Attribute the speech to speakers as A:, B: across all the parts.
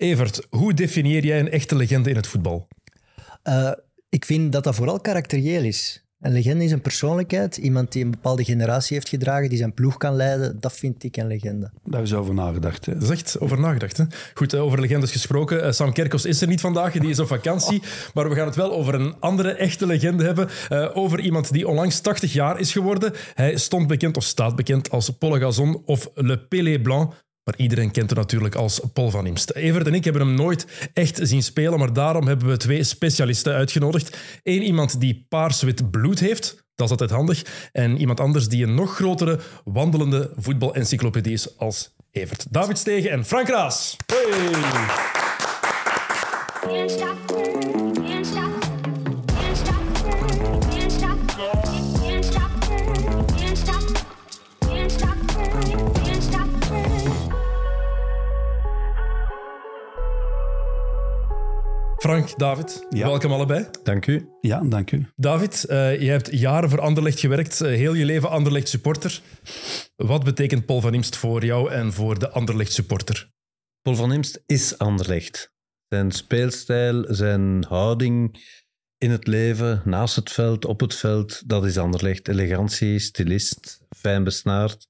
A: Evert, hoe definieer jij een echte legende in het voetbal?
B: Eh, ik vind dat dat vooral karakterieel is. Een legende is een persoonlijkheid, iemand die een bepaalde generatie heeft gedragen, die zijn ploeg kan leiden. Dat vind ik een legende.
C: Daar is over nagedacht. Hè.
A: Dat is echt eh, over nagedacht. Hè? Goed, eh, over legendes gesproken. Eh, Sam Kerkos is er niet vandaag, die is op vakantie. Maar we gaan het wel over een andere echte legende hebben. Eh, over iemand die onlangs 80 jaar is geworden. Hij stond bekend of staat bekend als Paul Gazon of Le Pelé Blanc. Maar iedereen kent hem natuurlijk als Paul van Imst. Evert en ik hebben hem nooit echt zien spelen, maar daarom hebben we twee specialisten uitgenodigd. Eén iemand die paars-wit bloed heeft, dat is altijd handig. En iemand anders die een nog grotere wandelende voetbalencyclopedie is als Evert. David Stegen en Frank Raas.
D: Can't stop, can't stop, can't stop, can't stop, can't stop, can't stop, can't stop, can't stop.
A: Frank, David,
C: Ja.
A: welkom allebei.
E: Dank u.
C: Ja, dank u.
A: David, eh jij hebt jaren voor Anderlecht gewerkt, eh, heel je leven Anderlecht supporter. Wat betekent Paul van Imst voor jou en voor de Anderlecht supporter?
E: Paul van Imst is Anderlecht. Zijn speelstijl, zijn houding in het leven, naast het veld, op het veld, dat is Anderlecht. Elegantie, stilist, fijn besnaard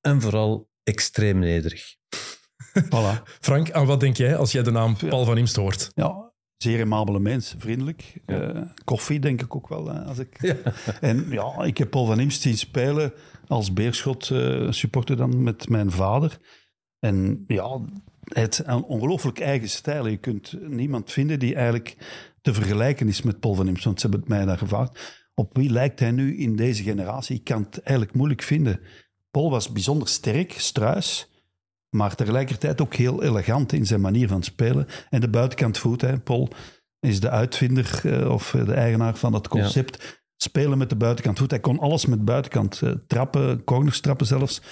E: en vooral extreem nederig.
C: Voilà.
A: Frank, aan wat denk jij als jij de naam Paul van Imst hoort?
C: Ja, zeer amabele mens, vriendelijk. Eh, koffie denk ik ook wel. hè, Als ik... En ja, ik heb Paul van Imst zien spelen als Beerschot eh, supporter dan met mijn vader. En ja, het een ongelooflijk eigen stijl. Je kunt niemand vinden die eigenlijk te vergelijken is met Paul van Imst. Want ze hebben het mij daar gevraagd. Op wie lijkt hij nu in deze generatie? Ik kan het eigenlijk moeilijk vinden. Paul was bijzonder sterk, struis maar tegelijkertijd ook heel elegant in zijn manier van spelen. En de buitenkant voet, hè, Paul is de uitvinder eh, of de eigenaar van dat concept. Spelen met de buitenkant voet. Hij kon alles met buitenkant. eh, trappen, corners trappen zelfs.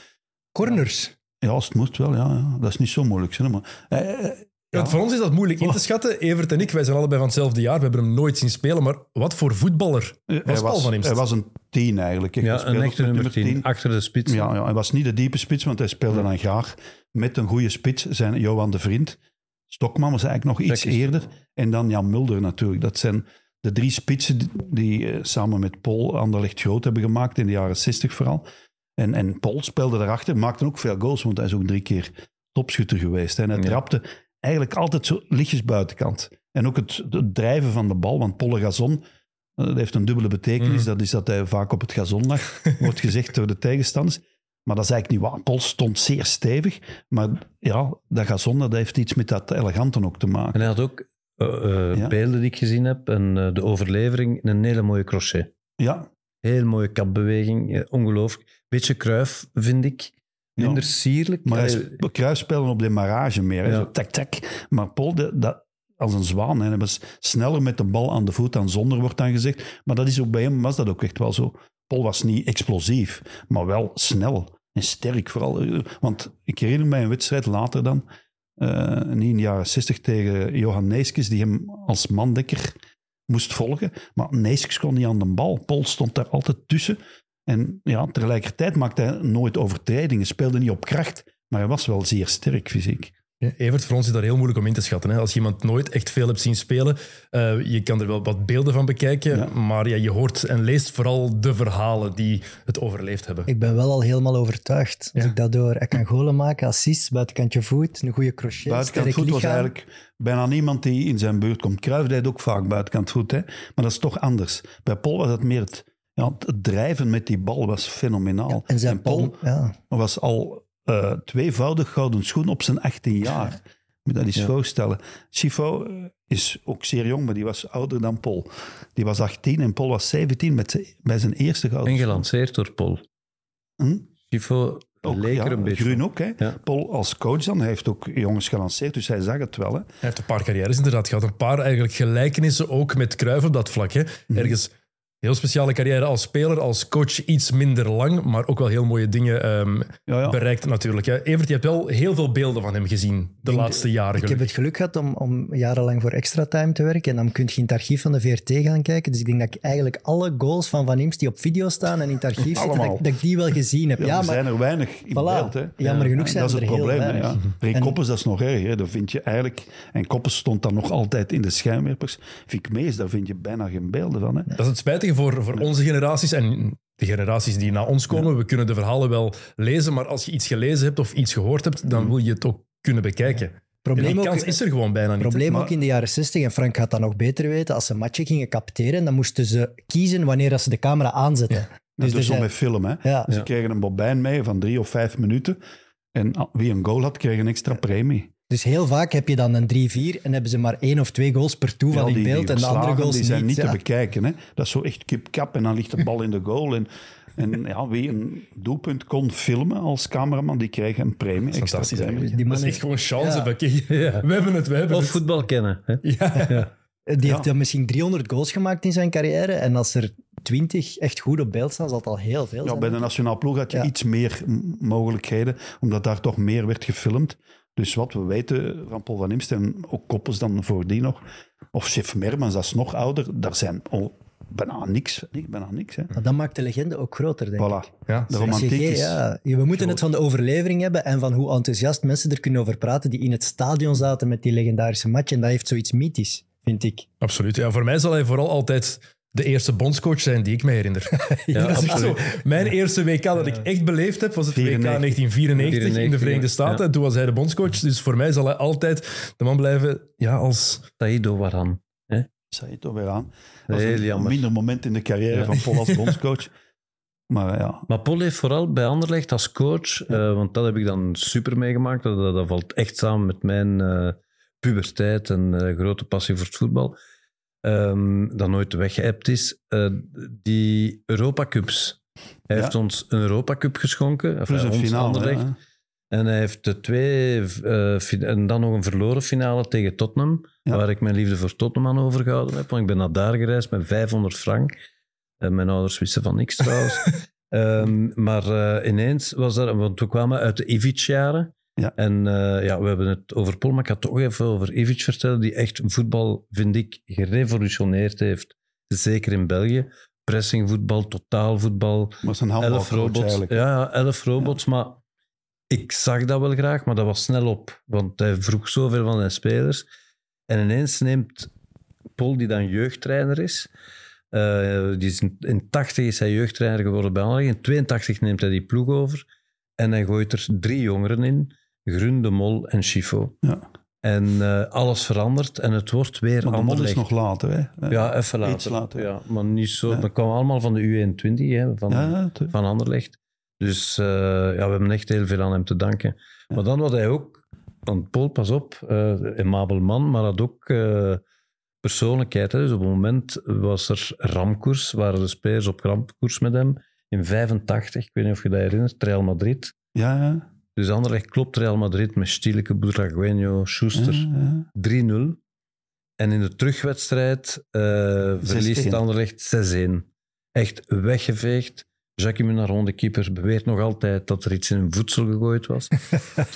B: Corners.
C: Ja, als het moest wel. Ja, ja. Dat is niet zo moeilijk. Zeg maar. Eh, eh,
A: Want voor ons is dat moeilijk in te schatten. Evert en ik, wij zijn allebei van hetzelfde jaar. We hebben hem nooit zien spelen. Maar wat voor voetballer was Paul van Imst?
C: hij Eh, was een tien eigenlijk. Hij
E: Ja,
C: speelde
E: een
C: ook
E: echte
C: met
E: nummer 10, achter de spits.
C: Ja, ja, hij was niet de diepe spits, want hij speelde dan graag met een goede spits. Zijn Johan de Vriend, Stokman was eigenlijk nog iets
E: Kijk eens.
C: eerder. En dan Jan Mulder natuurlijk. Dat zijn de drie spitsen die- die eh, samen met Paul Anderlecht groot hebben gemaakt in de jaren 60 vooral. En, en Paul speelde daarachter, maakte ook veel goals, want hij is ook drie keer topschutter geweest. En hij
E: Ja.
C: trapte eigenlijk altijd zo lichtjes buitenkant. En ook het, het drijven van de bal, want Polle Gazon eh, dat heeft een dubbele betekenis.
E: Mm.
C: Dat is dat hij vaak op het gazon lag, wordt gezegd door de tegenstanders. Maar dat is eigenlijk niet waar. Paul stond zeer stevig. Maar ja, dat gazon dat heeft iets met dat eleganten ook te maken.
E: En hij had ook eh, eh,
C: Ja.
E: beelden die ik gezien heb en eh, de overlevering, een hele mooie crochet.
C: Ja,
E: Heel mooie kapbeweging, eh, ongelooflijk. Beetje kruif, vind ik.
C: Ja.
E: Minder sierlijk. eh,
C: maar hij
E: Allee,
C: sp- eh, kruisspelen op de marage meer. hè.
E: Ja.
C: Zo tak, tak. Maar Paul, de- dat, als een zwaan. Hè. Hij was sneller met de bal aan de voet dan zonder, wordt dan gezegd. Maar dat is ook bij hem was dat ook echt wel zo. Paul was niet explosief, maar wel snel en sterk vooral. Eh, Want ik herinner mij een wedstrijd later dan, eh, niet in de jaren 60 tegen Johan Neeskes, die hem als mandekker moest volgen. Maar Neeskes kon niet aan de bal. Paul stond daar altijd tussen. En ja, tegelijkertijd maakte hij nooit overtredingen, speelde niet op kracht, maar hij was wel zeer sterk fysiek.
A: Ja, Evert, voor ons is dat heel moeilijk om in te schatten. Hè? Als je iemand nooit echt veel hebt zien spelen, eh, je kan er wel wat beelden van bekijken,
C: Ja.
A: maar ja, je hoort en leest vooral de verhalen die het overleefd hebben.
B: Ik ben wel al helemaal overtuigd als
A: Ja.
B: ik dat door. Hij kan golen maken, assist, buitenkantje voet, een goede crochet,
C: Buitenkant
B: sterk
C: voet was
B: lichaam.
C: eigenlijk bijna niemand die in zijn buurt komt. Cruijff deed ook vaak buitenkant voet, hè? maar dat is toch anders. Bij Paul was dat meer het, ja, het drijven met die bal was fenomenaal.
B: Ja, en zijn Paul, ja.
C: was al eh, tweevoudig gouden schoen op zijn 18 jaar. Moet je dat eens voorstellen. Chifo eh, is ook zeer jong, maar die was ouder dan Paul. Die was 18 en Paul was 17 met zijn- bij zijn eerste gouden
E: En gelanceerd door Paul.
C: Hm?
E: Schifo
C: Ook,
E: leek
C: ja,
E: er een beetje.
C: Groen
E: op.
C: ook, hè.
E: Ja.
C: Paul als coach dan, hij heeft ook jongens gelanceerd, dus hij zag het wel, hè.
A: Hij
C: Mhm.
A: heeft een paar carrières inderdaad gehad. Een paar eigenlijk gelijkenissen ook met Cruijff op dat vlak. Hè? Ergens Heel speciale carrière als speler, als coach iets minder lang, maar ook wel heel mooie dingen ehm,
C: Ja, ja.
A: bereikt natuurlijk. Hè. Evert, je hebt wel heel veel beelden van hem gezien de laatste jaren.
B: Ik heb
A: gelukkig.
B: het geluk gehad om, om jarenlang voor extra time te werken. En dan kun je in het archief van de VRT gaan kijken. Dus ik denk dat ik eigenlijk alle goals van Van Imst die op video staan en in het archief zitten, dat,
C: Allemaal.
B: ik- dat ik die wel gezien heb.
C: Ja,
B: Ja,
C: er
B: maar
C: zijn er weinig in
B: Voilà.
C: beeld. Hè.
B: Jammer genoeg
C: En
B: zijn
C: dat is
B: er
C: het
B: heel
C: probleem. hè,
B: weinig.
C: Ja. Ray
B: En-
C: Koppens, dat is nog erg. Hè. Dat vind je eigenlijk... En Koppens stond dan nog altijd in de schijnwerpers. Vind meest, daar vind je bijna geen beelden van. Hè.
B: Dus
A: Dat is het spijtige voor, voor onze generaties en de generaties die na ons komen. We kunnen de verhalen wel lezen, maar als je iets gelezen hebt of iets gehoord hebt, dan wil je het ook kunnen bekijken. En
B: probleem
A: die
B: ook,
A: kans is er gewoon bijna niet.
B: probleem
C: maar-
B: ook in de jaren 60, en Frank gaat dat nog beter weten, als ze matchen gingen capteren, dan moesten ze kiezen wanneer dat ze de camera aanzetten.
C: Dus
B: Dus
C: dat
B: er
C: is zo
B: zijn-
C: bij film. Hè.
B: ja.
C: Ze kregen een bobijn mee van drie of vijf minuten. En ah, wie een goal had, kreeg een extra premie.
B: Dus heel vaak heb je dan een 3-4 en hebben ze maar één of twee goals per toeval
C: Ja,
B: in beeld en de andere
C: verslagen,
B: goals
C: die zijn niet
B: ja.
C: te bekijken. Hè. Dat is zo echt kip-kap en dan ligt de bal in de goal. En, en ja, wie een doelpunt kon filmen als cameraman, die kreeg een premie. extra
A: Fantastisch
C: premie.
A: eigenlijk.
B: Die man
A: dat is echt
B: is-
A: gewoon chance.
B: Ja.
A: hè. Kijk, We hebben het, we hebben
E: Of
A: het.
E: voetbal kennen. Hè?
A: Ja.
B: Die heeft
C: Ja.
B: dan misschien 300 goals gemaakt in zijn carrière. En als er 20 echt goed op beeld staan, zal het al heel veel
C: Ja,
B: zijn.
C: bij de nationaal ploeg had je
B: Ja.
C: iets meer m- mogelijkheden, omdat daar toch meer werd gefilmd. Dus wat we weten van Paul van Imst en ook Koppels dan voor die nog, of Chef Mermans, dat is nog ouder, daar zijn al bijna niks. niks- Bijna niks hè.
B: Maar dat maakt de legende ook groter, denk ik.
C: Voilà,
A: Ja,
C: de
B: Als je
C: romantiek
B: geen-
C: is.
B: ja, we moeten het van de overlevering hebben en van hoe enthousiast mensen er kunnen over praten die in het stadion zaten met die legendarische match. En dat heeft zoiets mythisch, vind ik.
A: Absoluut. Ja, voor mij zal hij vooral altijd de eerste bondscoach zijn die ik me herinner. ja, dat is echt zo. Mijn eerste WK dat ik echt beleefd heb, was het WK
C: 94.
A: 1994 in de
E: 94,
A: Verenigde
E: ja.
A: Staten. En toen was hij de bondscoach. Dus voor mij zal hij altijd de man blijven ja, als...
E: Taido Waran.
C: Zei het toch weer aan. Dat is
E: Heel
C: een
E: jammer.
C: minder moment in de carrière
E: Ja.
C: van Paul als bondscoach. maar ja,
E: Maar Paul heeft vooral bij Anderlecht als coach, eh, want dat heb ik dan super meegemaakt. Dat, dat, dat valt echt samen met mijn eh, puberteit en eh, grote passie voor het voetbal. ehm, dat nooit weggeëpt is. Eh, die Europa Cups. Hij
C: Ja.
E: heeft ons een Europa Cup geschonken. Enfin,
C: plus een
E: ons
C: finale. hè,
E: Anderlecht.
C: hè.
E: En hij heeft de twee, eh, fin- en dan nog een verloren finale tegen Tottenham,
C: Ja.
E: waar ik mijn liefde voor Tottenham aan overgehouden heb. Want ik ben naar daar gereisd met 500 frank. En mijn ouders wisten van niks trouwens. Ehm, maar eh, ineens was dat, want we kwamen uit de Ivic-jaren.
C: Ja.
E: En eh, ja, we hebben het over Paul, maar ik ga toch even over Ivic vertellen, die echt voetbal, vind ik, gerevolutioneerd heeft. Zeker in België. Pressingvoetbal, totaalvoetbal.
C: Maar zijn
E: Elf
C: handbalcoach
E: robots.
C: eigenlijk.
E: Ja, ja, elf robots. Maar ik zag dat wel graag, maar dat was snel op. Want hij vroeg zoveel van zijn spelers. En ineens neemt Paul, die dan jeugdtrainer is. eh, die is in, in 80 is hij jeugdtrainer geworden bij Anderlecht. In 82 neemt hij die ploeg over. En hij gooit er drie jongeren in. Grun, De Mol en Chifo.
C: Ja.
E: En eh, alles verandert en het wordt weer
C: Maar de mol is
E: Anderlecht.
C: nog later. Hè.
E: Ja, even later.
C: Iets later.
E: Ja, maar niet zo.
C: Ja.
E: Dat kwam allemaal van de U21, hè, van,
C: Ja, ja, tu-
E: van Anderlecht. Dus eh, ja, we hebben echt heel veel aan hem te danken. Maar dan had hij ook, want Paul, pas op, eh amabel man, maar had ook eh, persoonlijkheid. Hè. Dus op het moment was er rampkoers, waren de spelers op rampkoers met hem. In 85, ik weet niet of je dat herinnert, Real Madrid.
C: ja, ja.
E: Dus Anderlecht klopt Real Madrid met Stieleke, Budragueño,
C: ja,
E: Schuster.
C: ja.
E: 3-0. En in de terugwedstrijd eh, verliest Anderlecht 6-1. Echt weggeveegd. Jackie Munaron, de keeper, beweert nog altijd dat er iets in een voedsel gegooid was.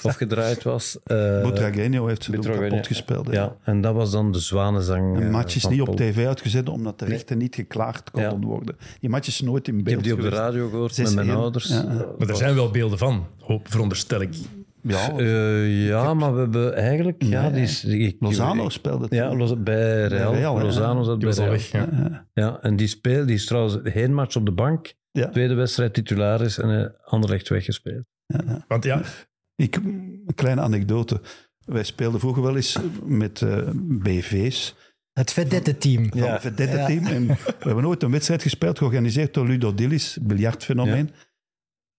E: of gedraaid was. Eh,
C: Butragueño heeft ze ook
E: Butragueño,
C: kapot gespeeld. hè.
E: ja, en dat was dan de zwanenzang.
C: Een
E: eh,
C: match is
E: van
C: niet
E: Paul.
C: op tv uitgezet omdat de rechten niet geklaard konden
E: Ja.
C: worden. Die match is nooit in
E: Ik heb
C: beeld
E: die op de
C: geweest.
E: radio gehoord met
C: 6-1,
E: mijn ouders.
C: ja, ja.
E: Eh,
A: Maar er zijn wel beelden van, hoop, veronderstel ik.
C: Ja,
E: eh, ja, maar we hebben eigenlijk... ja,
C: Nee.
E: die is, die- ik-
C: Lozano
E: ik-
C: speelde het.
E: Ja, Loz- bij Real.
C: Real, ja.
E: Lozano zat
A: Die
E: bij
A: was al
E: Real.
A: weg. Ja.
E: Ja, en die speelt, die is trouwens één match op de bank.
C: Ja.
E: Tweede wedstrijd titularis en eh, Anderlecht weggespeeld.
A: Want ja,
C: Ik, een kleine anekdote. Wij speelden vroeger wel eens met eh, BV's
B: Het vedette-team.
C: van het vedette team. En we hebben nooit een wedstrijd gespeeld, georganiseerd door Ludo Dillis, biljartfenomeen,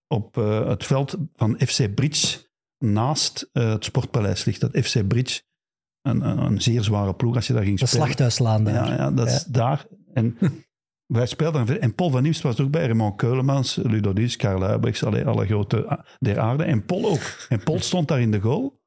C: op eh, het veld van FC Bridge. Naast eh, het Sportpaleis ligt dat FC Bridge. Een, een, een zeer zware ploeg als je daar ging
B: De
C: spelen.
B: slachthuislaan daar.
C: Ja, ja dat is daar. En wij speelden. En Paul van Nieuws was ook bij Raymond Keulemans, Ludo Dies, Karel Huibrechts, alle, alle ah, grote a- der aarde. En Paul ook. En Paul stond daar in de goal.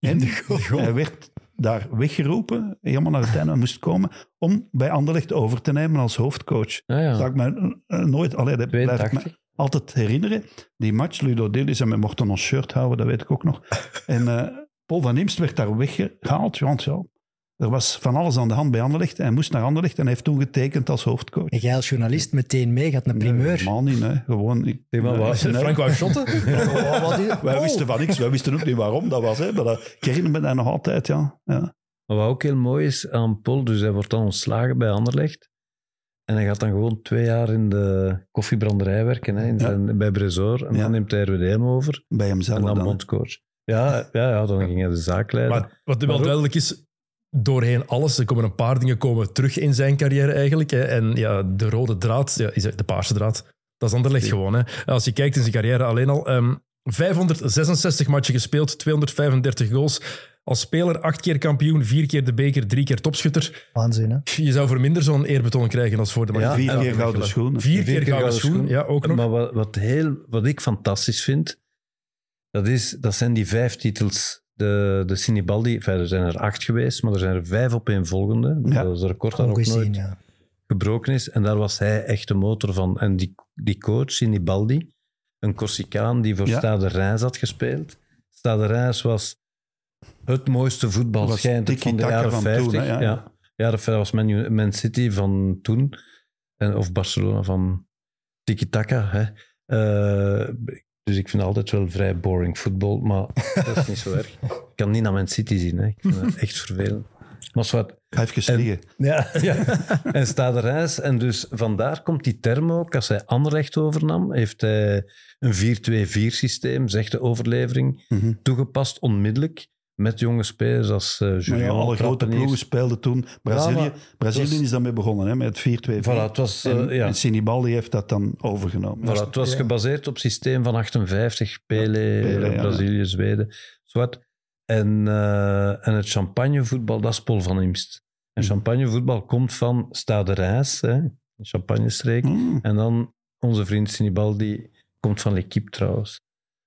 C: En hij werd daar weggeroepen, helemaal naar het einde moest komen, om bij Anderlecht over te nemen als hoofdcoach.
E: Ah,
C: Dat
E: ja.
C: ik me eh, nooit, allee, dat blijf ik me
E: 82.
C: altijd herinneren. Die match, Ludo Dillis en we mochten ons shirt houden, dat weet ik ook nog. En eh, Paul van Imst werd daar weggehaald, want ja, er was van alles aan de hand bij Anderlecht. Hij moest naar Anderlecht en hij heeft toen getekend als hoofdcoach.
B: En jij als journalist meteen mee gaat naar
C: Nee,
B: primeur.
C: helemaal niet, hè. Gewoon... Ik,
E: Nee, maar wat-
C: Nee.
A: Frank wou shotten.
B: Oh, wat is-
C: Wij
B: oh.
C: wisten van niks, wij wisten ook niet waarom dat was. Hè. Maar dat, eh, ik herinner me dat nog altijd, ja. ja.
E: Maar wat ook heel mooi is aan Paul, dus hij wordt dan ontslagen bij Anderlecht. En hij gaat dan gewoon twee jaar in de koffiebranderij werken, hè, in
C: Ja.
E: zijn, bij Bresor. En
C: Ja.
E: dan neemt hij RWD hem over
C: Bij hemzelf
E: en dan
C: dan.
E: bondscoach. Ja, ja, ja, dan ging hij de zaak leiden.
A: Maar wat wel
E: ook-
A: duidelijk is, doorheen alles, er komen een paar dingen komen terug in zijn carrière eigenlijk. Hè. En ja, de rode draad, ja, is de paarse draad, dat is Anderlecht gewoon. Hè. Als je kijkt in zijn carrière alleen al, ehm, 566 matchen gespeeld, 235 goals. Als speler acht keer kampioen, vier keer de beker, drie keer topschutter.
B: Waanzin, hè?
A: Je zou voor minder zo'n eerbetoon krijgen als voor de
E: Ja,
C: Vier
E: en-
C: keer gouden schoenen.
A: Vier keer gouden schoen, ja, ook nog.
E: Maar wat, wat, heel, wat ik fantastisch vind, dat, is, dat zijn die vijf titels. De, de Sinibaldi, enfin, er zijn er acht geweest, maar er zijn er vijf op een volgende.
C: Ja.
E: Dat is een record dat nog
B: Ongezien,
E: nooit
B: ja.
E: gebroken is. En daar was hij echt de motor van. En die, die coach, Sinibaldi, een Corsicaan die voor
C: Ja.
E: Stade Reims had gespeeld. Stade Reims was het mooiste voetbal,
C: Was
E: schijnt het, van de
C: tiki-taka
E: jaren
C: van toen,
E: 50.
C: hè,
E: ja.
C: ja.
E: Ja. dat was Man, U- Man City van toen. En, of Barcelona van tiki-taka. Hè. Eh, dus ik vind het altijd wel vrij boring voetbal, maar dat is niet zo erg. Ik kan niet naar Man City zien, hè. ik vind dat echt vervelend. Maar zwart,
C: Hij heeft gestreden.
E: ja, ja. en Stade Reims. En dus vandaar komt die term ook. Als hij Anderlecht overnam, heeft hij een 4-2-4-systeem, zegt de overlevering,
C: Mhm.
E: toegepast onmiddellijk. Met jonge spelers als eh
C: Maar
E: Julian.
C: ja, alle grote
E: Krappeniers.
C: ploegen speelden toen. Brazilië,
E: maar
C: Brazilië
E: dat is-
C: is daarmee begonnen, hè, met 4-2.
E: Voilà, het was, eh,
C: en,
E: ja.
C: en Sinibaldi heeft dat dan overgenomen.
E: Voilà, het was gebaseerd op het systeem van 58, Pele,
C: Pele, ja.
E: Brazilië, Zweden, zwart. En, eh, en het champagnevoetbal, dat is Paul van Imst. En
C: Mhm.
E: champagnevoetbal komt van Stade Reims, hè, een champagnestreek.
C: Mm.
E: En dan onze vriend Sinibaldi komt van L'Equipe trouwens.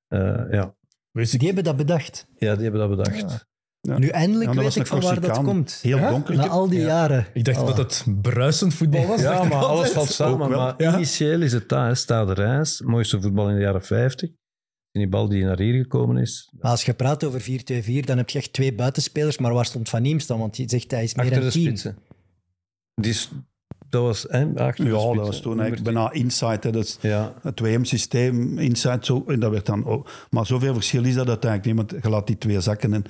E: Eh, ja.
B: Die hebben dat bedacht.
E: ja, die hebben dat bedacht.
B: Ja.
C: Ja.
B: Nu eindelijk
C: Ja, dat
B: weet
C: was
B: ik
C: een
B: van waar dat
C: Corsicaan.
B: komt.
C: Heel
A: Ja?
C: donker.
B: Na al die jaren.
A: Ik dacht
B: Allah.
A: dat het bruisend voetbal was. dacht ik altijd.
C: Ook wel.
E: Maar
A: Ja.
E: initieel is het dat, hè. Stade Reims, mooiste voetbal in de jaren 50. Sinibaldi naar hier gekomen is.
B: Maar als je praat over 4-2-4, dan heb je echt twee buitenspelers. Maar waar stond Van Niems dan? Want je zegt hij is meer
E: Achter
B: een
E: de
B: team.
E: spitsen. Die is, dat was hem, achter de
C: Ja,
E: spitsen.
C: dat was toen eigenlijk bijna insight. Hè. Dat is
E: Ja,
C: het 2M-systeem, insight. Zo, en dat werd dan ook. Maar zoveel verschil is dat uiteindelijk niet. Want je laat die twee zakken en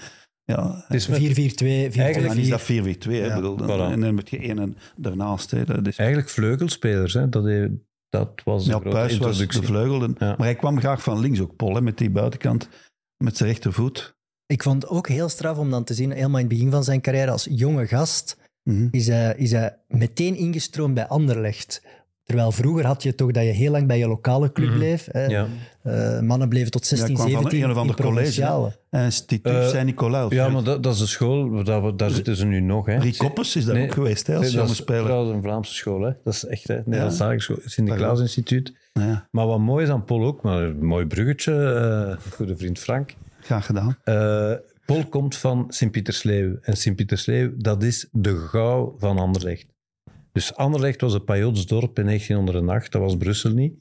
C: ja,
E: het is met-
B: 4-4-2, 4-2-4.
C: en dan
E: Eigenlijk
C: is dat 4-4-2. hè,
E: Ja,
C: bedoel, dan-
E: voilà.
C: En dan met je één en daarnaast. Hè. Dat is,
E: eigenlijk vleugelspelers. Hè. Dat, he- dat was de
C: ja,
E: grote
C: Puis was de
E: introductie.
C: vleugel. en-
E: Ja.
C: Maar hij kwam graag van links ook, Paul, hè, met die buitenkant. Met zijn rechtervoet.
B: Ik vond het ook heel straf om dan te zien, helemaal in het begin van zijn carrière, als jonge gast,
C: Mhm.
B: is hij, is hij meteen ingestroomd bij Anderlecht. Terwijl vroeger had je toch dat je heel lang bij je lokale club
A: Mhm.
B: bleef. Hè.
E: ja.
B: Eh, mannen bleven tot 16,
C: Ja, kwam van
B: 17
C: een of ander
B: in provinciale.
C: En Stituut
E: Eh,
C: Saint-Nicolaus.
E: ja, maar dat, dat is de school, daar, we- daar zitten ze nu nog. Hè.
C: Rie Koppers is daar
E: Nee,
C: ook geweest, hè, als
E: Nee,
C: jonge
E: dat is
C: speler.
E: trouwens een Vlaamse school, hè? Dat is echt, hè?
C: Ja.
E: Nederlandstalige school, Sint-Niklaas Instituut.
C: Ja,
E: Maar wat mooi is aan Paul ook, maar een mooi bruggetje, eh, goede vriend Frank.
C: graag gedaan.
E: Eh Paul komt van Sint-Pietersleeuw. En Sint-Pietersleeuw, dat is de gauw van Anderlecht. Dus Anderlecht was een Pajotsdorp in 1908, dat was Brussel niet.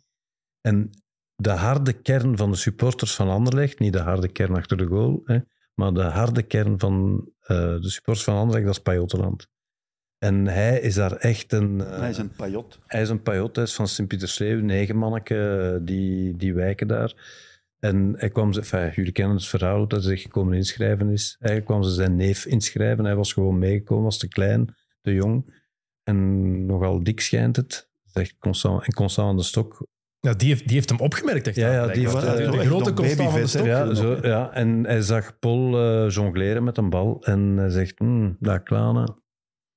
E: En de harde kern van de supporters van Anderlecht, niet de harde kern achter de goal, hè, maar de harde kern van eh, de supporters van Anderlecht, dat is Pajottenland. En hij is daar echt een... eh,
C: Hij is een pajot.
E: hij is een pajot, hij is van Sint-Pietersleeuw, negen manneke, eh, die, die wijken daar. En hij kwam, ze- enfin, jullie kennen het verhaal, dat hij zich gekomen inschrijven is. Eigenlijk kwam ze zijn neef inschrijven, hij was gewoon meegekomen, was te klein, te jong. En nogal dik schijnt het. Zegt Constant, en Constant aan de Stok.
A: Ja, die, heeft, die heeft hem opgemerkt. Echt,
E: Ja, ja, die
A: blijkbaar.
E: heeft, eh,
A: de
C: echt
A: grote
C: een
A: constant van de
C: babyvet,
A: stok.
C: hè.
E: Ja,
C: genoeg,
E: zo, ja, en hij zag Paul eh, jongleren met een bal. En hij zegt, hmm, dat kleine,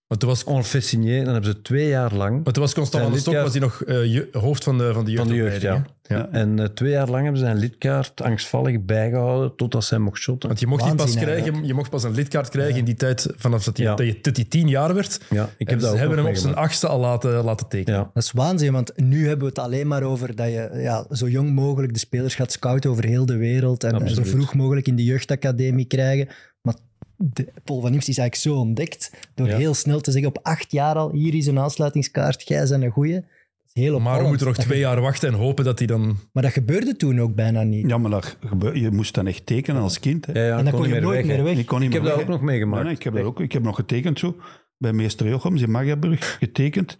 A: Want toen was,
E: on fait signer. En dan hebben ze twee jaar lang
A: want toen was Constant van de
E: Zijn
A: Stok was hij nog eh, je- hoofd van de, van de jeugd.
E: Van de jeugd, ja.
A: Ja.
E: En eh, twee jaar lang hebben ze zijn lidkaart angstvallig bijgehouden totdat zij mocht shotten.
A: Want je mocht, die pas
B: Waanzin,
A: krijgen, je mocht pas een lidkaart krijgen in die tijd, vanaf dat hij
E: Ja.
A: dat je- dat hij tien jaar werd.
E: Ja, ik heb
A: ze
E: dat ook
A: hebben
E: nog
A: hem op zijn
E: meegemaakt.
A: achtste al laten, laten tekenen.
E: Ja.
B: Dat is waanzin, want nu hebben we het alleen maar over dat je ja, zo jong mogelijk de spelers gaat scouten over heel de wereld en, en zo
E: Absoluut.
B: vroeg mogelijk in de jeugdacademie krijgen. Maar de, Paul van Imst is eigenlijk zo ontdekt door
E: Ja.
B: heel snel te zeggen op acht jaar al, hier is een aansluitingskaart, jij bent een goeie. Dat is heel
A: Maar we
B: opvallend.
A: moeten nog
B: Dat
A: twee jaar wachten en hopen dat hij dan...
B: ge- Maar dat gebeurde toen ook bijna niet.
C: Ja, maar dat gebe- je moest dan echt tekenen als kind. Hè.
E: Ja, ja,
B: en dan
E: kon
B: kon
E: niet
B: je
E: meer
B: nooit
E: weg, hè.
B: meer weg.
C: Ik kon niet
E: Ik heb
C: meer
E: dat
C: weg,
E: ook
C: hè.
E: nog meegemaakt.
C: Nee, nee, ik, heb dat ook, ik heb nog getekend zo, bij meester Jochems in Magdeburg, getekend.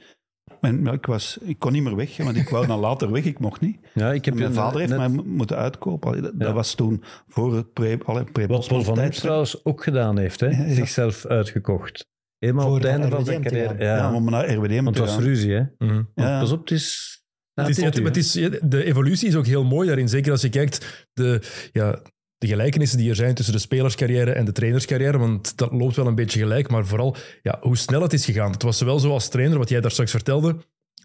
C: En ja, ik, was, ik kon niet meer weg, hè, want ik wou dan later weg, ik mocht niet.
E: Ja, ik heb
C: Mijn
E: een- eh,
C: vader heeft
E: net-
C: mij mo- moeten uitkopen. Allee, Dat, dat
E: Ja.
C: was toen voor het pre, allee, pre
E: Wat Paul van Imst
C: Ja,
E: trouwens ook gedaan heeft, hè?
C: Ja, ja.
E: zichzelf uitgekocht. Helemaal
B: Voor
E: op het
B: naar
E: einde van zijn
B: RWDM te
E: carrière.
B: gaan.
E: Ja,
C: om naar RWD
E: want
C: te
E: het was
C: gaan.
E: ruzie, hè?
A: mhm.
E: Want
C: Ja.
E: Pas op, het is. Ja,
A: Het is,
E: het
A: het,
E: u,
A: het
E: hè.
A: is, de evolutie is ook heel mooi daarin. Zeker als je kijkt de, ja, de gelijkenissen die er zijn tussen de spelerscarrière en de trainerscarrière. Want dat loopt wel een beetje gelijk. Maar vooral ja, hoe snel het is gegaan. Het was zowel zo als trainer, wat jij daar straks vertelde.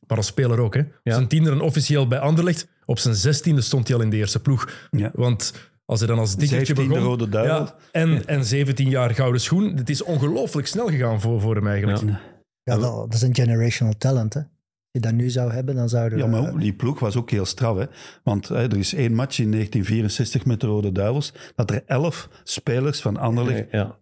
A: Maar als speler ook. Hè.
E: Ja.
A: Zijn tiende en officieel bij Anderlecht. Op zijn zestiende stond hij al in de eerste ploeg.
C: Ja.
A: Want als hij dan als dikkertje
C: 17e
A: begon...
C: rode duivel.
A: Ja, en, en 17 jaar gouden schoen. Het is ongelooflijk snel gegaan voor, voor hem eigenlijk.
E: Ja.
B: Ja, dat, dat is een generational talent. Hè. Als je dat nu zou hebben, dan zouden we...
C: Ja, maar die ploeg was ook heel straf. Hè? Want hè, er is één match in 1964 met de Rode Duivels dat er elf spelers van Anderlecht
E: Ja,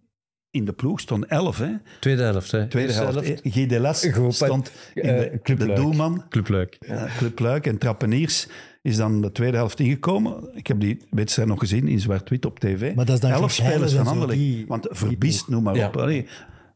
C: in de ploeg stonden. Elf, hè?
E: tweede helft, hè?
C: Tweede
E: Eerste
C: helft. eh, Guy Delas
E: Goed,
C: stond in
E: eh,
C: de,
E: Club
C: de
E: Luik.
C: doelman.
E: Club Luik.
C: Ja, Club Luik en Trappeniers is dan de tweede helft ingekomen. Ik heb die wedstrijd nog gezien in zwart-wit op tv.
B: Maar dat is dan
C: Elf
B: George
C: spelers
B: Heijlen
C: van
B: en zo,
C: Anderlecht.
B: die-
C: Want Verbiest, noem maar
E: Ja.
C: op. Allee,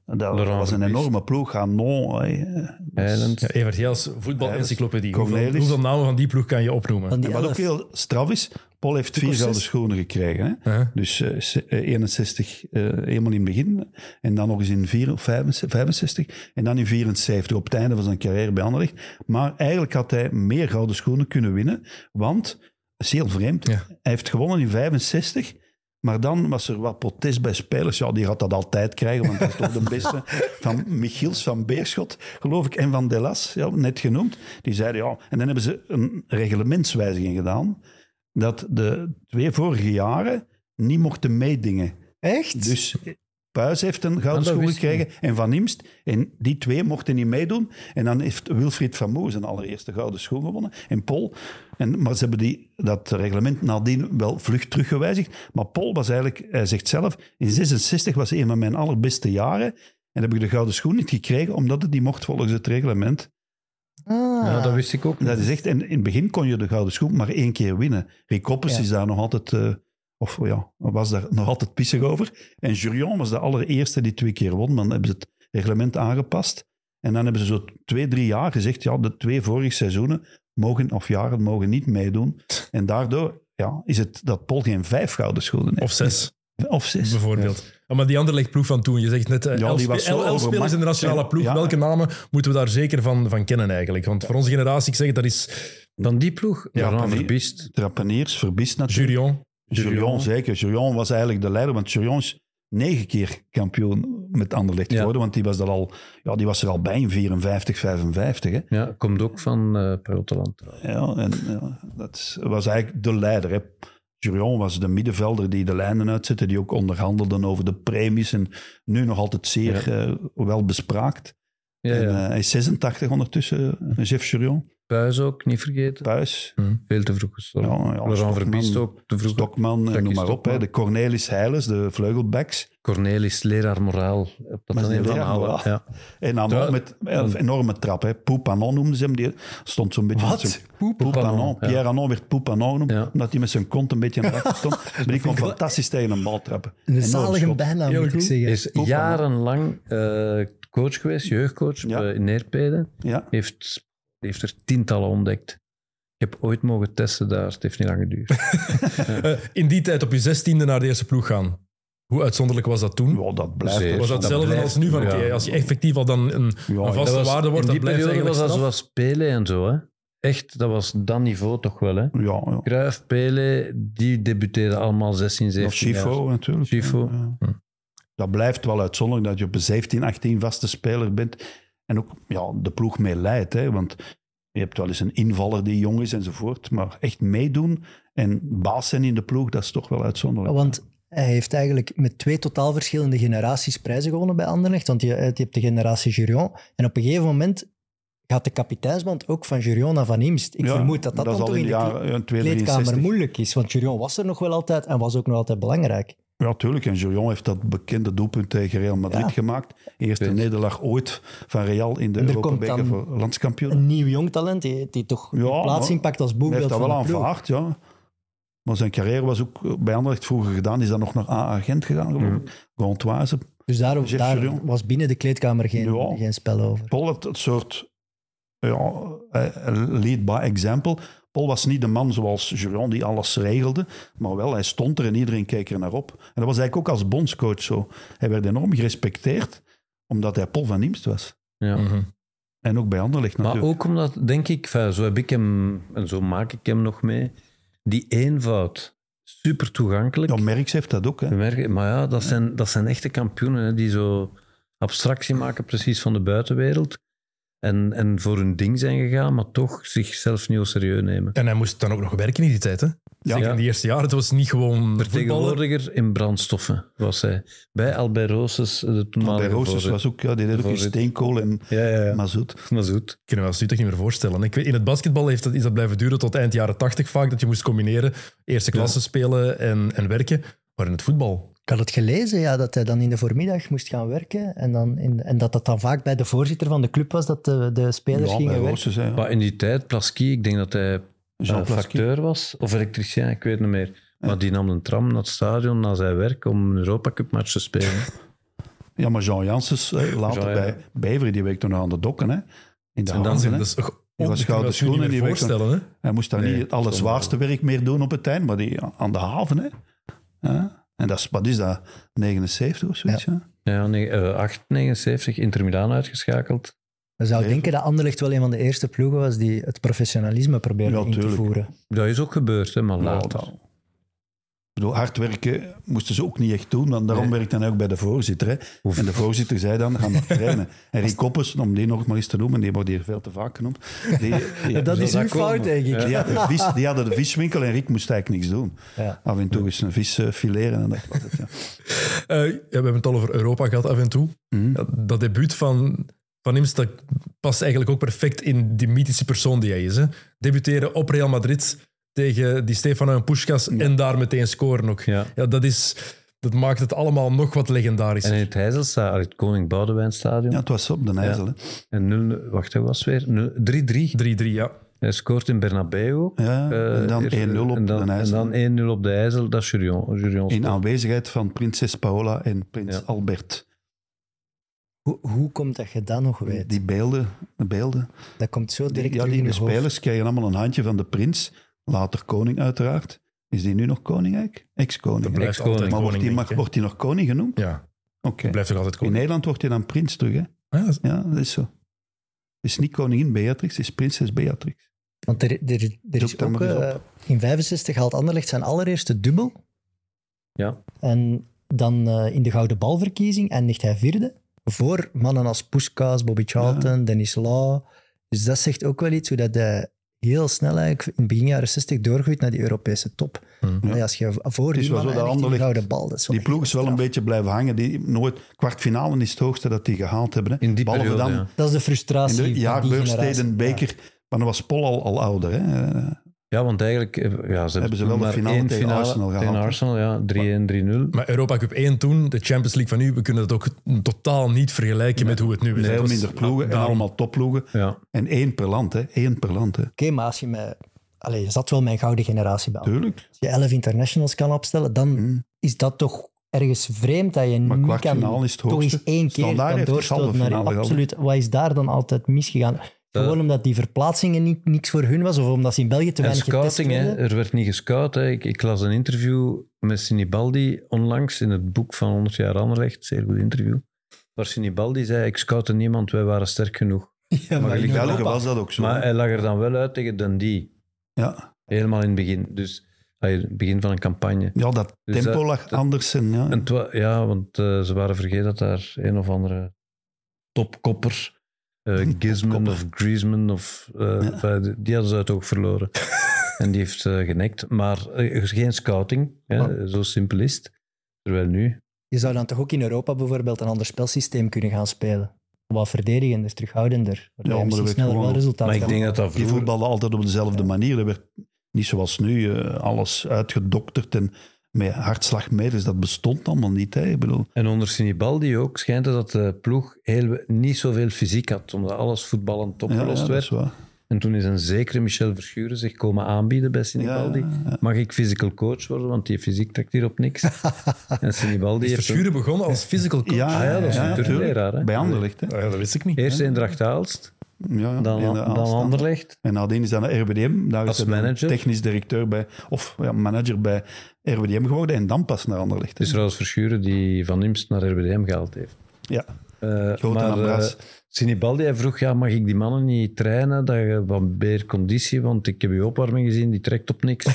C: dat
E: Laurent
C: was een
E: Verbiest.
C: enorme ploeg. Hanon, eh,
E: Eiland.
A: Ja, Evert Gels, voetbalencyclopedie. Hoeveel,
C: Cornelis.
A: hoeveel namen van die ploeg kan je opnoemen?
B: Van die
C: Wat
B: elf.
C: ook heel straf is, Paul heeft vier
B: ook
C: gouden
B: zes.
C: schoenen gekregen. Hè?
A: Ja.
C: Dus eh, se- eh, 61 eh, helemaal in het begin. En dan nog eens in 4 of 65, 65. En dan in 74 op het einde van zijn carrière bij Anderlecht. Maar eigenlijk had hij meer gouden schoenen kunnen winnen. Want, dat is heel vreemd,
A: Ja.
C: hij heeft gewonnen in 65. Maar dan was er wat protest bij spelers. Ja, die gaat dat altijd krijgen, want dat is toch de beste. Van Michiels van Beerschot, geloof ik, en van Delas, ja, net genoemd. Die zeiden ja. En dan hebben ze een reglementswijziging gedaan. Dat de twee vorige jaren niet mochten meedingen.
B: Echt?
C: Dus Puis heeft een
E: dat
C: gouden schoen
E: wist ik
C: gekregen en Van Imst. En die twee mochten niet meedoen. En dan heeft Wilfried van Moe zijn allereerste gouden schoen gewonnen. En Paul. En, maar ze hebben die, dat reglement nadien wel vlug teruggewijzigd. Maar Paul was eigenlijk, hij zegt zelf, in 66 was een van mijn allerbeste jaren. En heb ik de gouden schoen niet gekregen, omdat het niet mocht volgens het reglement.
B: Ah.
E: Ja, dat wist ik ook.
C: Dat is echt, en in het begin kon je de gouden schoen maar één keer winnen. Rick Koppers
B: Ja.
C: is daar nog altijd, eh, of ja, was daar nog altijd pissig over. En Jurion was de allereerste die twee keer won, maar dan hebben ze het reglement aangepast. En dan hebben ze zo twee, drie jaar gezegd, ja, de twee vorige seizoenen mogen, of jaren mogen niet meedoen. En daardoor ja, is het dat Paul geen vijf gouden schoenen
A: Of
C: heeft.
A: zes,
C: Of zes.
A: bijvoorbeeld. Ah, Maar die andere ploeg van toen, je zegt net, eh,
C: Ja,
A: elf,
C: die
A: spe-
C: was zo
A: elf
C: overmacht.
A: spelers in de nationale
C: En-
A: ploeg,
C: ja.
A: welke namen moeten we daar zeker van, van kennen eigenlijk? Want voor onze generatie, ik zeg het, dat is
E: Van die ploeg,
C: Ja,
E: ja,
C: van
E: Laurent
C: die-
E: Verbiest.
C: Trapaniers, Verbiest natuurlijk.
A: Jurion.
C: Jurion, zeker. Jurion was eigenlijk de leider, want Jurion is negen keer kampioen met Anderlecht
E: Ja.
C: geworden, want die was, er al, ja, die was er al bij in 54, 55. Hè.
E: Ja, komt ook van eh Perotteland.
C: Ja, en, ja, dat is- was eigenlijk de leider. Hè. Jurion was de middenvelder die de lijnen uitzette, die ook onderhandelden over de premies en nu nog altijd zeer eh, wel bespraakt.
E: Ja,
C: En,
E: ja.
C: eh, hij is 86 ondertussen, eh, Jeff Jurion,
E: Puis ook, niet vergeten.
C: thuis.
E: Veel te vroeg gestorven.
C: Ja, ja,
E: Laurent
C: Stokman.
E: Verbiest ook te vroeg.
C: Dokman, eh,
E: Jackie
C: noem maar op.
E: Stokman.
C: Hè. De Cornelis Heilers, de vleugelbacks.
E: Cornelis, leraar moraal. Op dat
C: Maar
E: toneel
C: die
E: van
C: leraar
E: Halen.
C: moraal.
E: Ja.
C: En Anon
E: Ja.
C: met
A: Hmm.
C: een enorme trap. hè. Poupanon noemden ze hem. Die stond zo'n beetje... met
B: Wat?
C: zijn-
E: Poupanon,
C: Poupanon.
E: ja.
C: Pierre Anon werd Poupanon genoemd,
E: Ja.
C: omdat hij met zijn kont een beetje naar achter stond. maar die kon fantastisch tegen een bal trappen.
B: Een
C: Enorm
B: zalige
C: schot.
B: bijnaam,
A: Heel
B: moet ik
A: goed.
B: zeggen.
E: Is
C: Poupanon.
E: jarenlang eh, coach geweest, jeugdcoach
C: Ja.
E: bij- in Neerpeden.
C: Ja.
E: Heeft, heeft er tientallen ontdekt. Ik heb ooit mogen testen daar, het heeft niet lang geduurd.
A: Eh, in die tijd op je zestiende naar de eerste ploeg gaan. Hoe uitzonderlijk was dat toen?
C: Wow, dat blijft.
E: Zeer.
C: wel.
A: Hm? Was dat hetzelfde
E: blijft-
A: als nu? Van,
E: ja.
A: oké, als je effectief al dan een,
C: Ja,
A: een
C: dat
A: vaste
E: was-
A: waarde wordt,
E: in
A: dan
E: die
A: blijft
E: periode
A: eigenlijk
E: was dat
A: straf.
E: zoals Pele en zo. Hè? Echt, dat was dat niveau toch wel. Hè?
C: Ja, ja.
E: Cruijff, Pele, die debuteerden allemaal 16,
C: Of
E: 17 jaar.
C: Chifo natuurlijk.
E: Chifo.
C: Ja. Dat blijft wel uitzonderlijk dat je op een 17, 18 vaste speler bent. En ook ja, de ploeg mee leidt. Hè? Want je hebt wel eens een invaller die jong is enzovoort. Maar echt meedoen en baas zijn in de ploeg, dat is toch wel uitzonderlijk.
B: Want hij heeft eigenlijk met twee totaal verschillende generaties prijzen gewonnen bij Anderlecht. Want je, je hebt de generatie Jurion. En op een gegeven moment gaat de kapiteinsband ook van Jurion naar Van Imst. Ik
C: Ja,
B: vermoed dat dat,
C: is
B: dan
C: al eh,
B: toch
C: in
B: in
C: de
B: de
C: jaren ja,
B: kleedkamer
C: 263.
B: moeilijk is. Want Jurion was er nog wel altijd en was ook nog altijd belangrijk.
C: Ja, tuurlijk. En Jurion heeft dat bekende doelpunt tegen Real Madrid
B: Ja.
C: gemaakt. Eerste
E: Weet.
C: nederlaag ooit van Real in de
B: En er
C: Europa
B: komt
C: Beker
B: dan
C: voor landskampioen.
B: Een nieuw jong talent die, die toch
C: Ja,
B: een plaats
C: maar
B: inpakt als
C: Hij heeft
B: boegbeeld
C: dat wel
B: van de ploeg.
C: aanvaard, ja. Maar zijn carrière was ook bij Anderlecht vroeger gedaan. Is dan nog naar A-agent gegaan, geloof
E: Mhm.
C: ik. Gantoise.
B: Dus daarom,
C: Jeff
B: daar
C: Jurion.
B: was binnen de kleedkamer geen,
C: Ja.
B: geen spel over.
C: Paul had het soort ja, eh, lead by example. Paul was niet de man zoals Julian die alles regelde, maar wel, hij stond er en iedereen keek er naar op. En dat was eigenlijk ook als bondscoach zo. Hij werd enorm gerespecteerd, omdat hij Paul van Niemst was.
E: Ja.
A: Mhm.
C: En ook bij Anderlecht
E: Maar
C: natuurlijk.
E: ook omdat, denk ik, enfin, zo heb ik hem en zo maak ik hem nog mee. Die eenvoud, super toegankelijk.
C: ja, Merckx heeft dat ook. Hè.
E: We merken- Maar ja, dat zijn, dat zijn echte kampioenen hè, die zo abstractie maken precies van de buitenwereld. En, en voor hun ding zijn gegaan, maar toch zichzelf niet au serieus nemen.
A: En hij moest dan ook nog werken in die tijd, hè? Zeker in die eerste jaren. Het was niet gewoon voetballen.
E: Vertegenwoordiger in brandstoffen was hij. Bij Albert Roosens, de toenmalige
C: Bij Roosens
E: voorzitter.
C: was ook, ja, die deed ook in
E: voorzitter.
C: steenkool en
E: Ja, ja, ja.
C: mazoet.
E: Maar zoet.
A: kunnen we ons natuurlijk niet meer voorstellen. Ik weet, in het basketbal heeft dat, is dat blijven duren tot eind jaren tachtig vaak, dat je moest combineren eerste klasse spelen en, en werken. Maar in het voetbal...
B: Ik had het gelezen, ja, dat hij dan in de voormiddag moest gaan werken. En, dan in, en dat dat dan vaak bij de voorzitter van de club was dat de, de spelers
C: Ja, bij
B: gingen werken.
C: Roosens, hè, ja.
E: Maar in die tijd, Plasky, ik denk dat hij
C: Jean
E: eh,
C: Plasky.
E: facteur was, of elektricien, ik weet niet meer. Maar die nam een tram naar het stadion, naar zijn werk, om een Europa Cup match te spelen.
C: Ja, maar Jean Janssens, eh, later
E: Jean, ja.
C: bij Beveren, die week toen aan de dokken. Hè. In de handen,
A: Waanzin,
C: hè.
A: dat is toch
C: Die was
A: on- ik kan me
C: gouden
A: dat nu niet
C: schoenen,
A: meer
C: die werd dan-
A: voorstellen, hè?
C: Hij moest daar
E: dus- Nee,
C: niet het allerzwaarste werk meer doen op het eind, maar die, aan de haven. Hè. Ja. En dat is, wat is dat? 79 of zoiets? Ja.
E: ja, nee, eh, 879, Inter Milaan uitgeschakeld.
B: Je zou
C: Even.
B: denken dat Anderlecht wel een van de eerste ploegen was die het professionalisme probeerde in
C: Ja,
B: te
C: tuurlijk.
B: voeren.
E: Dat is ook gebeurd, hè, maar
C: Ja,
E: later.
C: dat- Ik bedoel, hard werken moesten ze ook niet echt doen, want daarom
E: Nee.
C: werkte hij ook bij de voorzitter. Hè.
E: Oef.
C: En de voorzitter zei dan, ga maar trainen. En Rick Koppes, om die nog maar eens te noemen, die wordt hier veel te vaak genoemd. Die, die,
B: dat
E: zou
B: is
E: dat
B: uw
E: komen.
B: fout, denk ik.
C: die, hadden vis, die hadden de viswinkel en Rick moest eigenlijk niks doen.
B: Ja.
C: Af en toe eens een vis eh, fileren en dat was het. Ja.
A: Eh, ja, we hebben het al over Europa gehad af en toe.
C: Mhm.
A: Dat, dat debuut van, van Imst dat past eigenlijk ook perfect in die mythische persoon die hij is. Hè? Debuteren op Real Madrid tegen die Stefano en Puskas en daar meteen scoren ook.
E: Ja.
A: Ja, dat, is, dat maakt het allemaal nog wat legendarischer.
E: En in het Heizelsta, het Koning Boudewijnstadion.
C: ja, het was op de IJssel.
E: En 0, wacht, dat was weer nul- 3-3.
A: 3-3, ja.
E: Hij scoort in Bernabeu.
C: Ja,
E: Eh,
C: en dan
E: eerst-
C: 1-0 op
E: en dan,
C: de IJssel.
E: En dan 1-0 op de IJssel, dat is Jurion. Jurion
C: In aanwezigheid van prinses Paola en prins
E: Ja.
C: Albert.
B: Hoe, hoe komt dat je dat nog weet?
C: Die beelden, de beelden.
B: dat komt zo direct
C: Die, ja,
B: terug
C: die
B: in je hoofd.
C: spelers krijgen allemaal een handje van de prins. Later koning uiteraard. Is die nu nog koning eigenlijk?
A: Dat
C: Ex-koning.
A: blijft
E: Ex-koning.
A: altijd
C: maar wordt
A: koning,
C: die,
A: denk
C: mag,
A: ik, hè?
C: wordt die nog koning genoemd?
A: Ja,
C: Oké.
A: die blijft toch altijd
C: In
A: koning.
C: Nederland wordt hij dan prins terug, hè?
A: Ja, dat is-
C: Ja, dat is zo. Het is niet koningin Beatrix, het is prinses Beatrix.
B: Want er, er, er is
C: dat
B: ook...
C: maar eens op.
B: eh, in 65 haalt Anderlecht zijn allereerste dubbel.
E: Ja.
B: En dan eh, in de gouden balverkiezing eindigt hij vierde. Voor mannen als Puskas, Bobby Charlton, Dennis Law. Dus dat zegt ook wel iets hoe dat hij heel snel eigenlijk in begin jaren 60 doorgroeit naar die Europese top.
A: Hmm.
B: Allee, Als je voor
C: Mhm. is
B: die mannen
C: wel zo dat
B: eindigt in de
C: Anderlecht-
B: gouden bal, dat is wel
C: Die ploeg is wel een
B: straf.
C: beetje blijven hangen. Die nooit, kwartfinale is het hoogste dat die gehaald hebben. Hè?
E: In die
C: Behalve
E: periode,
C: dan
E: ja.
B: Dat is de
C: in
B: frustratie
C: de
B: van die
C: jaarbeurs,
B: generatie.
C: Steden, Beker. Maar dan was Pol al, al ouder. Hè? Eh,
E: Ja, want eigenlijk eh, ja, ze
C: Hebben ze wel
E: toen
C: de
E: maar
C: finale
E: één
C: tegen Arsenal
E: tegen
C: gehaald, hè?
E: Arsenal, ja. 3-1, 3-0.
A: Maar Europa Cup 1 toen, de Champions League van nu, we kunnen dat ook totaal niet vergelijken met hoe het nu is.
C: Veel
A: Dat is-
C: minder ploegen en
A: daarom-
C: allemaal topploegen.
E: Ja.
C: En één per land, hè. Eén per land, hè.
B: Oké, maar als je met... Allee, je zat wel mijn gouden generatie bij.
C: Tuurlijk.
B: Als je 11 internationals kan opstellen, dan
C: Hmm.
B: is dat toch ergens vreemd dat je
C: Maar
B: niet kan
C: kwartfinale is het
B: toch
C: hoogste.
B: eens één keer
C: Standaard
B: kan
C: heeft de
B: doorstoten
C: halve
B: naar
C: finale gehaald.
B: absoluut. Wat is daar dan altijd misgegaan? Gewoon
E: Eh.
B: omdat die verplaatsingen niet, niks voor hun was of omdat ze in België te
E: En
B: weinig getest
E: scouting, hè.
B: werden?
E: er werd niet gescout. Hè. Ik, ik las een interview met Sinibaldi onlangs in het boek van 100 jaar Anderlecht. Zeer goed interview. Waar Sinibaldi zei, ik scoutte niemand, wij waren sterk genoeg.
C: Maar in
E: in
C: België
E: Europa-
C: was dat ook zo.
E: Maar eh, hij lag er dan wel uit tegen Dundee.
C: ja.
E: Helemaal in het begin. Dus ah, in het begin van een campagne.
C: ja, dat
E: Dus
C: tempo
E: dat-
C: lag
E: dat-
C: anders. En, ja.
E: En het wa- ja, want eh, ze waren vergeten dat daar een of andere topkopper, eh Gizman
C: Topkopper.
E: of Griezmann, of, eh, enfin, die die hadden ze uit ook verloren. en die heeft eh, genekt. Maar eh, er is geen scouting, hè, zo simpel is het. Terwijl nu,
B: Je zou dan toch ook in Europa bijvoorbeeld een ander spelsysteem kunnen gaan spelen? Wat verdedigender, terughoudender. Waardoor
C: Ja,
B: je misschien
C: onderweg
B: sneller wel
C: gewoon.
B: resultaat
E: maar ik
B: kan
E: denk dat dat
C: Die
E: vroeger...
C: voetballen altijd op dezelfde manier. Er werd niet zoals nu eh, alles uitgedokterd en met hartslagmeters. Dat bestond allemaal niet. Hè. Ik bedoel,
E: En onder Sinibaldi ook schijnt het dat de ploeg heel, niet zoveel fysiek had, omdat alles voetballend
C: ja,
E: opgelost
C: ja, dat
E: werd.
C: is waar.
E: En toen is een zekere Michel Verschuren zich komen aanbieden bij Sinibaldi.
C: Ja,
E: Mag ik physical coach worden, want die fysiek trekt hier op niks. en Sinibaldi
A: Is
E: heeft
A: Verschuren begonnen als physical coach?
C: Ja,
E: Ah ja, dat is
C: ja,
E: natuurlijk
C: tuurlijk.
E: leraar, hè.
C: Bij Anderlecht. Hè.
A: Ah ja, dat wist ik
E: ook-
A: niet.
E: eerst Eendracht Aalst,
C: Ja, ja,
E: dan,
C: in de
E: dan
C: aanstaande.
E: Anderlecht.
C: En nadien is hij naar RWDM. Daar
E: Als
C: is hij dan
E: manager.
C: Technisch directeur bij, of ja, manager bij RWDM geworden. En dan pas naar Anderlecht. hè.
E: Het is trouwens Verschuren die Van Imst naar RWDM gehaald heeft.
C: ja.
E: Eh,
C: Grote
E: maar
C: nabraas.
E: eh, Sinibaldi hij vroeg, ja, mag ik die mannen niet trainen? Dat je van meer conditie, want ik heb je opwarming gezien, die trekt op niks.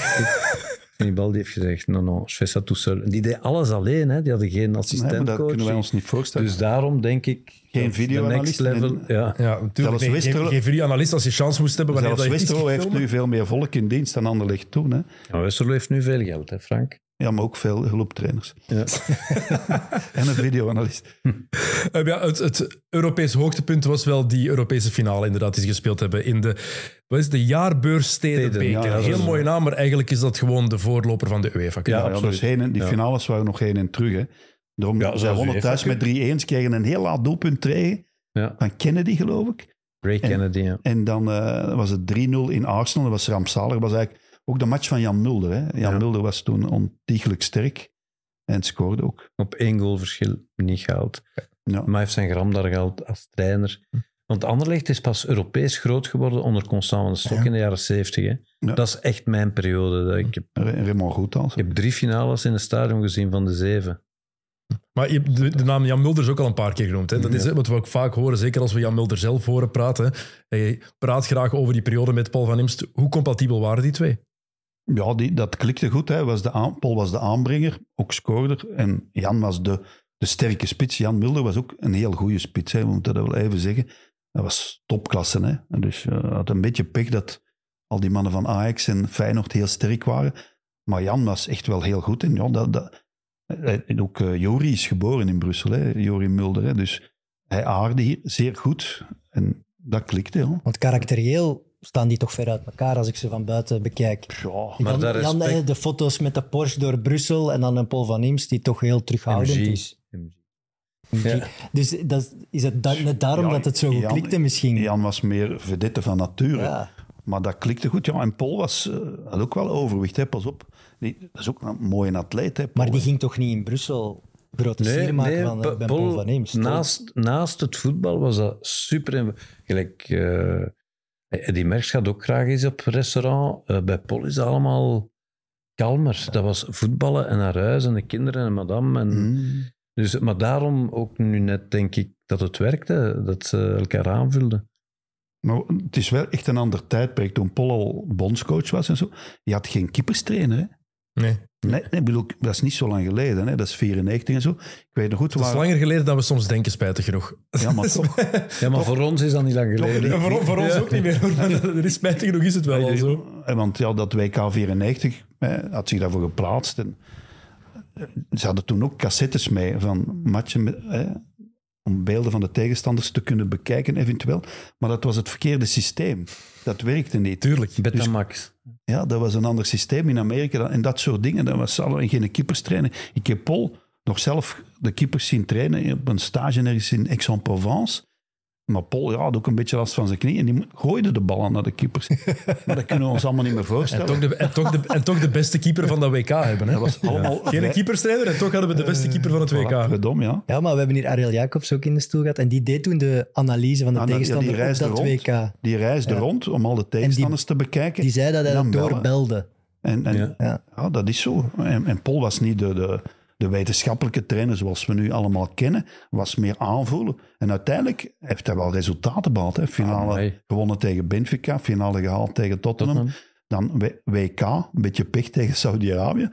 E: Sinibaldi heeft gezegd, no, no, je fais ça tout seul. En die deed alles alleen, hè. die hadden geen
C: Nee, maar
E: assistentcoach.
C: dat kunnen wij ons niet voorstellen.
E: dus daarom denk ik...
C: Geen
E: dat
C: video
E: de
C: analyst
E: next level,
C: en-
E: ja.
A: Ja, natuurlijk.
C: Zelfs
A: Nee,
C: Westerlo-
A: geef, geef jullie analist als je chance moest hebben. Wanneer
C: Zelfs
A: dat je iets ging
C: Westerlo heeft
A: filmen.
C: nu veel meer volk in dienst dan Anderlecht toen. Hè.
E: Ja, Westerlo heeft nu veel geld, hè, Frank.
C: Ja, maar ook veel hulptrainers.
E: Ja.
C: en een videoanalist.
A: Eh, ja, het, het Europees hoogtepunt was wel die Europese finale inderdaad die ze gespeeld hebben in de, wat is het, de jaarbeurs
E: Stedenbeker,
A: Stedenbeker.
E: ja, dat
A: Heel
E: is-
A: mooie naam, maar eigenlijk is dat gewoon de voorloper van de UEFA.
C: Ja,
E: Ja,
C: ja,
E: absoluut.
C: dus heen en, die
E: Ja.
C: finales waren nog heen en terug. Hè. Daarom
E: Ja,
C: zij
E: zoals
C: wonnen
E: u
C: thuis
E: heeft
C: met 3-1. Ze kregen een heel laat doelpunt tegen
E: Ja.
C: van Kennedy, geloof ik.
E: Ray
C: En-
E: Kennedy, ja.
C: En dan eh, was het 3-0 in Arsenal. Dat was rampzalig. Dat was eigenlijk ook de match van Jan Mulder. Hè. Jan
E: Ja.
C: Mulder was toen ontiegelijk sterk. En scoorde ook.
E: op één goalverschil niet gehaald.
C: Ja.
E: Maar hij heeft zijn gram daar gehaald als trainer.
C: Hm.
E: Want Anderlecht is pas Europees groot geworden onder Constant van de Stok
C: Ja.
E: in de jaren zeventig.
C: Ja.
E: Dat is echt mijn periode. Dat Ik, heb,
C: Re- Raymond Goethals.
E: ik heb drie finales in het stadion gezien van de zeven.
A: Maar je- de, de naam Jan Mulder is ook al een paar keer genoemd. Hè? Dat is eh, wat we ook vaak horen, zeker als we Jan Mulder zelf horen praten. hè. Hij praat graag over die periode met Paul van Imst. Hoe compatibel waren die twee?
C: Ja, die, dat klikte goed. Hè. Was de aan, Paul was de aanbrenger, ook scoorder. En Jan was de, de sterke spits. Jan Mulder was ook een heel goede spits. Hè. We moeten dat wel even zeggen. Dat was topklasse. Hè. En dus eh, had een beetje pech dat al die mannen van Ajax en Feyenoord heel sterk waren. Maar Jan was echt wel heel goed. En, ja, dat, dat, en ook eh, Jori is geboren in Brussel, hè. Jori Mulder. Hè. Dus hij aarde hier zeer goed. En dat klikte. Hè.
B: Want karakterieel staan die toch ver uit elkaar als ik ze van buiten bekijk.
C: Ja,
E: Maar
B: Jan,
E: dat
B: Jan,
E: respect-
B: eh, de foto's met de Porsche door Brussel en dan een Paul van Imst die toch heel terughoudend
E: MG.
B: is.
E: Ja.
B: Dus dat, is- is het da- net daarom
C: Ja,
B: dat het zo goed
C: Jan-
B: klikte misschien.
C: Jan was meer vedette van nature.
B: Ja.
C: Maar dat klikte goed. Ja, en Paul was, eh, had ook wel overwicht, hè. pas op. Die, dat is ook een mooie atleet. Hè, Paul.
B: Maar die ging toch niet in Brussel grote
E: Nee,
B: sier maken
E: nee,
B: van,
E: Pa-
B: eh, ben
E: Paul,
B: Paul van Imst?
E: Naast, naast het voetbal was dat super. Gelijk, eh, Eddie Merckx gaat ook graag eens op restaurant. Eh, bij Paul is dat allemaal kalmer. Dat was voetballen en naar huis en de kinderen en madame. En,
C: Mm.
E: Dus, maar daarom ook nu net denk ik dat het werkte, dat ze elkaar aanvulden.
C: Maar het is wel echt een ander tijdperk. Toen Paul al bondscoach was en zo, die had geen keeperstrainer. Hè.
A: Nee.
C: Nee, nee, ik bedoel, dat is niet zo lang geleden. Hè. Dat is 94 en zo. Ik weet nog goed
A: Het is
C: waar...
A: langer geleden dan we soms denken, spijtig genoeg.
C: Ja, maar toch.
E: Ja, maar voor ons is dat niet lang geleden.
A: Ja, voor, voor ons ook niet meer, hoor. maar er is spijtig genoeg is het wel al zo.
C: Eh, Want ja, dat WK 94 hè, had zich daarvoor geplaatst. En eh, ze hadden toen ook cassettes mee van matchen met, hè, om beelden van de tegenstanders te kunnen bekijken eventueel. Maar dat was het verkeerde systeem. Dat werkte niet.
A: Tuurlijk.
C: Dus
E: Betamax.
C: Ja, dat was een ander systeem in Amerika. dan- En dat soort dingen. Dat was allemaal en geen keepers trainen. Ik heb Paul nog zelf de keepers zien trainen op een stage ergens in Aix-en-Provence. Maar Paul ja, had ook een beetje last van zijn knie. En die gooide de ballen naar de keepers. maar dat kunnen we ons allemaal niet meer voorstellen.
A: Toch de, en, toch de, en toch de beste keeper van dat WK hebben. Hè?
C: Dat was allemaal...
A: Geen keeperstrainer en toch hadden we de beste keeper van het WK.
C: Dom, ja.
B: Ja, maar we hebben hier Ariel Jacobs ook in de stoel gehad en die deed toen de analyse van de
C: Ah, nou, ja, die
B: tegenstander op
C: reisde
B: dat
C: rond.
B: WK.
C: Die reisde rond om al de tegenstanders te bekijken.
B: Die zei dat hij dat
C: Dan bellen.
B: doorbelde.
C: En, en
E: Ja.
C: ja.
B: Ja.
C: dat is zo. En, en Paul was niet de, de, de wetenschappelijke trainer zoals we nu allemaal kennen. Was meer aanvoelen. En uiteindelijk heeft hij wel resultaten behaald. Hè. Finale
E: Amai.
C: gewonnen tegen Benfica. Finale gehaald tegen Tottenham.
E: Ah, Tottenham.
C: Dan W- WK. Een beetje pech tegen Saudi-Arabië.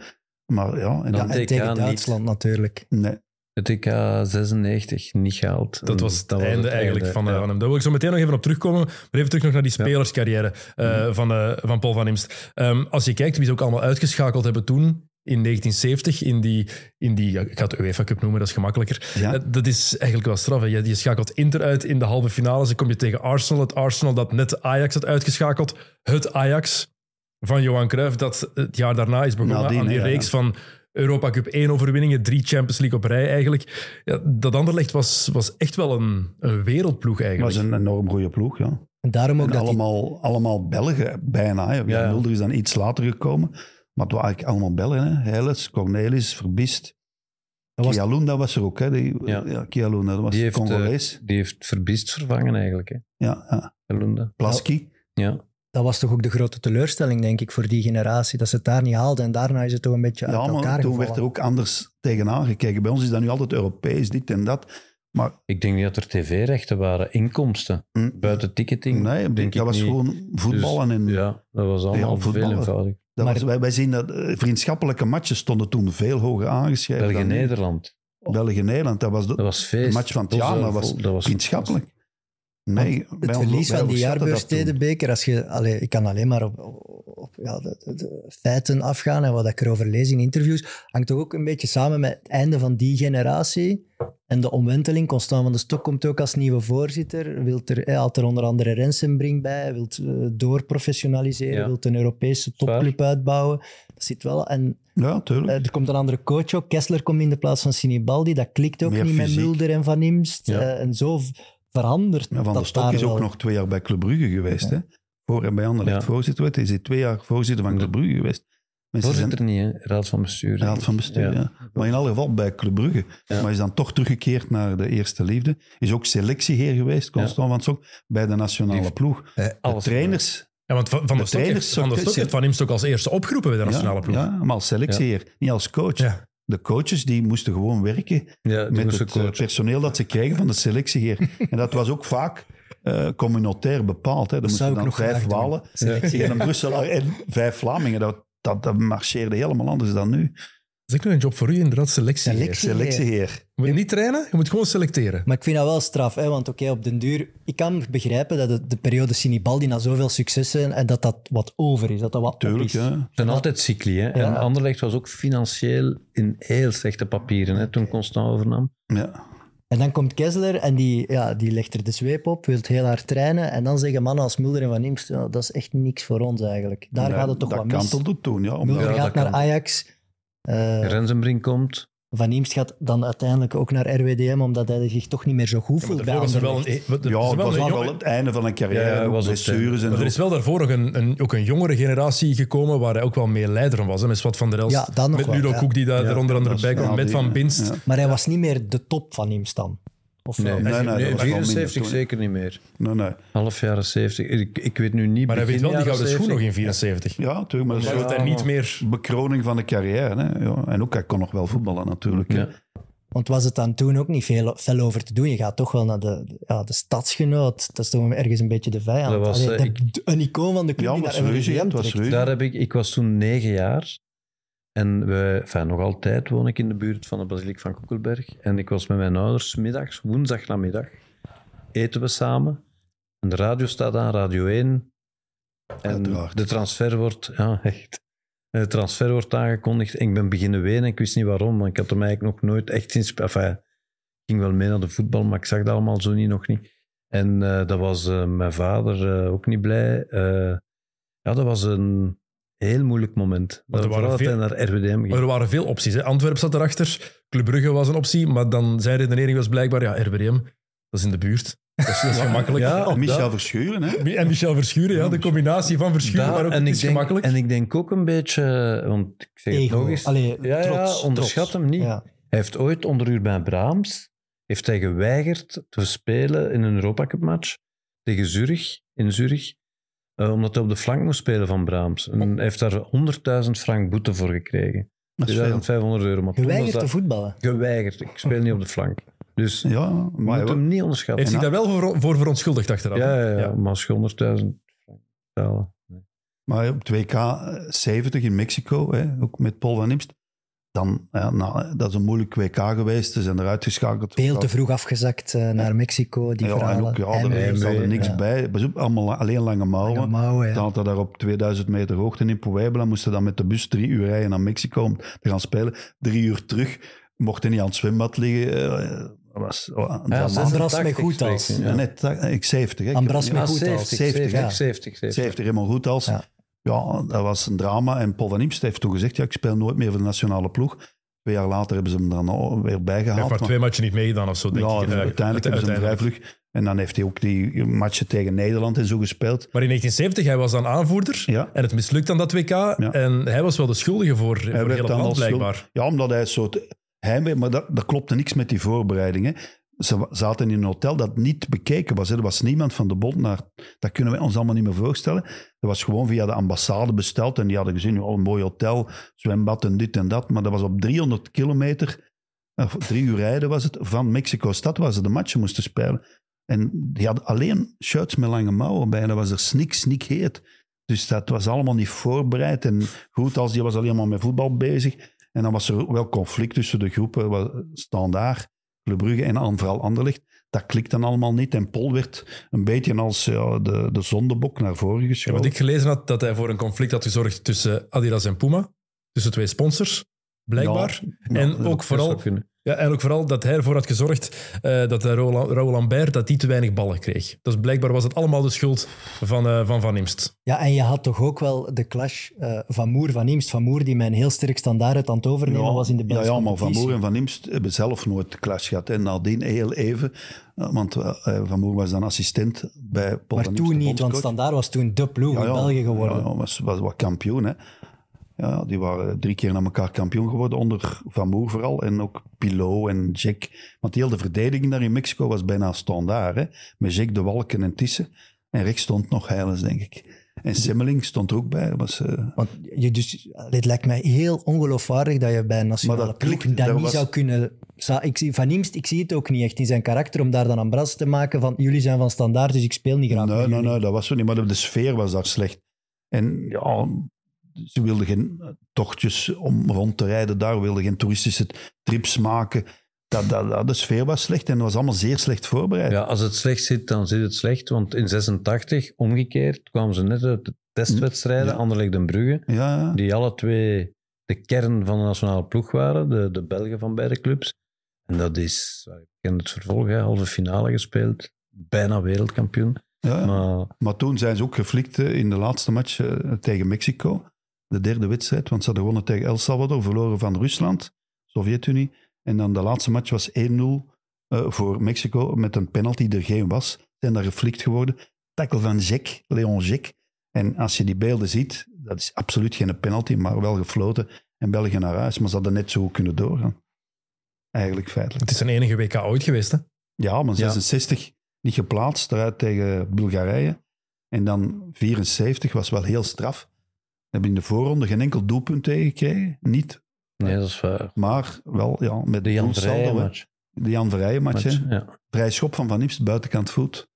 C: Maar ja... En dan,
E: Dan TK
B: En tegen
E: niet.
B: Duitsland natuurlijk.
C: nee,
E: Het TK 96 niet gehaald.
A: Dat was het einde
E: Mm, het
A: eigenlijk
E: einde,
A: van, eh,
E: ja.
A: van hem. Daar wil ik zo meteen nog even op terugkomen. Maar even terug nog naar die spelerscarrière eh,
E: Mhm.
A: van, eh, van Paul van Imst. Ehm, als je kijkt wie ze ook allemaal uitgeschakeld hebben toen, in 1970, in die, in die ja, ik ga het UEFA Cup noemen, dat is gemakkelijker.
C: Ja.
A: Eh, dat is eigenlijk wel straf. Hè. Je, je schakelt Inter uit in de halve finale. Dan kom je tegen Arsenal. Het Arsenal dat net Ajax had uitgeschakeld. Het Ajax van Johan Cruijff, dat het jaar daarna is begonnen
C: Nadien,
A: aan die
C: hè, ja.
A: reeks van Europa Cup 1 overwinningen, drie Champions League op rij eigenlijk. Ja, dat Anderlecht was, was echt wel een, een wereldploeg
C: Maar
A: eigenlijk.
C: ze zijn een enorm goede ploeg, ja.
B: En daarom ook
C: En
B: dat die-
C: allemaal, allemaal Belgen, bijna. Hè.
E: Ja, ja.
C: Mulder is dan iets later gekomen. Maar het waren eigenlijk allemaal Belgen. Hè. Heiles, Cornelis, Verbist.
B: dat was
C: Kialunda was er ook. Hè. Die,
E: Ja.
C: ja. Kialunda, dat was
E: Die heeft, eh,
C: Congolees.
E: Die heeft Verbiest vervangen eigenlijk, hè.
C: ja, ja.
E: Elunda.
C: Plaski.
E: Ja.
B: dat was toch ook de grote teleurstelling, denk ik, voor die generatie. Dat ze het daar niet haalden en daarna is het toch een beetje
C: Ja,
B: uit
C: maar toen
B: elkaar gevallen.
C: werd er ook anders tegenaan gekeken. Bij ons is dat nu altijd Europees, dit en dat. Maar
E: Ik denk niet dat er tv-rechten waren, inkomsten,
C: hm,
E: buiten ticketing.
C: nee,
E: denk ik
C: dat was
E: niet. Dus,
C: gewoon voetballen. en
E: Ja, dat was allemaal veel
C: voetballen.
E: eenvoudig.
C: dat
B: Maar-
C: was- wij, wij zien dat eh, vriendschappelijke matchen stonden toen veel hoger aangeschreven. dan nu.
E: België-Nederland,
C: België-Nederland, dat was de,
E: dat was feest.
C: De match van het
E: Dat
C: jaar, maar was
E: vol- dat
C: vriendschappelijk. Nee,
B: Het verlies van die jaarbeursstedenbeker, als je, allee, ik kan alleen maar op, op, op, ja, de, de- de feiten afgaan en wat ik erover lees in interviews, hangt toch ook een beetje samen met het einde van die generatie. En de omwenteling, Constant van de Stok komt ook als nieuwe voorzitter, wilt er, hij haalt er onder andere Rensenbrink bij, wilt eh, doorprofessionaliseren,
E: Ja.
B: wilt een Europese
E: waar.
B: topclub uitbouwen. Dat zit wel. En
C: Ja, tuurlijk.
B: eh, er komt een andere coach ook. Kessler komt in de plaats van Sinibaldi. Dat klikt ook
C: Meer
B: niet
C: fysiek.
B: met Mulder en Van Imst.
E: Ja.
B: Eh, en zo v- verandert
C: Maar van
B: dat
C: der Stok
B: daar
C: is ook
B: wel.
C: nog twee jaar bij Club Brugge geweest.
B: Ja.
C: Hè? Voor en bij Anderlecht
E: Ja.
C: voorzitter werd. Hij is twee jaar voorzitter van
E: Ja.
C: Club Brugge geweest. Mensen zijn
E: Voorzitter niet, hè. Raad van bestuur. denk
C: raad
E: ik.
C: van bestuur.
E: Ja.
C: ja. Maar in alle geval bij Club Brugge.
E: Ja.
C: Maar is dan toch teruggekeerd naar de eerste liefde. Is ook selectieheer geweest, Constant van Sok, bij de nationale
E: Die-
C: ploeg.
E: Alles
C: de trainers.
A: Ja, want Van, van der
C: De
A: Stok heeft
C: trainers-
A: Van, der Stok heeft van Imst ook als eerste opgeroepen bij de nationale
C: ja,
A: ploeg.
C: ja, maar als selectieheer, niet als coach.
A: Ja.
C: De coaches die moesten gewoon werken
E: Ja, die
C: met
E: moesten
C: het eh,
E: coachen.
C: personeel dat ze kregen van de selectieheer. en dat was ook vaak eh, communautair bepaald. Hè. Er moesten
B: zou ik
C: dan
B: nog
C: vijf
B: graag doen.
C: Walen
E: Selectie.
C: tegen een Brusselaar en vijf Vlamingen. Dat, dat, dat marcheerde helemaal anders dan nu.
A: Dat is ook nog een job voor u, inderdaad, selectie.
B: Selectie.
C: Selectieheer.
A: Je moet niet trainen, je moet gewoon selecteren.
B: Maar ik vind dat wel straf, hè? want oké, op den duur... Ik kan begrijpen dat de, de periode Sinibaldi na zoveel successen en dat dat wat over is, dat dat wat op
C: Tuurlijk,
B: is.
C: hè.
E: Het zijn altijd cycli, hè. En
B: Ja.
E: Anderlecht was ook financieel in heel slechte papieren, hè, toen Constant overnam.
C: Ja.
B: En dan komt Kessler en die, ja, die legt er de zweep op, wil heel hard trainen en dan zeggen mannen als Mulder en Van Imst, ja, dat is echt niks voor ons eigenlijk. Daar
C: Ja,
B: gaat het toch
C: dat
B: wat mis.
C: kantelde toen, ja. Omdat,
B: Mulder
E: Ja, dat
B: gaat naar
E: kan.
B: Ajax, eh,
E: Rensenbrink komt.
B: Van Imst gaat dan uiteindelijk ook naar RWDM, omdat hij zich toch niet meer zo goed voelt bij
A: daarvoor was er wel
B: Anderlecht.
A: een- wat- er
C: ja,
A: is
C: het
A: wel
C: was
A: een
C: ook
A: jongen-
C: wel het einde van een carrière.
E: Ja, ja,
C: ook
E: was het,
C: blessures en
E: eh,
A: Maar er is wel daarvoor nog een, een, ook een jongere generatie gekomen waar hij ook wel meer leider van was. Hè, met Swat van der Elst,
B: Ja, dat nog
A: met
B: wel,
A: Ludo
B: ja.
A: Koek die daar
C: Ja,
A: er onder andere
C: dat
A: bij
C: is
A: kwam,
C: wel
A: met
C: die,
A: Van
C: ja.
A: Binst.
C: Ja.
B: Maar hij was niet meer de top van Imst dan. Of wel?
E: Nee,
C: nee, dat was wel minder
E: 74
C: toen, hè.
E: zeker niet meer.
C: Nee, nee.
E: Half jaren 70. Ik, ik weet nu niet.
A: Maar hij weet
E: begin
A: wel die gouden
E: jaren
A: schoen
E: 70.
A: nog in 74.
C: Ja, natuurlijk. Maar dat is
A: Hij
C: wel
A: wordt daar niet meer...
C: de bekroning van de carrière. Hè. Ja. En ook, hij kon nog wel voetballen natuurlijk. hè.
E: Ja.
B: Want was het dan toen ook niet veel, veel over te doen? Je gaat toch wel naar de, de- ja, de stadsgenoot. Dat is toch ergens een beetje de vijand.
E: Dat was,
B: Allee,
E: eh,
B: de- een icoon van de club
C: Ja,
B: die
C: was
B: naar
C: reuze,
B: RWDM
C: het was
B: trekt.
C: reuze.
E: Daar heb ik, ik was toen negen jaar. En wij, enfin, nog altijd woon ik in de buurt van de Basiliek van Koekelberg. En ik was met mijn ouders 's middags, woensdag namiddag, eten we samen. En de radio staat aan, Radio 1. En
C: Uiteraard.
E: de transfer wordt, ja, echt. De transfer wordt aangekondigd. En ik ben beginnen wenen. Ik wist niet waarom, want ik had hem eigenlijk nog nooit echt sinds. Enfin, ik ging wel mee naar de voetbal, maar ik zag dat allemaal zo niet, nog niet. En eh, dat was eh, mijn vader eh, ook niet blij. Eh, ja, dat was een heel moeilijk moment.
A: Want er
E: Vooral dat
A: waren
E: hij naar RWDM ging.
A: Maar er waren veel opties. Hè. Antwerpen zat erachter, Club Brugge was een optie, maar dan zijn redenering was blijkbaar, ja, RWDM, dat is in de buurt. Dat is, dat is gemakkelijk.
E: Ja,
C: Oh, Michel
E: dat-
C: Verschuren, hè?
A: En Michel Verschuren, ja, de combinatie van Verschuren,
E: Daar-
A: maar ook
E: en,
A: het
E: ik
A: is
E: denk,
A: gemakkelijk.
E: en ik denk ook een beetje, want ik zeg het
B: Ego.
E: nog eens.
B: Allee,
E: ja,
B: trots,
E: ja, onderschat
B: trots.
E: hem niet.
B: Ja.
E: Hij heeft ooit onder uur bij Braams heeft hij geweigerd te spelen in een Europa Cup match tegen Zurich, in Zurich, eh, omdat hij op de flank moest spelen van Braams. En hij heeft daar 100.000 frank boete voor gekregen. Dus
C: Dat is veel.
E: 2500 euro. Maar toen was
B: Geweigerd
E: dat-
B: te voetballen.
E: Geweigerd. Ik speel niet op de flank. Dus je
C: Ja, maar
E: moet hem niet onderschatten.
A: Heeft zich daar wel voor, voor verontschuldigd achteraf.
E: ja, ja, ja,
A: Ja.
E: maar als je 100.000 frank betalen.
C: Maar op 2K 70 eh, in Mexico, hè, ook met Paul van Imst. Dan, ja, nou, dat is een moeilijk WK geweest. Ze zijn eruit geschakeld.
B: Veel te vroeg afgezakt eh, naar Mexico, die
C: Ja, en
B: verhalen.
C: ook, ja, er- er
B: Heimwee,
C: zat er niks
B: ja.
C: bij. Pas op, allemaal alleen lange
B: Lange
C: mouwen.
B: mouwen, ja.
C: Dan had hij daar op 2000 meter hoogte in Puebla. Moesten dan met de bus drie uur rijden naar Mexico om te gaan spelen. Drie uur terug mocht hij niet aan het zwembad liggen. eh, was, oh, een
E: Ja,
C: drama.
E: 86
B: Ambras met goed als.
E: spreekt hij,
C: Ja,
E: ja.
C: net, eh, ik 70. Hè, Ik heb-
B: Ambras
C: ja,
B: met
E: Ah,
B: goed als.
E: 70, 70,
B: 70, ja.
E: 70, 70.
C: 70 helemaal goed als.
B: Ja.
C: Ja, dat was een drama. En Paul van Imst heeft toen gezegd, ja, ik speel nooit meer voor de nationale ploeg. Twee jaar later hebben ze hem er dan weer
A: Hij
C: bijgehaald.
A: heeft maar
C: maar-
A: twee matchen niet meegedaan of zo, denk
C: ja,
A: ik.
C: dus
A: Eh,
C: uiteindelijk hebben ze hem
A: uiteindelijk.
C: vrijvlug. En dan heeft hij ook die matchen tegen Nederland en zo gespeeld.
A: Maar in 1970, hij was dan aanvoerder.
C: Ja.
A: En het mislukt aan dat WK. En hij was wel de schuldige voor, voor
C: Hij
A: heel
C: werd
A: het
C: dan
A: land,
C: als schuld-
A: blijkbaar.
C: Ja, omdat hij een soort heimwee... Maar dat, dat klopte niks met die voorbereidingen. Ze wa- zaten in een hotel dat niet bekeken was. hè. Er was niemand van de bond naar... Dat kunnen wij ons allemaal niet meer voorstellen. Dat was gewoon via de ambassade besteld. En die hadden gezien, oh, een mooi hotel, zwembad en dit en dat. Maar dat was op 300 kilometer, of drie uur rijden was het, van Mexico-stad waar ze de matchen moesten spelen. En die hadden alleen shirts met lange mouwen bij. En dat was er snik, snik heet. Dus dat was allemaal niet voorbereid. En goed, als die was alleen maar met voetbal bezig. En dan was er wel conflict tussen de groepen. Wel, Standaard, Club Brugge en aan- vooral Anderlecht. Dat klikt dan allemaal niet. En Pol werd een beetje als ja, de, de zondebok naar voren
A: Ja,
C: geschoven.
A: wat ik gelezen had, dat hij voor een conflict had gezorgd tussen Adidas en Puma. Tussen twee sponsors, blijkbaar.
C: Ja,
A: en
C: dat
A: ook vooral-
E: kunnen.
A: Ja, en ook vooral dat hij ervoor had gezorgd eh, dat hij Roland, Raoul Lambert dat die te weinig ballen kreeg. Dus blijkbaar was het allemaal de schuld van eh, Van, van Imst.
B: Ja, en je had toch ook wel de clash eh, van Moer van Imst. Van Moer die mijn heel sterk standaard aan het overnemen was in de
C: ja,
B: Belgische
C: ja, maar Van
B: competitie.
C: Moer en Van Imst hebben zelf nooit klas gehad. En nadien heel even, eh, want eh, Van Moer was dan assistent bij Paul
B: Maar
C: van
B: toen
C: Imst,
B: niet,
C: de
B: want
C: bondscoach.
B: standaard was toen de ploeg in België geworden.
C: Ja, ja, was, was wat kampioen, hè. Ja, die waren drie keer na elkaar kampioen geworden, onder Van Moer vooral. En ook Pilot en Jack. Want heel de verdediging daar in Mexico was bijna standaard, hè. Met Jack de Walken en Tissen. En rechts stond nog Heilens, denk ik. En Semmeling stond er ook bij. Dat was, eh,
B: Want je dus, het lijkt mij heel ongeloofwaardig dat je bij een nationale
C: Maar dat
B: ploeg dat
C: klikt, daar
B: niet
C: was-
B: zou kunnen... Zou- Ik zie, van Imst, ik zie het ook niet echt in zijn karakter om daar dan aan bras te maken van jullie zijn van standaard, dus ik speel niet graag.
C: Nee,
B: met
C: nee,
B: jullie."
C: nee, dat was zo niet. Maar de- de sfeer was daar slecht. En ja, ze wilden geen eh, tochtjes om rond te rijden daar, wilden geen toeristische trips maken. Dat, dat, dat- de sfeer was slecht en dat was allemaal zeer slecht voorbereid.
E: Ja, als het slecht zit, dan zit het slecht. Want in 86, omgekeerd, kwamen ze net uit de testwedstrijden,
C: Ja.
E: Anderlecht en Brugge,
C: Ja, ja.
E: die alle twee de kern van de nationale ploeg waren, de, de Belgen van beide clubs. En dat is, ik ken het vervolg, hè, halve finale gespeeld, bijna wereldkampioen.
C: ja. Maar,
E: Maar
C: toen zijn ze ook geflikt eh, in de laatste match eh, tegen Mexico. De derde wedstrijd, want ze hadden gewonnen tegen El Salvador, verloren van Rusland, Sovjet-Unie. En dan de laatste match was 1-0 eh, voor Mexico met een penalty die er geen was. Zijn daar geflikt geworden. tackle van Jack, Leon Jack. En als je die beelden ziet, dat is absoluut geen penalty, maar wel gefloten. En België naar huis, maar ze hadden net zo goed kunnen doorgaan. Eigenlijk feitelijk.
A: Het is zijn enige WK ooit geweest, hè?
C: Ja, maar
E: Ja.
C: 66 niet geplaatst, eruit tegen Bulgarije. En dan 74 was wel heel straf. We hebben in de voorronde geen enkel doelpunt tegengekregen. Niet,
E: nee, dat is waar.
C: maar wel ja, met
E: De Jan
C: doelsaldo, hè.
E: Vrijen match.
C: De Jan Vrijen match. hè.
E: Ja.
C: Vrij schop van Van Imst, buitenkant voet.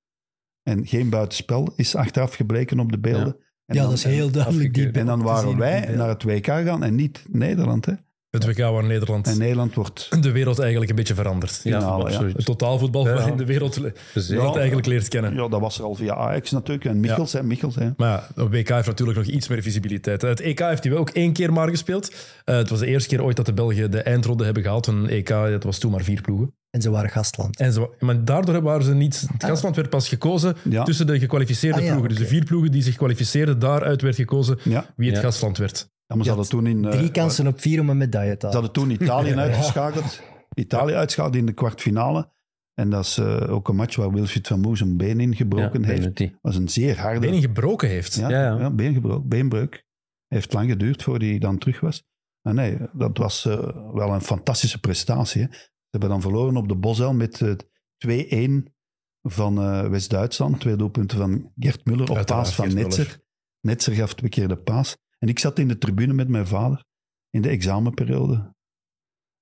C: En geen buitenspel, is achteraf gebleken op de beelden. En
B: Ja,
C: dan-
B: dat is heel duidelijk. Die
E: afgekeurd.
C: en
B: beelden
C: dan
B: te
C: waren
B: zien op die
C: wij
B: beelden.
C: naar het WK gegaan en niet Nederland. Hè?
A: Het WK waar Nederland
C: En Nederland wordt
A: de wereld eigenlijk een beetje veranderd.
E: Ja,
C: Finale, ja.
E: absoluut.
A: Het totaalvoetbal
E: Ja.
A: waarin de wereld,
E: Zeker.
A: wereld eigenlijk leert kennen.
C: Ja, dat was er al via Ajax natuurlijk. En Michels, hè, Michels hè.
A: Maar ja, de WK heeft natuurlijk nog iets meer visibiliteit. Het EK heeft hij wel ook één keer maar gespeeld. Eh, het was de eerste keer ooit dat de Belgen de eindronde hebben gehaald. Een EK, dat was toen maar vier ploegen.
B: En ze waren gastland.
A: En ze, maar daardoor waren ze niet... Het gastland werd pas gekozen
C: Ah.
B: Dus
C: Ja.
A: tussen de gekwalificeerde
B: Ah, ja,
A: ploegen. Dus
B: oké.
A: de vier ploegen die zich kwalificeerden, daaruit werd gekozen
C: Ja.
A: wie het
E: Ja.
A: gastland werd.
C: Ja, maar ze
B: Ja,
C: hadden toen in... eh,
B: Drie kansen op vier om een medaille te
C: Ze
B: halen.
C: hadden toen Italië uitgeschakeld. Italië uitgeschakeld in de kwartfinale. En dat is eh, ook een match waar Wilfried van Moes een been ingebroken
E: Ja,
C: heeft. Dat
E: penalty.
C: was een zeer harde...
A: Benen gebroken heeft.
C: Ja,
E: Ja, ja.
C: ja, beengebroken, beenbreuk. Heeft lang geduurd voordat hij dan terug was. Maar nee, dat was eh, wel een fantastische prestatie. Hè. Ze hebben dan verloren op de Bosel met eh, 2-1 van eh, West-Duitsland. Twee doelpunten van Gert Muller op
A: Uiteraard,
C: paas van
A: Gert
C: Netzer.
A: Muller.
C: Netzer gaf twee keer de paas. En ik zat in de tribune met mijn vader in de examenperiode.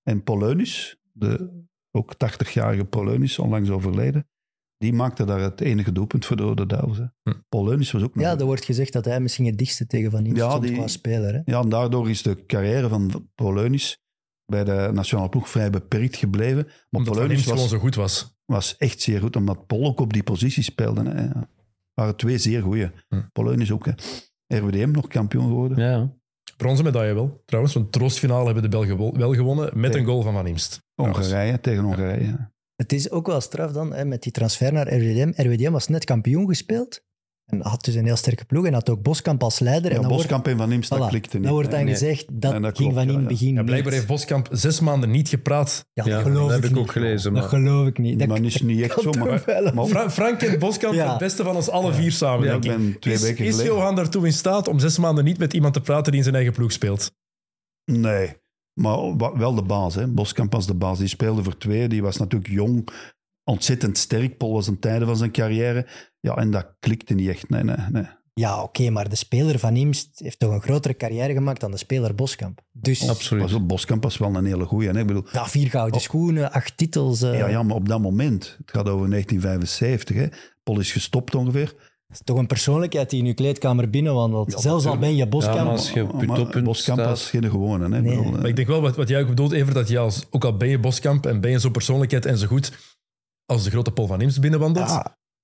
C: En Polonius, de ook 80-jarige Polonius, onlangs overleden, die maakte daar het enige doelpunt voor de Rode Duivels. hè.
A: Hm.
C: Polonius was ook nog
B: Ja, er wordt gezegd dat hij misschien het dichtste tegen Van Imst
C: Ja,
B: stond
C: die-
B: qua speler. Hè?
C: Ja, en daardoor is de carrière van Polonius bij de nationale ploeg vrij beperkt gebleven. Maar
A: Omdat Van
C: Polonius
A: Imst gewoon
C: was,
A: zo goed was.
C: was echt zeer goed, omdat Pol ook op die positie speelde. Hè. Ja. waren twee zeer goede.
A: Hm.
C: Polonius ook. Hè. RWDM nog kampioen geworden.
E: Ja.
A: Bronzen medaille wel, trouwens. Want troostfinale hebben de Belgen wel- wel gewonnen met een goal van Van Imst.
C: Hongarije tegen Hongarije.
B: Het is ook wel straf dan, hè, met die transfer naar RWDM. RWDM was net kampioen gespeeld. En had dus een heel sterke ploeg en had ook Boskamp als leider. en
C: Ja,
B: dan
C: Boskamp en Van Imst,
B: wordt,
C: dat
B: voilà,
C: klikte niet.
B: dan wordt dan
E: Nee.
B: gezegd, dat,
C: En dat
B: ging
C: klopt,
B: van
C: ja,
B: in het
C: ja.
B: begin
A: Ja, blijkbaar
B: niet.
A: heeft Boskamp zes maanden niet gepraat.
B: Ja,
E: Ja,
B: dat geloof
E: dat
B: ik
E: heb ik
B: niet.
E: ook gelezen,
B: Dat
E: maar-
B: geloof ik niet. Dat,
C: Maar niet, niet echt
B: kan
C: zo,
B: toch
C: maar,
B: wel.
C: maar
A: Fra- Frank en Boskamp,
B: Ja.
A: het beste van ons alle vier samen,
C: Oh. Ja,
A: denk
C: ik
A: ik.
C: ben twee
A: is
C: weken
A: is
C: geleden-
A: Johan daartoe in staat om zes maanden niet met iemand te praten die in zijn eigen ploeg speelt?
C: Nee, maar wa- wel de baas. Hè. Boskamp was de baas. Die speelde voor twee. Die was natuurlijk jong, ontzettend sterk. Paul was een tijde van zijn carrière. Ja, en dat klikte niet echt. Nee, nee, nee.
B: Ja, oké, maar de speler van Imst heeft toch een grotere carrière gemaakt dan de speler Boskamp. Dus
E: Absoluut.
C: Maar Boskamp was wel een hele goeie. Hè. Ik bedoel,
B: ja, vier gouden schoenen, acht titels. eh,
C: Oh. ja, ja, maar op dat moment, het gaat over 1975, hè. Paul is gestopt ongeveer.
B: dat is toch een persoonlijkheid die in uw kleedkamer binnenwandelt. Zelfs al ben je
E: Ja, maar
B: Boskamp.
E: als je op je
C: Maar
E: toppunt
C: Boskamp
E: staat-
C: was geen gewone. Hè. Ik
B: Nee.
C: bedoel, eh,
A: Maar ik denk wel, wat, wat jij ook bedoelt, Evert, dat je als, ook al ben je Boskamp en ben je zo'n persoonlijkheid en zo goed als de grote Paul van Imst binnenwandelt,
C: Ah.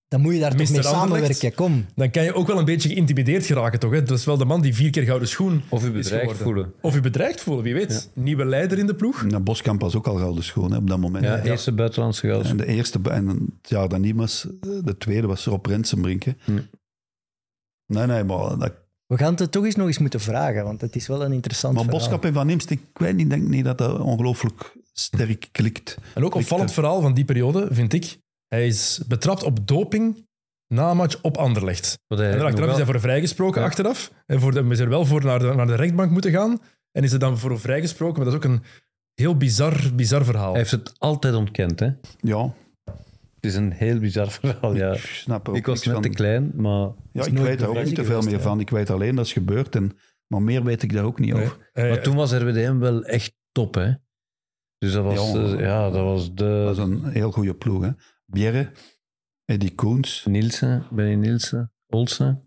B: Ja, dan moet je daar toch
A: Mr.
B: mee
A: Anderlecht?
B: samenwerken. Kom.
A: dan kan je ook wel een beetje geïntimideerd geraken, toch? Hè? Dat is wel de man die vier keer gouden schoen
E: Of je
A: is
E: bedreigd
A: geworden.
E: voelen.
A: Of je bedreigd voelen, wie weet. Nieuwe leider in de ploeg.
C: nou, Boskamp was ook al gouden schoon hè, op dat moment.
E: Ja, eerste buitenlandse goals.
C: En de eerste, en het jaar dat niet was, eh, de tweede was Rob Rensenbrink. hè.
E: Hm.
C: Nee, nee, maar, dat,
B: We gaan het toch eens nog eens moeten vragen, want het is wel een interessant
C: maar
B: verhaal.
C: Boskap en Van Imst, ik weet niet, denk niet dat dat ongelooflijk sterk klikt.
A: En ook opvallend
C: eh,
A: verhaal van die periode, vind ik. Hij is betrapt op doping na een match op Anderlecht.
E: Wat hij
A: En
E: Eh, nog
A: achteraf is
E: wel-
A: hij voor vrijgesproken,
E: Ja.
A: achteraf. En voor de, is er wel voor naar de, naar de rechtbank moeten gaan. En is er dan voor vrijgesproken. Maar dat is ook een heel bizar, bizar verhaal.
E: Hij heeft het altijd ontkend, hè? Het
C: Ja,
E: is een heel bizar verhaal, Oh, ja.
C: ik snap er ook
E: Ik was
C: niks
E: net
C: van.
E: te klein, maar...
C: Ja,
B: is
C: ik
B: nooit
C: weet daar ook
B: bewezen
C: niet te veel
B: geweest,
C: meer
B: ja.
C: van. Ik weet alleen dat is gebeurd, en, maar meer weet ik daar ook niet
A: Nee.
C: over.
A: Hij-
E: Maar toen was RWDM wel echt top, hè? Dus dat was,
C: Ja.
E: eh, ja, dat was
C: Dat is
E: de...
C: een heel goede ploeg. Hè. Bjerre, Eddie Koens,
E: Nielsen, Benny Nielsen, Olsen.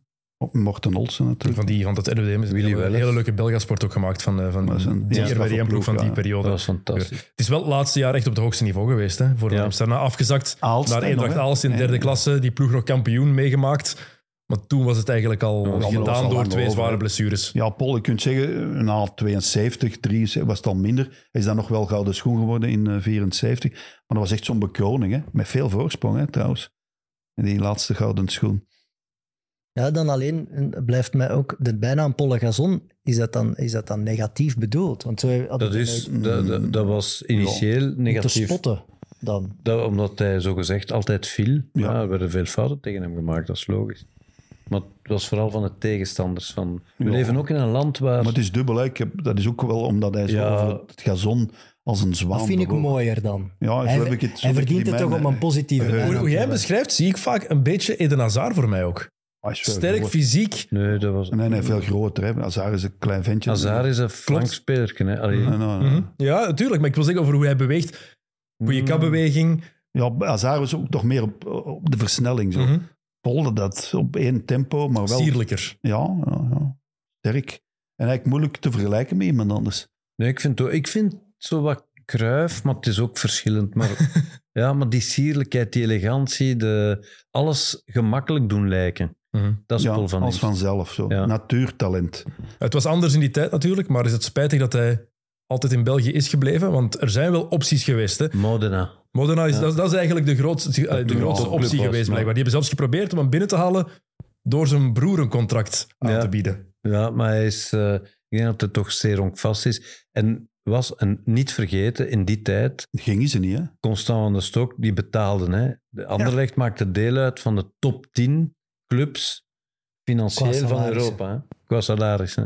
C: Morten Olsen natuurlijk.
A: van, die, van dat RWDM is een
E: Willy
A: hele,
E: Wellers.
A: hele leuke Belgasport ook gemaakt van, eh, van
C: Dat is een-
A: die
C: ja, dat is wel
A: RWDM-ploeg van
C: ploeg,
A: die
C: ja.
A: periode.
E: Dat was fantastisch.
A: Het is wel het laatste jaar echt op het hoogste niveau geweest. Hè, voor
E: Ja.
A: Willems. Daarna afgezakt
C: Aalst
A: naar
C: nog,
A: Eendracht
C: hè?
A: Aalst in de
C: Ja,
A: derde
C: ja.
A: klasse. Die ploeg nog kampioen meegemaakt. Maar toen was het eigenlijk al
E: was
C: allemaal- was
A: gedaan
C: al
A: door
C: lang
A: twee
C: over,
A: zware
C: hè.
A: blessures.
C: Ja, Paul, je kunt zeggen, na 72, 73 was het al minder. Hij is dan nog wel gouden schoen geworden in eh, 74. Maar dat was echt zo'n bekroning, hè? met veel voorsprong hè, trouwens. En Die laatste gouden schoen.
B: Ja, dan alleen eh, blijft mij ook de bijnaam Pollegazon. Is dat dan, is dat dan negatief bedoeld? Want zo had
E: Dat,
B: ik
E: is,
B: nooit-
E: dat, dat, dat was initieel
B: om te
E: negatief.
B: spotten dan.
E: Dat, omdat hij zogezegd altijd viel. Ja.
C: Ja.
E: er werden veel fouten tegen hem gemaakt, dat is logisch. Maar het was vooral van de tegenstanders. Van, we
C: Ja.
E: leven ook in een land waar...
C: Maar het is dubbel, hè. Ik heb, dat is ook wel omdat hij zo
E: Ja.
C: over het gazon als een zwaan
B: Dat vind ik
C: bewoog.
B: mooier dan.
C: Ja, zo
B: hij
C: heb ik het- zo
B: hij
C: heb ik
B: verdient
C: die
B: het toch
C: mijn,
B: om een
C: eh,
B: positieve
C: eh,
A: Hoe,
B: bijnaam
A: hoe
B: te
A: jij
B: maken.
A: beschrijft, zie ik vaak een beetje Eden Hazard voor mij ook.
C: Hij Ah, is veel
A: Sterk,
C: groter.
A: fysiek.
E: Nee, dat was...
C: Nee, nee, veel groter. Hè. Azar is een klein ventje.
E: Hazard is een flank spelerke, hè. Allee,
C: Nee, nee, nee.
A: Mhm. Ja, natuurlijk. Maar ik wil zeggen over hoe hij beweegt.
E: Mm.
A: Goede kapbeweging.
C: Ja, Azar was ook nog meer op, op de versnelling. Zo.
A: Mhm.
C: Polde dat op één tempo, maar wel...
A: Sierlijker.
C: Ja, ja, ja. sterk. En eigenlijk moeilijk te vergelijken met iemand anders.
E: Nee, ik vind, het ook- ik vind het zo wat kruif, maar het is ook verschillend. Maar, ja, maar die sierlijkheid, die elegantie, de, alles gemakkelijk doen lijken.
A: Mhm.
E: Dat is
C: ja,
E: Paul van
C: als
E: Imst.
C: vanzelf. Zo.
E: Ja.
C: Natuurtalent.
A: Het was anders in die tijd natuurlijk, maar is het spijtig dat hij altijd in België is gebleven? Want er zijn wel opties geweest. Hè.
E: Modena.
A: Modena is,
E: Ja.
A: dat, dat is eigenlijk de grootste, eh, de
E: toen
A: grootste
E: al een club
A: optie
E: was,
A: geweest,
E: maar-
A: blijkbaar. Die hebben zelfs geprobeerd om hem binnen te halen door zijn broer een contract aan
E: Ja.
A: te bieden.
E: Ja, maar hij is, eh, ik denk dat het toch zeer ronkvast is. En was, en niet vergeten, in die tijd,
C: Gingen ze niet, hè?
E: Constant van der Stok, die betaalden. Hè. De Anderlecht maakte deel uit van de top 10 clubs
B: Qua
E: financieel van
B: salarissen.
E: Europa. Hè. Qua salaris. Hè.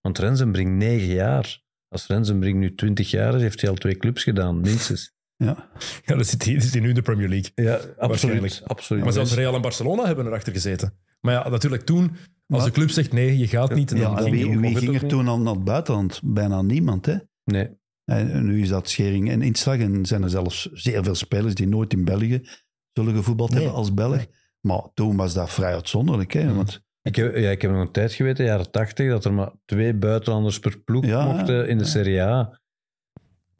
E: Want Rensenbrink 9 jaar. Als Rensenbrink nu 20 jaar is, heeft hij al twee clubs gedaan, minstens.
C: Ja.
A: Ja, dat zit, hier- dat zit hier nu in de Premier League.
E: Ja,
A: Waarschijnlijk.
E: absoluut. absoluut. Dus,
A: Maar zelfs Real en Barcelona hebben erachter gezeten. Maar ja, natuurlijk toen, als
C: Maar-
A: de club zegt nee, je gaat niet, dan
C: Ja, en
A: ging
C: wie,
A: hij ook
C: wie
A: nog.
C: ging er toen al naar het buitenland? Bijna niemand, hè?
E: Nee,
C: En nu is dat schering en inslag. En zijn er zelfs zeer veel spelers die nooit in België zullen gevoetbald
B: Nee.
C: hebben als Belg. Maar toen was dat vrij uitzonderlijk, hè? Want
E: ik heb, ja, ik heb nog een tijd geweten, jaren 80, dat er maar twee buitenlanders per ploeg
C: Ja,
E: mochten in de
C: ja.
E: Serie A.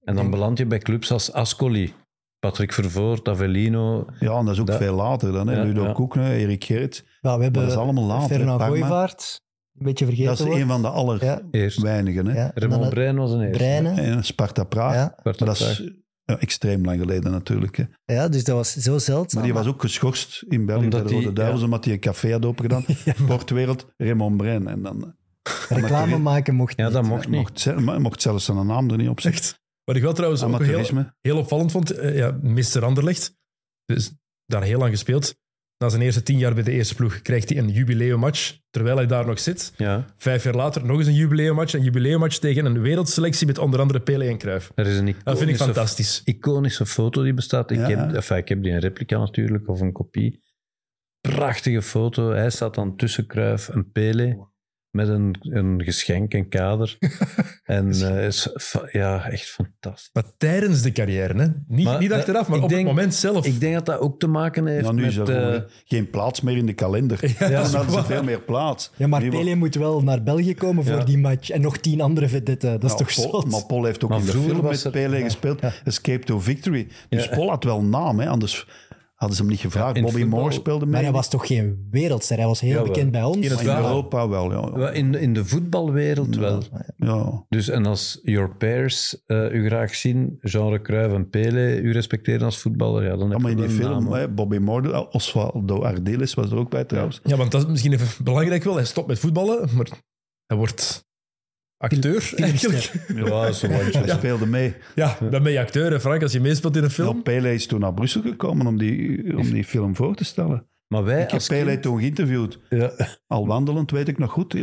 E: En dan beland je bij clubs als Ascoli, Patrick Vervoort, Avellino,
C: ja, en dat is ook
E: Dat-
C: veel later dan, hè?
E: Ja,
C: Ludo
E: ja.
C: Koek, hè, Erik Gerrit.
B: Ja, we hebben
C: Maar dat is allemaal later, hè,
B: Fernand
C: Parma.
B: Gooivaart, een beetje vergeten
C: Dat is een van de
B: Ja.
C: allerweinigen,
E: eerst.
B: Ja,
C: hè?
B: en dan
E: Raymond
B: het
E: Brein was een eerste.
B: Breinen.
C: En Sparta Praag.
B: Ja.
E: Werd
C: Maar
E: dat
C: dat is
E: daar.
C: Ja, extreem lang geleden natuurlijk. Hè.
B: Ja, dus dat was zo zeldzaam.
C: Maar die was ook geschorst in België
E: Omdat
C: bij de Rode
E: die-
C: Duivels,
E: ja.
C: omdat hij een café had opengedaan. Sportwereld, Raymond Brein. En dan eh,
B: Reclame
C: Amateurisme.
B: maken mocht
E: Ja,
B: niet.
E: dat mocht niet.
C: mocht, ze- maar mocht zelfs zijn naam er niet op zetten.
A: Echt. Wat ik wel trouwens ook heel,
C: Amateurisme.
A: heel opvallend vond, eh, ja, Mr. Anderlecht, dus daar heel lang gespeeld. Na zijn eerste tien jaar bij de eerste ploeg krijgt hij een jubileummatch, terwijl hij daar nog zit.
E: Ja,
A: Vijf jaar later nog eens een jubileummatch, een jubileummatch tegen een wereldselectie met onder andere Pele en Cruijff.
E: er is een iconische,
A: Dat vind ik fantastisch.
E: iconische foto die bestaat. Ik,
C: Ja,
E: heb,
C: ja.
E: enfin, ik heb die een replica natuurlijk, of een kopie. Prachtige foto. Hij staat dan tussen Kruif en Pele met een, een geschenk, een kader. en eh, is fa- ja, echt fantastisch.
A: Maar tijdens de carrière, hè? Niet,
E: Maar
A: niet
E: dat-
A: achteraf, maar
E: ik
A: op
E: denk-
A: het moment zelf.
E: Ik denk dat dat ook te maken heeft
C: Ja, nu is
E: met...
C: er
E: eh,
C: gewoon, eh, geen plaats meer in de kalender.
A: Ja,
C: Ja,
A: dat is
C: dan hadden ze
A: waar.
C: veel meer plaats.
B: Ja, maar
C: Nu wordt-
B: Pele moet wel naar België komen voor
E: Ja.
B: die match. En nog tien andere vedetten. Dat is
C: Ja,
B: toch
C: Pol-
B: zot?
C: Maar Pol heeft ook
E: Maar
C: in de
E: vroeger
C: film
E: was
C: met
E: er-
C: Pele gespeeld. Escape to Victory. Dus Pol had wel een naam, hè, anders hadden ze hem niet gevraagd.
E: in
C: Bobby
E: voetbal-
C: Moore speelde mee.
B: Maar hij was toch geen wereldster? Hij was heel
E: Jawel.
B: bekend bij ons.
A: In het
C: in
A: Ja.
C: Europa wel, ja.
E: wel, in, in de voetbalwereld wel.
C: ja.
E: Dus en als your pairs eh, u graag zien, genre Cruijff en Pele, u respecteren als voetballer, ja, dan
C: Ja,
E: heb
C: maar
E: je
C: in die
E: wel een naam,
C: film,
E: hoor.
C: hè, Bobby Moore, Osvaldo Ardiles was er ook bij trouwens.
A: Ja, want dat is misschien even belangrijk wel. Hij stopt met voetballen, maar hij wordt acteur eigenlijk.
E: Ja, zo wat.
C: Hij speelde mee.
A: Ja, dan ben je acteur, hè, Frank, als je meespeelt in een
C: Ja,
A: film.
C: Pele is toen naar Brussel gekomen om die, om die film voor te stellen.
E: Maar wij
C: Ik heb
E: als
C: Pele
E: kind-
C: toen geïnterviewd.
E: Ja,
C: Al wandelend, weet ik nog goed,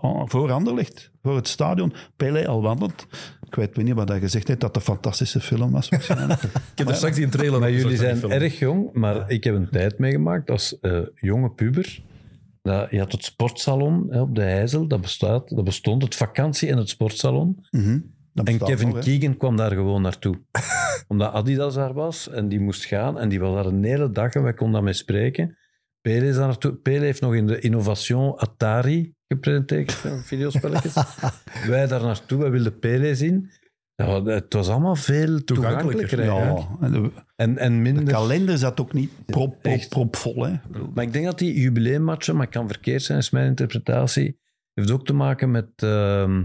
C: ah, voor Anderlecht, voor het stadion. Pele al wandelend. Ik weet niet wat hij gezegd heeft, dat het een fantastische film was. Mhm, waarschijnlijk.
A: Ik heb er straks die trailer
E: maar
A: op
E: jullie
A: gezet van die
E: zijn
A: film.
E: erg jong, maar ik heb een tijd meegemaakt als eh, jonge puber. Dat, je had het sportsalon hè, op de IJssel, dat, bestaat, dat bestond, het vakantie- en het sportsalon.
C: Mhm. Dat
E: En
C: bestaat
E: Kevin
C: nog, hè.
E: Keegan kwam daar gewoon naartoe. Omdat Adidas daar was en die moest gaan. En die was daar een hele dag en wij konden daarmee spreken. Pele is daar naartoe. Pele heeft nog in de Innovation Atari gepresenteerd, eh, videospelletjes. wij daar naartoe, wij wilden Pele zien. Ja, wat- het was allemaal veel
A: Toegankelijker,
E: toegankelijker. eigenlijk.
C: Ja, en de,
E: en, en
C: de
E: minder...
C: kalender zat ook niet prop, prop,
E: Echt.
C: propvol, Hè.
E: Maar ik denk dat die jubileummatchen, maar het kan verkeerd zijn, is mijn interpretatie, heeft ook te maken met ehm,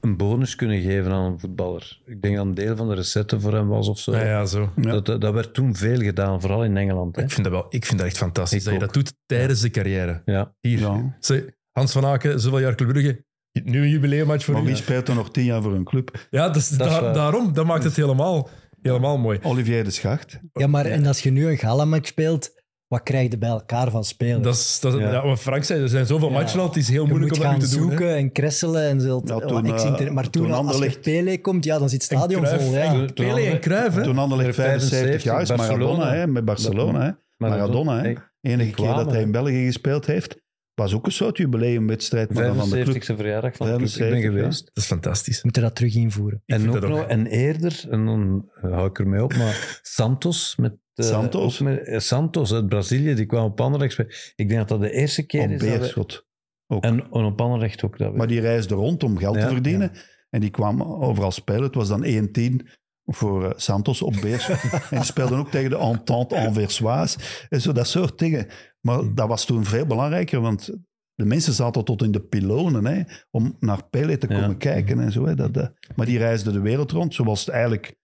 E: een bonus kunnen geven aan een voetballer. Ik denk dat een deel van de recetten voor hem was of zo.
A: Ja, ja, zo.
C: Ja.
E: Dat, dat werd toen veel gedaan, vooral in Engeland. Hè?
A: Ik vind dat wel, ik vind dat echt fantastisch
E: Ik
A: dat je dat
E: ook.
A: doet tijdens de carrière.
E: Ja.
A: Hier.
C: Ja.
A: Zeg, Hans van Aken, zoveel jaar Club Brugge. Nu een jubileummatch voor
C: Maar
A: u.
C: wie speelt er nog tien jaar voor een club?
A: Ja, dus
E: Dat is
A: daar-
E: waar.
A: daarom. Dat maakt het helemaal, helemaal mooi.
C: Olivier de Schacht.
B: Ja, maar en als je nu een galamatch speelt, wat krijg je bij elkaar van spelers?
A: Dat is, dat is-
E: Ja.
A: ja, wat Frank zei, er zijn zoveel matchen al. Het is heel
B: je
A: moeilijk
B: moet
A: om dat
B: gaan
A: nu te doen.
B: zoeken
A: hè.
B: en kresselen en zult,
C: Ja,
B: wat
C: toen,
B: ex-inter-
C: eh,
B: maar toen,
C: toen
B: als er
C: Anderlecht-
B: Pele komt, ja, dan zit het
A: En
B: stadion
A: Cruijff,
B: vol. Ja.
A: en Pele en Cruijff, hè.
C: Toen Anderlecht 75 jaar is, Maradona
E: Barcelona.
C: hè, met Barcelona. Hè. Maradona, hè. Enige keer
E: kwamen,
C: dat hij
E: hè.
C: in België gespeeld heeft, was ook een soort jubileumwedstrijd. Maar dan van de club.
E: 75 e verjaardag van de club. Ik ben
C: 75, ja.
E: geweest.
A: Dat is fantastisch.
B: Moeten dat terug invoeren.
E: En,
A: vind
E: ook
A: dat ook.
E: nog, en eerder, en dan eh, hou ik ermee op, maar Santos met... eh,
C: Santos?
E: ook met- eh, Santos uit Brazilië, die kwam op Anderlecht. spelen. Ik denk dat dat de eerste keer
C: Op
E: is. dat we-
C: Beerschot.
E: En en op Anderlecht ook. Dat we-
C: Maar die reisde rond om geld
E: Ja,
C: te verdienen. En die kwam overal spelen. Het was dan 1-10 voor eh, Santos op Beerschot. en die speelden ook tegen de Entente Anversoise. En zo dat soort dingen. Maar dat was toen veel belangrijker, want de mensen zaten tot in de pilonen hè, om naar Pele te
E: Ja.
C: komen kijken en zo. Hè, dat, eh. Maar die reisde de wereld rond, zoals het eigenlijk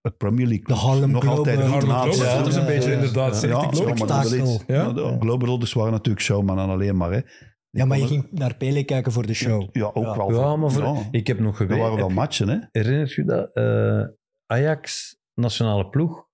C: het Premier League
B: De Harlem
C: nog
B: Globe,
C: altijd
B: eh,
C: goed
A: Harlem
C: naadt.
A: Globe,
B: ja,
A: dat is dus een
B: ja,
A: beetje
B: ja.
A: inderdaad.
C: Ja,
A: zegt
C: ja,
A: die klok.
C: maar dat is het.
B: Spektakel.
C: Ja, de Globe Rollers waren natuurlijk showman en alleen maar. Hè.
B: Ja, maar je
C: kon-
B: ging naar Pele kijken voor de show.
C: Ja, ook wel.
E: ja, maar voor-
C: ja.
E: ik heb Mm. nog
C: Dat
E: geweest.
C: waren wel matchen, hè?
E: Herinnert je dat? Eh, Ajax, nationale ploeg,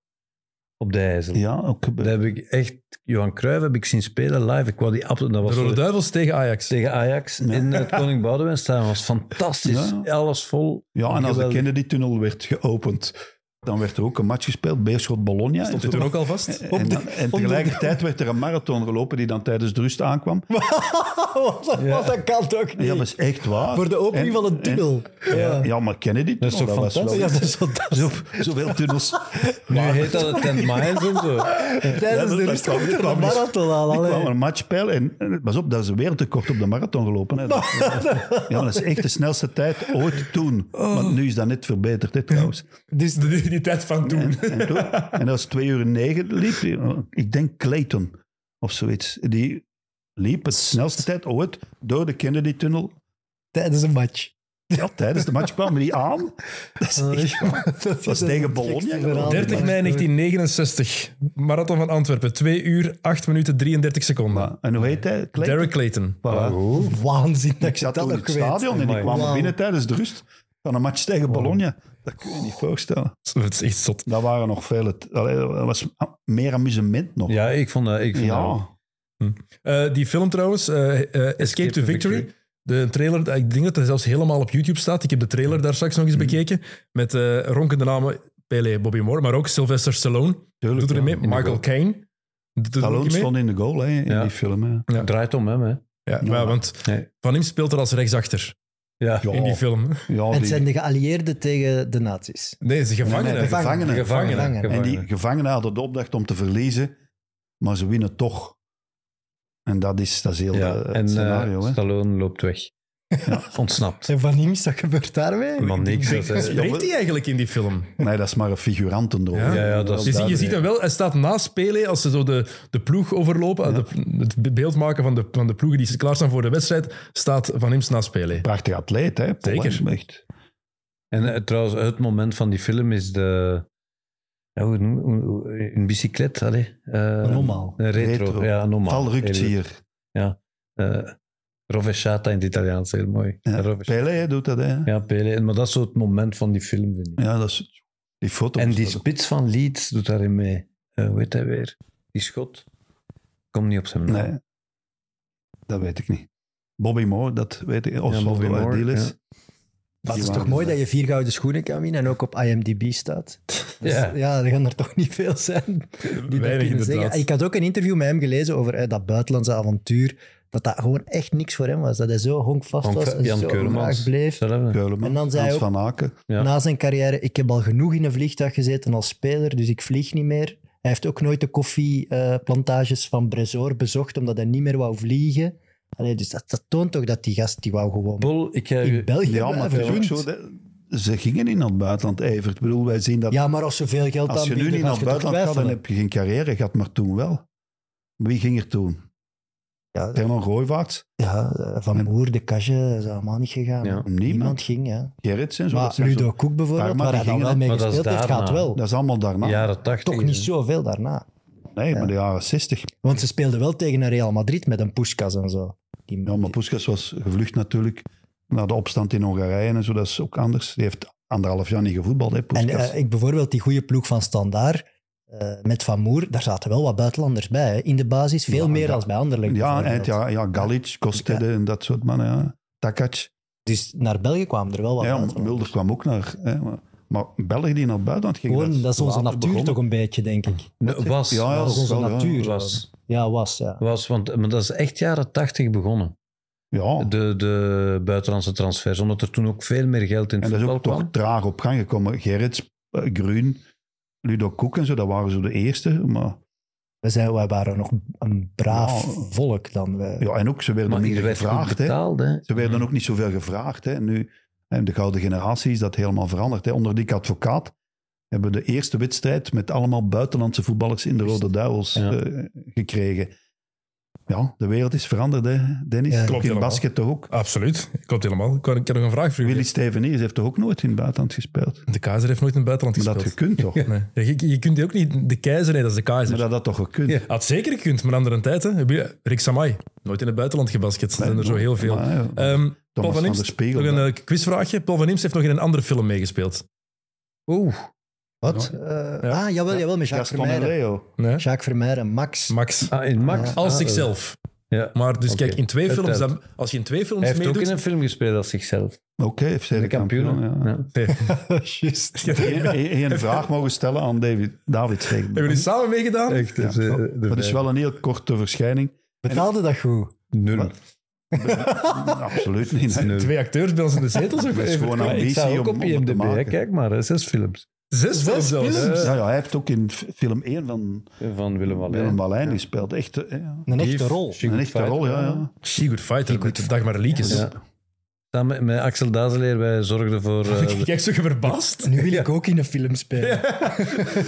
E: op de IJssel.
C: Ja, ook.
E: Dat heb ik echt... Johan Cruijff heb ik zien spelen live. Ik wou die... absolu- Dat
A: De
E: was
A: Rode
E: voor-
A: Duivels tegen Ajax.
E: tegen Ajax in het Koning Boudewijnstadion. was fantastisch.
C: Ja.
E: Alles vol.
C: Ja, en als de
E: Geweldig.
C: Kennedy-tunnel werd geopend, dan werd er ook een match gespeeld, Beerschot-Bologna.
A: Stond
C: En
A: dit
C: zo-
A: toen ook al vast?
C: En, en, dan- en tegelijkertijd werd er een marathon gelopen die dan tijdens de rust aankwam.
B: Want dat kan toch
C: En
B: niet?
C: dat was echt waar.
B: voor de opening
C: En-
B: van een
C: en-
B: tunnel.
C: ja.
B: ja.
C: maar Kennedy
E: Dat is
C: tunnel,
E: toch
C: dat was wel...
E: fantastisch?
B: Ja, dat is fantastisch.
C: Zo, zoveel tunnels.
E: Nu heet dat het Tent Miles en zo.
B: Tijdens
C: Ja,
B: de
C: dat
B: rust
C: kwam-
B: komt er
C: dat
B: een
C: kwam dus-
B: marathon aan.
C: Ik
B: allee.
C: kwam een matchpeil en, en pas op, daar is weer te kort op de marathon gelopen. Hè. Dat- Ja, maar dat is echt de snelste tijd ooit toen. Want nu is dat net verbeterd, hè, trouwens.
A: Dus de, die tijd van toen.
C: En, en, toen, en als het twee uur negen liep, die- ik denk Clayton of zoiets, die liep het snelste tijd ooit door de Kennedy-tunnel
B: Tijdens een match.
C: Ja, tijdens de match kwamen die aan. Dat is echt
B: Dat
C: was tegen Bologna.
A: 30 mei 1969, Marathon van Antwerpen. 2 uur, 8 minuten, 33 seconden.
C: Ja, En hoe heet hij? Clay?
A: Derek Oh, Clayton.
C: Voilà.
B: Waanzin dat
C: Ik zat
B: dat
C: toen in
B: nog
C: het
B: weet.
C: stadion en ik kwam
B: Wauw.
C: binnen tijdens de rust van een match tegen Bologna. Dat kun je niet voorstellen.
A: Het is echt zot.
C: Dat waren nog vele... Allee, dat was meer amusement nog.
E: Ja, ik vond dat... Ik vond dat-
C: Ja.
A: Eh, die film trouwens, eh, eh, Escape, to Victory. De trailer, eh, ik denk dat hij zelfs helemaal op YouTube staat. Ik heb de trailer daar straks nog eens bekeken. Met eh, ronkende namen Pele, Bobby Moore, maar ook Sylvester Stallone.
C: Tuurlijk,
A: Doet erin
C: ja.
A: mee. Michael
E: goal.
A: Caine. Doet er ook
C: Stallone
A: in mee.
C: stond in de goal hè, in
E: Ja.
C: die film. Hè.
A: Ja.
E: Draait om hem, hè.
A: Ja, maar ja, want
E: Nee.
A: Van hem speelt er als rechtsachter
E: Ja.
C: Ja,
A: in die film.
C: ja,
B: En het
C: die-
B: zijn de geallieerden tegen de nazi's.
A: Nee, ze gevangenen.
C: nee, de
B: Gevangenen.
C: gevangenen.
E: Gevangenen.
B: Gevangenen.
C: En die gevangenen hadden de opdracht om te verliezen, maar ze winnen toch. En dat is, dat is heel
E: ja.
C: eh,
E: En
C: het
E: eh,
C: scenario. hè.
E: Stallone loopt weg. Ontsnapt.
B: En van niks, dat gebeurt daarmee.
E: Man, niks. Dat, eh,
A: Spreekt hij eigenlijk in die film?
C: Nee, dat is maar een figurantenrol.
A: Ja,
E: ja, dat
A: Je, ziet-
E: is
A: je
E: duidelijk,
A: ziet hem wel, hij staat naast Pele als ze zo de, de ploeg overlopen. de- het beeld maken van de, van de ploegen die klaarstaan voor de wedstrijd, staat Van Imst naast Pele.
C: Prachtig atleet, hè? Paul,
A: Zeker.
C: hè. Echt.
E: En eh, trouwens, het moment van die film is de... Ja, hoe, noem- hoe- hoe- een bicyclet, allee. Eh,
B: Normaal.
E: Een retro.
C: Retro.
E: Ja, normaal.
C: Val rukt hier.
E: Eh, Rovesciata in het Italiaans, heel mooi.
C: Ja.
E: Rovesciata.
C: Pelé hè, doet dat, hè? Ja,
E: Ja, Pele. En- Maar dat is zo het moment van die film, vind ik.
C: dat is... Die foto.
E: en die
C: dat-
E: spits van Leeds doet daarin mee. Eh hoe heet hij weer? Die schot. Kom niet op zijn naam.
C: Nee. Dat weet ik niet. Bobby Moore, dat weet ik. Of
E: Ja,
C: ja,
E: Bobby Moore,
C: deal is.
E: ja.
B: Maar het is
C: Die
B: toch
C: waren-
B: mooi dat je vier gouden schoenen kan winnen en ook op IMDb staat. Dus,
E: Ja.
B: ja. er gaan er toch niet veel zijn die dat
A: Weinig
B: kunnen
A: inderdaad.
B: zeggen. Ik had ook een interview met hem gelezen over eh, dat buitenlandse avontuur. Dat dat gewoon echt niks voor hem was. Dat hij zo honkvast
E: Van
B: was en
E: Jan
B: zo
E: Keulemans.
B: laag bleef.
E: Hetzelfde.
C: Keuleman,
B: En dan zei
C: Hans
B: hij ook-
C: van Aken.
E: Ja.
B: Na zijn carrière, ik heb al genoeg in een vliegtuig gezeten als speler, dus ik vlieg niet meer. Hij heeft ook nooit de koffieplantages van Bresor bezocht, omdat hij niet meer wou vliegen. Allee, dus dat, dat toont toch dat die gast, die wou gewoon
E: Bol, ik ga u...
B: in België
C: Ja, maar het
B: blijven.
C: is ook
B: punt.
C: zo... dat- Ze gingen in naar het buitenland, Evert. Ik bedoel, wij zien dat...
B: Ja, maar als ze veel geld
C: Als je nu
B: aanbieden,
C: niet
B: ga
C: naar het
B: je toch
C: buitenland gaat, dan
B: twijfelen.
C: heb je geen carrière gehad, maar toen wel. Wie ging er toen?
B: Ja,
C: Herman Gooivaarts,
B: Ja, eh, Van Moer, de Kasje, dat is allemaal niet gegaan.
E: Ja.
C: niemand.
B: Niemand ging, ja.
C: Gerrits en zo.
B: Maar
C: dat zijn
B: Ludo
C: zo-
B: Koek bijvoorbeeld,
C: Parma,
B: waar
C: die
B: hij dan
C: gingen
B: wel mee
E: Maar dat is
B: gespeeld heeft, gaat
E: daarna.
B: wel.
C: Dat is allemaal daarna.
E: Jaren tachtig.
B: Toch niet zoveel daarna.
C: nee, maar de jaren 60.
B: Want ze speelden wel tegen een Real Madrid met een Puskas en zo. Die,
C: Ja, Nou, maar Puskas was gevlucht natuurlijk naar de opstand in Hongarije en zo. Dat is ook anders. Die heeft anderhalf jaar niet gevoetbald, hè,
B: en
C: Puskas.
B: eh, ik bijvoorbeeld die goede ploeg van Standaar eh, met Van Moer, daar zaten wel wat buitenlanders bij. hè. In de basis veel
C: Ja,
B: meer
C: dat-
B: dan bij Anderlecht.
C: ja, en het-
B: bijvoorbeeld.
C: ja, ja, Galic, Kostede en dat soort mannen. Ja. Takac.
B: Dus naar België kwamen er wel wat
C: Ja,
B: buitenlanders.
C: Mulder kwam ook naar... Hè, maar, maar België die naar het buitenland ging...
B: Gewoon, dat is onze
C: later
B: natuur
C: begonnen.
B: toch een beetje, denk ik.
E: Was,
C: Ja, ja,
E: was,
B: dat is onze
C: wel, ja.
B: natuur.
E: was,
B: Ja, was, ja.
E: was, want maar dat is echt jaren tachtig begonnen.
C: Ja,
E: De, de buitenlandse transfers, omdat er toen ook veel meer geld in
C: en dat
E: het
C: is
E: voetbal
C: ook toch
E: kwam.
C: traag op gang gekomen. Gerrits, eh, Gruun, Ludo Koek en zo, dat waren zo de eerste. Maar,
B: We, zijn, wij waren nog een braaf
C: Ja.
B: volk dan. We,
C: ja, en ook, ze werden
E: Maar
C: minder
E: hier werd goed
C: gevraagd. Hè.
E: betaald, hè.
C: Ze werden ook niet zoveel gevraagd. Hè. Nu, hè, de gouden generatie is dat helemaal veranderd. Hè. Onder Dick Advocaat hebben we de eerste wedstrijd met allemaal buitenlandse voetballers in de Rode Duivels
E: Ja.
C: eh, gekregen. Ja, de wereld is veranderd, hè, Dennis.
B: Ja.
C: Ook
A: Klopt
C: in
A: helemaal.
C: basket toch ook.
A: Absoluut, klopt helemaal. Ik kan- Ik heb nog een vraag voor u.
C: Willy Steveniers heeft toch ook nooit in het buitenland gespeeld?
A: De keizer heeft nooit in het buitenland
C: Maar dat
A: gespeeld.
C: gekund toch?
A: Nee. Ja, dus- Je, je kunt die ook niet... De keizer, nee, dat is de
C: Maar
A: keizer.
C: dat had toch gekund?
E: Ja.
A: Had zeker gekund, maar andere tijd. Hè. Heb je- Rick Samai, nooit in het buitenland gebasket. Er zijn er zo heel veel.
C: Maar, ja,
A: Ehm, Paul
C: Thomas
A: van
C: van
A: Imst,
C: der Spiegel.
A: nog een
C: dat-
A: eh, quizvraagje. Paul van Imst heeft nog in een andere film meegespeeld.
E: Oeh,
B: Wat? Eh, Ah, jawel, jawel, met Jacques
C: Gaston en
B: Vermeijden.
C: Leo.
A: Nee?
B: Jacques Vermeijden, Max.
A: Max.
E: ah, in Max.
B: Ja.
A: Als
E: Ah,
A: zichzelf.
E: Ja.
A: Maar dus
E: Oké.
A: kijk, in twee
E: Het
A: films...
E: telt.
A: Dan, als je in twee films
E: Hij heeft ook
A: meedoet...
E: in een film gespeeld als zichzelf.
C: Oké, FC
E: De
C: de
E: kampioen.
C: kampioen. ja.
E: Ja.
B: Juist.
C: Eén één vraag mogen stellen aan David, David dus, Stegeman.
A: Hebben jullie samen meegedaan?
E: Echt,
C: Ja, dat is wel een heel korte verschijning.
B: Betaalde dat goed?
E: nul.
C: Absoluut niet. hè.
E: Nul.
A: Twee acteurs bij ons in de zetels. ook
C: Dat is
A: even.
C: gewoon
E: Ja, ik
C: ambitie
E: sta ook
C: om,
E: op
C: om het te
E: IMDb, hè.
C: maken.
E: kijk maar, hè. zes films
A: Zes films zelfs.
C: Ja, ja, hij heeft ook in f- film 1 van
E: van Willem Allee.
C: Willem Balijn gespeeld. Echt, eh, ja.
B: Een echte rol.
C: Een echte rol, ja. ja.
A: She Good Fighter met Dagmar Liekes.
E: Ja. Samen met, met Axel Dazeleer, wij zorgden voor... eh,
A: Ik kijk zo verbaasd.
B: Nu wil ik ook in een film spelen.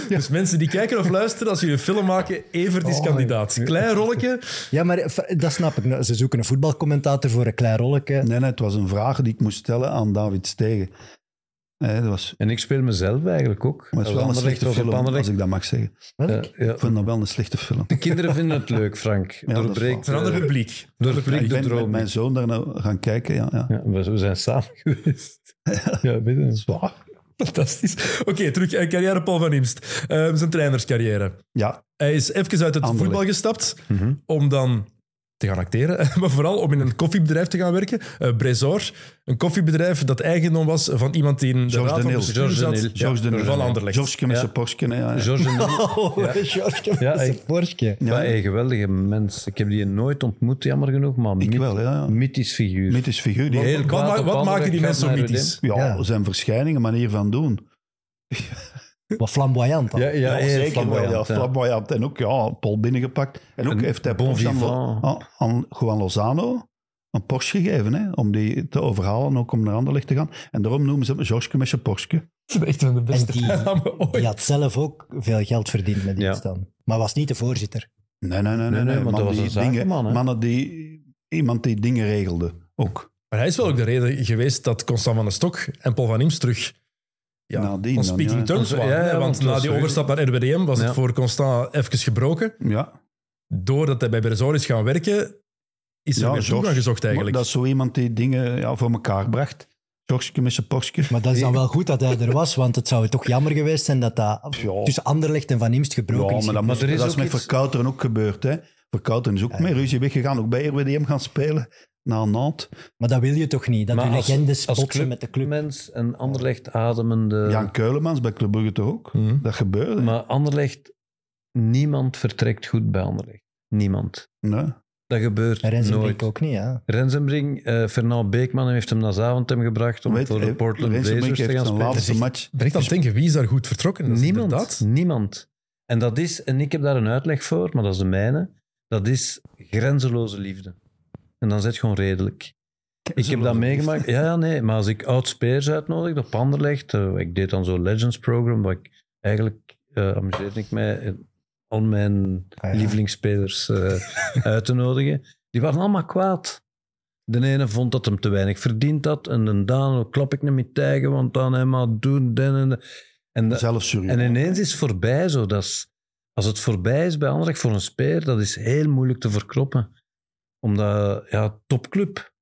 A: Dus mensen die kijken of luisteren, als jullie een film maken, Evert is
B: Oh,
A: kandidaat. Klein rolletje.
B: Ja, maar f- dat snap ik. Nou, Ze zoeken een voetbalcommentator voor een klein rolletje.
C: Nee, nee, het was een vraag die ik moest stellen aan David Stegen. Nee, dat was,
E: en ik speel mezelf eigenlijk ook.
C: maar het
E: Als
C: is wel een
E: Anderlecht
C: slechte
E: was op
C: film,
E: Anderlecht.
C: als ik dat mag zeggen.
E: Ja, ja.
C: Ik vind dat wel een slechte film.
E: De kinderen vinden het leuk, Frank.
C: dat is
E: Doorbreekt
A: Het is een ander
E: eh,
A: publiek.
C: Ja, ik
E: doorbreekt de
C: ben met
E: droom.
C: mijn zoon daar nou gaan kijken, ja. ja.
E: Ja, we, we zijn samen geweest. Ja, weet je.
C: Zwaar.
A: Fantastisch. Oké, terug eh, carrière Paul van Imst. Eh, zijn trainerscarrière.
C: Ja,
A: Hij is even uit het
C: Anderlecht.
A: voetbal gestapt
C: Mhm.
A: om dan te gaan acteren, maar vooral om in een koffiebedrijf te gaan werken. Eh Brezor, een koffiebedrijf dat eigendom was van iemand die in de
C: Georges
A: raad van
C: Daniel.
A: bestuur
E: Georges
A: zat,
E: Daniel.
C: George de
A: van Anderlecht.
C: George met
E: Ja.
C: zijn Porsche, hè, ja. ja.
E: George en-
B: Oh,
E: Ja.
B: George,
E: Ja,
B: dat is
E: ik-
B: een vorkje.
E: Ja, een geweldige mens. Ik heb die nooit ontmoet, jammer genoeg, maar
C: Ik
E: myth-
C: wel, ja, ja.
E: mythisch figuur.
C: Mythisch figuur. Die,
E: Heel
A: Wat,
E: kwaad
A: ma-
E: op
A: wat
E: Anderlecht,
A: maken die
E: gaat
A: mensen zo
E: naar
A: mythisch?
C: ja,
B: Ja.
C: zijn verschijningen, manier van doen.
B: Wat flamboyant dan.
E: Ja, ja, heel flamboyant,
C: wel, Ja,
E: ja.
C: flamboyant. En ook, ja, Paul binnengepakt. En ook
E: Een
C: heeft hij
E: bon
C: Porsche aan,
E: vivant.
C: aan, aan Juan Lozano een Porsche gegeven, hè, om die te overhalen, ook om naar Anderlecht te gaan. En daarom noemen ze hem George met zijn Porsche.
A: Dat is echt een van de beste
B: En die-
A: namen ooit.
B: Die had zelf ook veel geld verdiend met
E: Ja.
B: iets dan. Maar was niet de voorzitter.
C: Nee, nee, nee, nee.
E: nee,
C: nee,
E: want
C: man
E: dat was
C: die
E: een zakenman, hè.
C: Mannen die... Iemand die dingen regelde, ook.
A: Maar hij is wel ook de reden geweest dat Constant van den Stok en Paul van Imst terug ja,
C: Nadien
A: on
C: dan,
A: speaking
C: ja.
A: terms
E: Ja,
A: waren.
E: ja,
A: hè,
E: want
A: want
E: het
A: na
E: was
A: die
E: terug-
A: overstap naar RWDM was
E: Ja.
A: het voor Constant even gebroken.
C: Ja.
A: Doordat hij bij Brezor is gaan werken, is er
C: Ja,
A: weer
C: George.
A: toegang gezocht eigenlijk.
C: Maar Dat is zo iemand die dingen ja, voor elkaar bracht. George met zijn Porsche.
B: Maar dat is dan wel goed dat hij er was, want het zou toch jammer geweest zijn dat dat
C: Ja.
B: tussen Anderlecht en Van Imst gebroken
C: Ja,
B: is.
C: maar dat,
E: Maar
C: is,
E: er is
C: dat is
E: ook
C: met
E: iets-
C: Verkouteren ook gebeurd. Hè. Verkouteren is ook met ruzie weggegaan. Ook bij RWDM gaan spelen. Na Nantes.
B: Maar dat wil je toch niet? Dat
E: Maar
B: je
E: als-
B: legendes
E: als
B: botsen met de club.
E: Mens en Anderlecht ademende...
C: Jan Keulemans bij Club Brugge toch ook?
A: Mhm.
C: Dat gebeurde.
E: Eh. Maar Anderlecht, niemand vertrekt goed bij Anderlecht. Niemand.
C: Nee.
E: Dat gebeurt
B: En Rensenbrink
E: nooit.
B: ook niet, ja.
E: Rensenbrink, eh Fernand Beekman heeft hem naar Zaventem gebracht om
C: Weet-
E: voor de
C: eh,
E: Portland
C: Rensenbrink
E: Blazers te
C: heeft
E: gaan
C: zijn
E: spelen.
C: laatste match.
A: Direct aan het denken, wie is daar goed vertrokken? Dat is
E: niemand.
A: inderdaad-
E: Niemand. En dat is, en ik heb daar een uitleg voor, maar dat is de mijne. Dat is grenzeloze liefde. En dan zit gewoon redelijk. Ik heb dat meegemaakt. Ja, ja, nee. Maar als ik oud-speers uitnodig op Anderlecht, eh, ik deed dan zo'n Legends-program, waar ik eigenlijk eh amuseerde ik mij eh, al mijn
B: Ah, ja.
E: lievelingsspelers eh, uit te nodigen. Die waren allemaal kwaad. De ene vond dat hem te weinig verdiend had. En de daan klap ik niet meer tegen, want dan helemaal doen, den en de- En, dat-
C: Zelfs Surya.
E: en ineens is het voorbij zo. Dat is- als het voorbij is bij Anderlecht voor een speler, dat is heel moeilijk te verkroppen. Omdat, ja, topclub.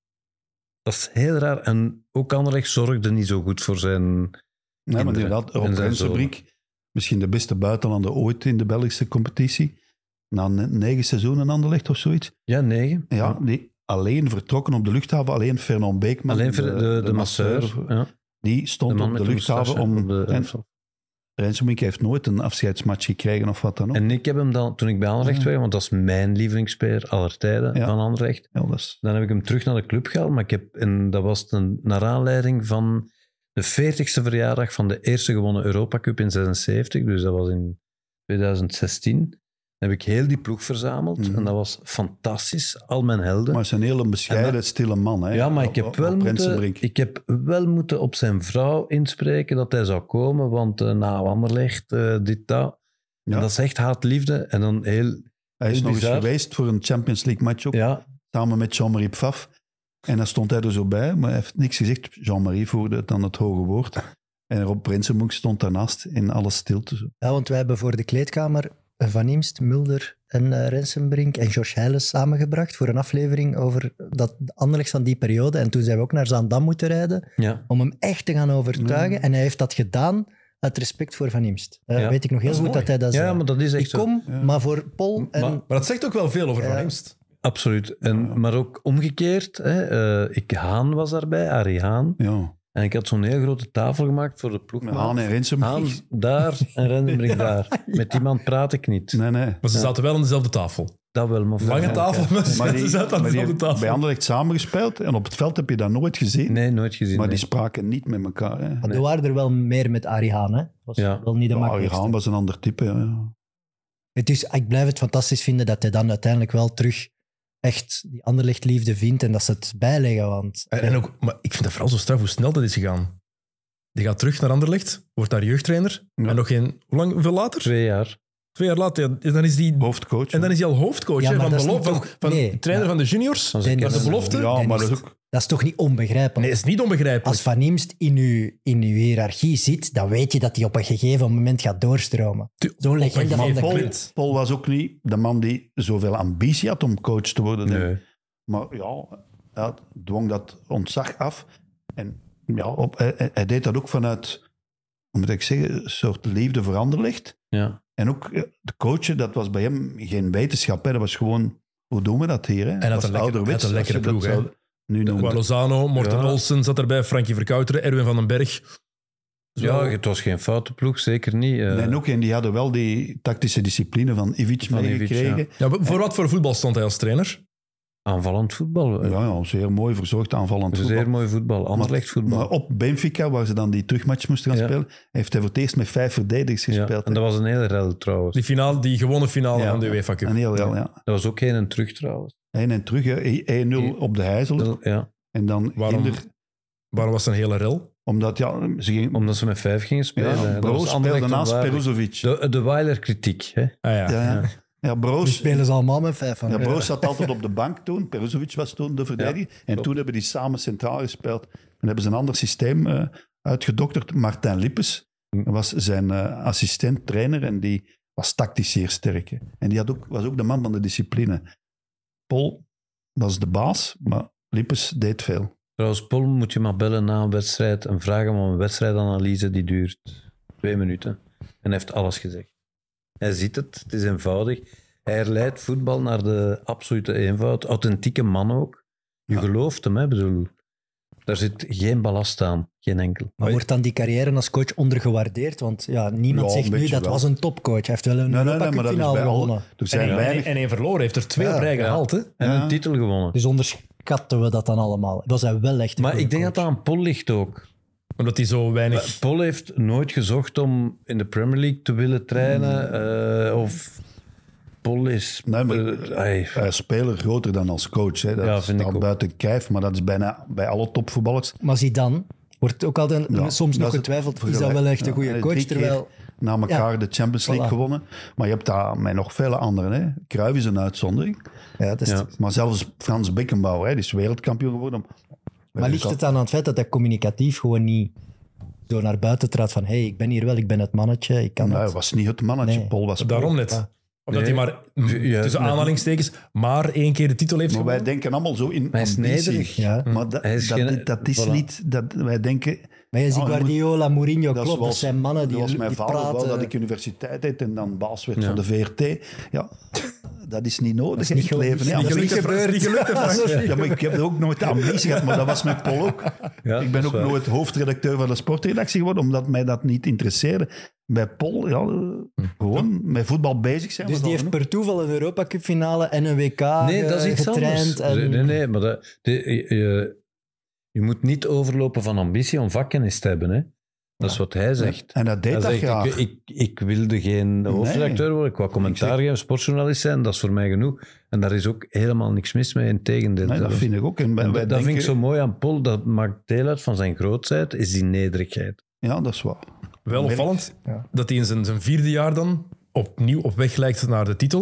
E: Dat is heel raar. En ook Anderlecht zorgde niet zo goed voor zijn...
C: Nee, maar
E: kinderen.
C: inderdaad, Rob
E: En zijn
C: Rensenbrink, misschien de beste buitenlander ooit in de Belgische competitie. Na ne- negen seizoenen Anderlecht of zoiets.
E: Ja, negen.
C: Ja, die alleen vertrokken op de luchthaven. Alleen Fernand Beekman. eh,
E: Alleen voor de, de, masseur. Ja.
C: Die
E: De
C: stond
E: man
C: op
E: met
C: de luchthaven
E: moustache
C: om...
E: op de-
C: en Rensenbrink heeft nooit een afscheidsmatch gekregen of wat dan ook.
E: En ik heb hem dan, toen ik bij Anderlecht
C: Ja.
E: werkte, want dat is mijn lievelingsspeler aller tijden
C: Ja.
E: van Anderlecht,
C: Ja, dat is-
E: dan heb ik hem terug naar de club gehaald. Maar ik heb, en dat was ten, naar aanleiding van de 40ste verjaardag van de eerste gewonnen Europa Cup in 76, dus dat was in 2016. Dan heb ik heel die ploeg verzameld
C: Mhm.
E: en dat was fantastisch. Al mijn helden.
C: Maar Oh, het is een hele bescheiden,
E: En dat-
C: stille man. Hè,
E: Ja, maar
C: Op-
E: ik heb,
C: op
E: wel moeten,
C: Rensenbrink.
E: ik heb wel moeten op zijn vrouw inspreken dat hij zou komen, want eh, na Wanderlecht, eh, dit, dat. En
C: Ja.
E: dat is echt haatliefde. En dan heel...
C: Hij is
E: heel
C: nog eens
E: bizar.
C: geweest voor een Champions League match ook,
E: Ja,
C: samen met Jean-Marie Pfaff. En daar stond hij er zo bij, maar hij heeft niks gezegd. Jean-Marie voerde dan het hoge woord. En Rob Prinsenbroek stond daarnaast in alle stilte. Zo.
B: Ja, want wij hebben voor de kleedkamer eh, Van Imst, Mulder en eh, Rensenbrink en Josh Heiles samengebracht voor een aflevering over dat Anderlecht van die periode. En toen zijn we ook naar Zaandam moeten rijden
E: ja.
B: om hem echt te gaan overtuigen. En hij heeft dat gedaan uit respect voor Van Imst. Eh,
E: Ja.
B: Weet ik nog heel
A: Dat
B: goed
A: is
B: dat hij dat zei.
E: ja, maar dat is
B: ik
E: echt zo.
B: kom,
C: Ja.
B: maar voor Pol en...
E: Maar-
A: Maar dat zegt ook wel veel over Van
B: Ja.
A: Imst.
E: Absoluut. En, maar ook omgekeerd. Hè, eh, ik, Haan was daarbij, Arie Haan.
C: Ja.
E: En ik had zo'n heel grote tafel gemaakt voor de ploeg.
C: Haan en Rensenbrink.
E: Haan daar en Rendenbrink daar. Met die man praat ik niet.
C: Nee, nee.
A: Maar ze zaten wel aan dezelfde tafel.
E: Dat wel, maar...
A: Lange
E: Ja,
A: tafel, maar
C: Maar
A: ze
C: die,
A: zaten aan
C: maar die
A: dezelfde
C: heeft bij
A: tafel.
C: Anderlecht samengespeeld en op het veld heb je dat nooit gezien.
E: Nee, nooit gezien.
C: maar
E: nee.
C: die spraken niet met elkaar. Hè.
B: Maar er waren er wel meer met Arie Haan, hè? was
E: Ja.
B: wel niet de
C: Ja,
B: makkelijkste.
C: Iran was een ander type. Ja.
B: Het is, ik blijf het fantastisch vinden dat hij dan uiteindelijk wel terug echt die Anderlecht-liefde vindt en dat ze het bijleggen. Want
A: En, en ook, maar ik vind dat vooral zo straf hoe snel dat is gegaan. Die gaat terug naar Anderlecht, wordt daar jeugdtrainer.
C: Ja.
A: En nog geen, hoe lang, hoeveel later?
E: Twee jaar.
A: Twee jaar later. ja, en dan is die,
C: Hoofdcoach.
A: en dan is hij al hoofdcoach
B: Ja,
A: hè,
B: maar
A: van,
B: dat is
A: belofte,
B: niet
A: van,
B: toch-
A: van
B: nee,
A: trainer
B: ja.
A: van de juniors.
E: Dat is
B: Dennis,
E: een
A: Dat is de belofte.
C: ja, maar dat
B: Dennis.
C: is ook...
B: dat is toch niet onbegrijpelijk?
A: Nee, is niet onbegrijpelijk.
B: Als Van Imst in uw, in uw hiërarchie zit, dan weet je dat hij op een gegeven moment gaat doorstromen.
A: Tu-
B: Zo'n legende
A: een
B: van de
A: gegeven
C: Paul,
B: club.
A: moment. Clint.
C: Paul was ook niet de man die zoveel ambitie had om coach te worden. denk ik.
E: Nee.
C: Maar ja, hij had- dwong dat ontzag af. En ja, op, hij, hij- hij deed dat ook vanuit, hoe moet ik zeggen, een soort liefde voor Anderlecht.
E: Ja.
C: En ook eh, de coachen, dat was bij hem geen wetenschap. Hè. Dat was gewoon, hoe doen we dat hier? Hè?
A: had
C: dat was
A: een lekker-
C: ouderwets,
A: hij had een
C: als je
A: lekkere
C: dat
A: ploeg,
C: zou Nu
A: Waar
C: noemen.
A: Lozano, Morten
E: Ja.
A: Olsen zat erbij, Frankie Verkouteren, Erwin van den Berg.
E: ja, het was geen foute ploeg, zeker niet. eh,
C: En ook, en die hadden wel die tactische discipline van Ivic
E: Van Ivic,
C: meegekregen.
A: Ja, voor wat voor voetbal stond hij als trainer?
E: Aanvallend voetbal.
C: Ja,
E: Ja,
C: ja, zeer mooi verzorgd aanvallend voetbal.
E: Zeer mooi voetbal. Anderlecht voetbal.
C: Maar op Benfica, waar ze dan die terugmatch moesten gaan
E: Ja.
C: spelen, heeft hij voor het eerst met vijf verdedigers
E: ja.
C: gespeeld.
E: En dat was een hele rel trouwens.
A: Die, finale, die gewonnen finale
C: Ja.
A: van de UEFA Cup.
C: Een heel, heel, ja.
E: Dat was ook heen en terug trouwens.
C: Heen en terug, hè. 1-0 op de Heijzel.
E: Ja,
C: En dan
A: Waarom?
C: Inder,
A: Waarom was het een hele rel?
C: omdat ja, ze ging...
E: omdat ze met vijf gingen spelen.
C: Ja,
E: Dat was
C: Broos speelde
E: Anderlecht
C: naast
E: onwaardig.
C: Peruzovic. Ja,
E: De, de Weiler-kritiek. hè.
A: Ah, ja.
C: ja. ja,
B: Nu
C: Broos,
B: spelen ze allemaal met vijf van.
C: ja, Broos zat altijd op de bank toen. Peruzovic was toen de verdediger. en
E: klopt.
C: toen hebben die samen centraal gespeeld. En hebben ze een ander systeem eh, uitgedokterd. Martijn Lippes
E: Hm.
C: was zijn eh, assistent-trainer en die was tactisch zeer sterk. hè. En die had ook, was ook de man van de discipline. Pol was de baas, maar Lippes deed veel.
E: Trouwens, Paul moet je maar bellen na een wedstrijd en vragen om een wedstrijdanalyse die duurt twee minuten. En hij heeft alles gezegd. Hij ziet het, het is eenvoudig. Hij herleidt voetbal naar de absolute eenvoud. Authentieke man ook. Je
C: Ja.
E: gelooft hem, hè? Ik bedoel. Daar zit geen ballast aan, geen enkel.
B: Maar wordt dan die carrière als coach ondergewaardeerd? Want ja, niemand
C: Ja,
B: zegt
C: een
B: nu
C: beetje
B: dat
C: wel.
B: was een topcoach. Hij heeft wel een
C: Nee, nee,
B: Europa
C: nee,
B: Cup
C: maar dat is
B: finale
C: bij al.
B: gewonnen.
C: Er
A: En,
C: zijn
A: en,
C: weinig.
A: en één verloren heeft er twee
B: Ja.
A: op rij
E: Ja.
A: gehaald. Hè?
E: En
C: Ja.
E: een titel gewonnen.
B: Dus onderschatten we dat dan allemaal. Dat zijn wel echt een
E: Maar
B: goede
E: ik denk dat
B: coach.
E: dat aan Paul ligt ook.
A: Omdat hij zo weinig...
E: Eh, Paul heeft nooit gezocht om in de Premier League te willen trainen. eh, of Paul is...
C: Hmm. Nee, maar-
E: eh, ai,
C: Eh, speler groter dan als coach. Hè. Dat
E: Ja, vind ik
C: staat
E: ook.
C: buiten kijf, maar dat is bijna bij alle topvoetballers.
B: Maar zie dan, wordt ook altijd
C: Ja,
B: soms
C: dat
B: nog
C: is
B: getwijfeld, is dat
C: vergelijk-
B: wel echt een
C: ja,
B: goede
C: drie
B: coach?
C: keer
B: Terwijl,
C: Na elkaar de Champions League
B: Voilà.
C: gewonnen. Maar je hebt daar met nog vele anderen. Hè. Cruijff is een uitzondering.
B: ja, dat is
E: Ja.
C: Maar zelfs Frans Beckenbauer, hè, die is wereldkampioen geworden.
B: Maar ligt het dan aan het feit dat hij communicatief gewoon niet zo naar buiten traadt van hey, ik ben hier wel, ik ben het mannetje, ik kan
C: Nou, hij
B: het.
C: was niet het mannetje.
B: Nee.
C: Paul was
A: Daarom net.
B: Ja.
A: Omdat
E: Nee.
A: hij maar, m,
E: Ja,
A: tussen
E: net-
A: aanhalingstekens, maar één keer de titel heeft
C: Maar wij
A: gewonnen.
C: denken allemaal zo in
E: Hij is
C: ambitie.
E: nederig.
B: Ja.
C: Maar dat,
E: Hij is
C: dat,
E: geen-
C: dat is
E: voilà.
C: niet... Dat, wij denken...
B: Maar je ziet
C: Ja, je
B: Guardiola, Mourinho,
C: Dat
B: klopt, dat
C: was-
B: zijn mannen die,
C: dat was mijn
B: die
C: vader
B: praten.
C: wel, dat ik universiteit deed en dan baas werd
E: Ja.
C: van de VRT. Ja, dat is niet nodig
B: is
C: in
B: niet
C: het
B: ge-
C: leven.
B: is
C: hè.
B: niet
C: Anders-
A: Gelukte
B: gebeurd.
A: Frans, die gelukte Frans.
C: Ja, maar ik heb er ook nooit de ambitie gehad, maar dat was met Paul ook.
E: Ja,
C: ik
E: dat
C: ben
E: is
C: ook
E: waar.
C: nooit hoofdredacteur van de sportredactie geworden, omdat mij dat niet interesseerde. Bij Paul, ja, eh,
E: Hm.
C: gewoon met voetbal bezig zijn.
B: Dus
C: was
B: die
C: al
B: heeft
C: genoeg.
B: per toeval een Europa Cup finale en een WK
E: Nee, dat is
B: eh,
E: iets
B: getraind.
E: anders.
B: En...
E: Nee, nee, maar dat, de- je, je- je moet niet overlopen van ambitie om vakkennis te hebben. Hè? Dat is wat hij zegt.
C: En dat deed
E: Hij
C: dat
E: zegt,
C: graag.
E: ik, ik, ik wilde geen hoofdredacteur worden, ik wou commentaar geven, sportjournalist zijn, dat is voor mij genoeg. En daar is ook helemaal niks mis mee, in tegendeel.
C: nee, dat vind ik ook. En wij-
E: En
C: wij
E: dat
C: denken-
E: vind ik zo mooi aan Paul, dat maakt deel uit van zijn grootheid, is die nederigheid.
C: Ja, dat is waar.
A: Wel opvallend
B: Ja.
A: dat hij in zijn, zijn vierde jaar dan opnieuw op weg lijkt naar de titel.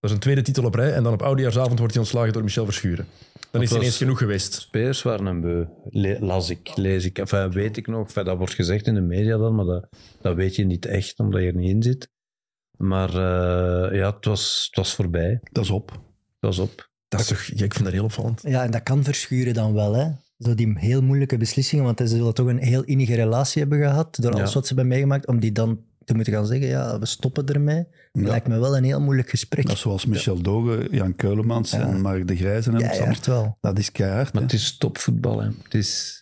A: Dat is een tweede titel op rij. En dan op oudejaarsavond wordt hij ontslagen door Michel Verschuren. Dan is hij
E: was-
A: ineens genoeg geweest.
E: Speers waren een beu, Le- las ik, lees ik. Enfin, weet ik nog, Enfin, dat wordt gezegd in de media dan, maar dat, dat weet je niet echt, omdat je er niet in zit. Maar eh, ja, het was, het was voorbij, het
C: Dat is op.
E: was op.
A: Dat is toch, ja, ik vind dat heel opvallend.
B: Ja, en dat kan verschuren dan wel, hè. Zo die heel moeilijke beslissingen, want ze zullen toch een heel innige relatie hebben gehad door alles
E: Ja.
B: wat ze hebben meegemaakt, om die dan te moeten gaan zeggen, ja, we stoppen ermee. Dat
C: Ja.
B: lijkt me wel een heel moeilijk gesprek.
C: Dat is zoals Michel Doge, Jan Keulemans
B: Ja.
C: en Mark de Grijze. En
B: ja,
C: Sam.
B: echt wel.
C: Dat is keihard.
E: Maar
C: hè.
E: het is topvoetbal, hè. Het is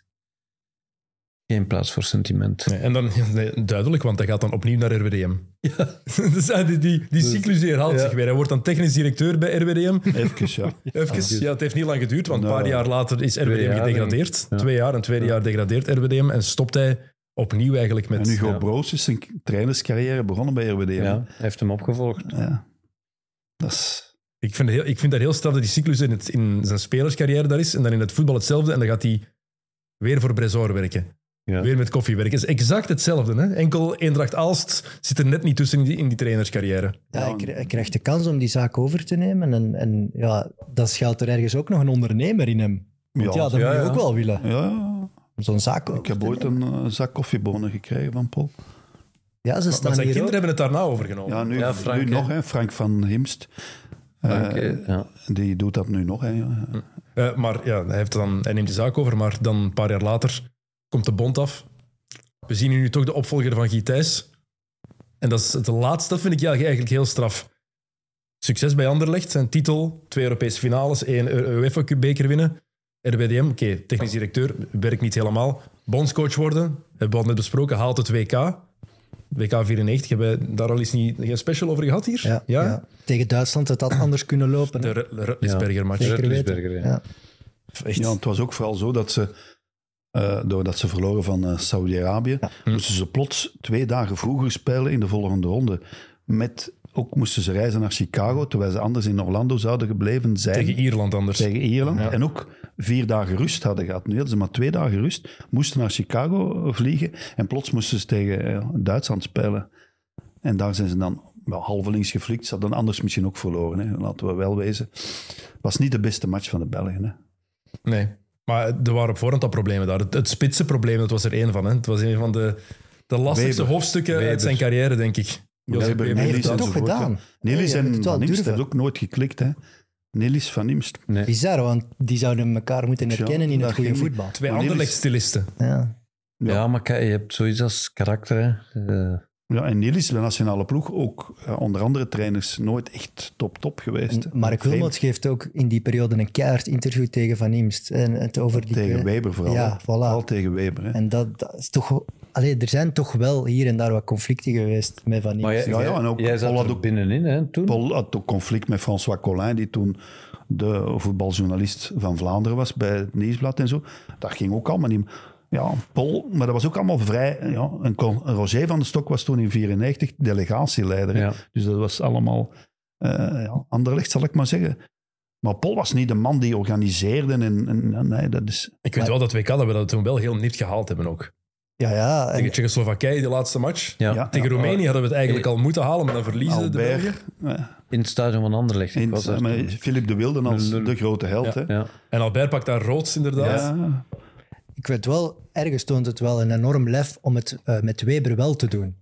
E: geen plaats voor sentiment.
A: En dan, ja, nee, duidelijk, want hij gaat dan opnieuw naar RWDM. Dus hij- die, die, die cyclus die herhaalt zich weer. Hij wordt dan technisch directeur bij RWDM.
C: Even, ja.
A: Even, ja, het heeft niet lang geduurd, want een paar
C: Nou,
A: jaar later is RWDM
E: jaar,
A: gedegradeerd.
E: denk ik. Ja.
A: Twee jaar, en tweede jaar degradeert RWDM en stopt hij opnieuw eigenlijk
C: En
A: met...
C: Hugo
E: Ja.
C: Broos is zijn trainerscarrière begonnen bij RWDM.
E: Ja, hij heeft hem opgevolgd.
C: Ja. Dat is...
A: Ik vind, heel, ik vind dat heel straf dat die cyclus in, het, in zijn spelerscarrière daar is. En dan in het voetbal hetzelfde. En dan gaat hij weer voor Bresor werken.
E: Ja.
A: Weer met koffie werken. Het is exact hetzelfde. Hè? Enkel Eendracht Aalst zit er net niet tussen in die, in die trainerscarrière.
B: Ja,
C: Ja,
B: ik, ik krijg de kans om die zaak over te nemen. En, en ja, dat schuilt er ergens ook nog een ondernemer in hem. Want ja, dat
E: ja,
B: moet je
E: ja.
B: ook wel willen.
C: Ja,
B: Om Zo'n zaak ook.
C: ik heb ooit een eh, zak koffiebonen gekregen van Paul.
B: Ja, ze
A: Maar
B: staan
A: zijn
B: hier
A: kinderen
B: ook.
A: hebben het daarna overgenomen.
C: Ja, nu,
E: Ja, Frank,
C: nu
E: hè.
C: nog, hè. Frank van Himst. Eh,
E: Oké, ja.
C: Die doet dat nu nog, hè. ja.
A: Eh, maar ja, hij, heeft dan, hij neemt de zaak over. Maar dan een paar jaar later komt de bond af. We zien hier nu toch de opvolger van Guy Thijs. En dat is het laatste. Dat vind ik ja, eigenlijk heel straf. Succes bij Anderlecht. Zijn titel, twee Europese finales, één Eu- UEFA Cup beker winnen. RWDM, oké, technisch directeur, werkt niet helemaal. Bondscoach worden, hebben we al net besproken, haalt het WK. WK 94, hebben wij daar al eens niet, geen special over gehad hier?
B: Ja, ja. Tegen Duitsland had dat anders kunnen lopen. hè.
A: De Ru- Rutlisberger match.
B: Zeker weten.
E: Rutlisberger, ja.
B: Ja.
A: Echt.
C: Ja, het was ook vooral zo dat ze, eh, doordat ze verloren van eh, Saudi-Arabië, moesten ze plots twee dagen vroeger spelen in de volgende ronde. Met, ook moesten ze reizen naar Chicago, terwijl ze anders in Orlando zouden gebleven zijn.
A: Tegen Ierland anders.
C: Tegen Ierland. En ook vier dagen rust hadden gehad. Nu hadden ze maar twee dagen rust, moesten naar Chicago eh, vliegen en plots moesten ze tegen eh, Duitsland spelen. En daar zijn ze dan wel halvelings geflikt. Ze hadden anders misschien ook verloren, hè. laten we wel wezen. was niet de beste match van de Belgen. Hè.
A: Nee. Maar er waren op voorhand al problemen daar. Het, het spitsenprobleem, dat was er één van. Hè. Het was een van de, de lastigste
C: Weber.
A: hoofdstukken uit
E: Weber.
A: zijn carrière, denk ik. Jozef
C: Weber,
A: Weber.
B: Hij heeft
C: Nelis
B: het toch
C: enzovoort, ja.
B: gedaan.
C: Nelis
B: Ja, je moet
C: en
B: het wel
C: Van Imst
B: durven.
C: heeft ook nooit geklikt, hè. Nelis Van Imst.
B: Bizar, want die zouden elkaar moeten
C: Ja,
B: herkennen in
C: dat
B: het goede
C: ging niet.
B: voetbal.
A: Twee
C: Maar
A: Anderlecht-stilisten.
B: Ja.
E: Ja. maar kijk, je hebt zoiets als karakter. Hè. Eh,
C: Ja, en Nelis, de nationale ploeg, ook ja, onder andere trainers, nooit echt top-top geweest. hè.
B: En Mark
C: Vreemd.
B: Wilmots geeft ook in die periode een keihard interview tegen Van Imst. En het over die... eh,
C: Tegen Weber vooral.
B: Ja,
C: hè.
B: voilà.
C: Vooral tegen Weber. Hè.
B: En dat, dat is toch... Allee, er zijn toch wel hier en daar wat conflicten geweest met Van Imst.
E: Maar jij,
C: Ja, ja,
E: jij-
C: en ook
E: jij zat
C: Pollard
E: er
C: ook-
E: binnenin hè, toen.
C: Paul had ook conflict met François Collin, die toen de voetbaljournalist van Vlaanderen was bij het Nieuwsblad en zo. Dat ging ook allemaal niet. Ja, Paul, maar dat was ook allemaal vrij... Ja, een, con- een Roger van de Stok was toen in 94 delegatieleider. hè.
E: Ja.
C: Dus dat was allemaal eh ja, anderlicht, zal ik maar zeggen. Maar Paul was niet de man die organiseerde. En, en, en- nee, dat is...
A: Ik weet wel dat WK dat we dat toen wel heel nipt gehaald hebben ook.
B: Ja, ja. En
A: Tegen Tsjechoslowakije, die laatste match.
E: Ja,
C: Ja.
A: Tegen Roemenië hadden we het eigenlijk al moeten halen, maar dan verliezen de Belgen.
C: Albert, eh,
E: In het stadion van Anderlecht. Ik
C: in,
E: was daar
C: maar
E: toen.
C: Philippe de Wilde als
E: Lul.
C: de grote held.
A: Ja.
C: hè.
E: ja.
A: En Albert pakt daar roods, inderdaad.
C: Ja.
B: ik weet wel, ergens toont het wel een enorm lef om het eh, met Weber wel te doen.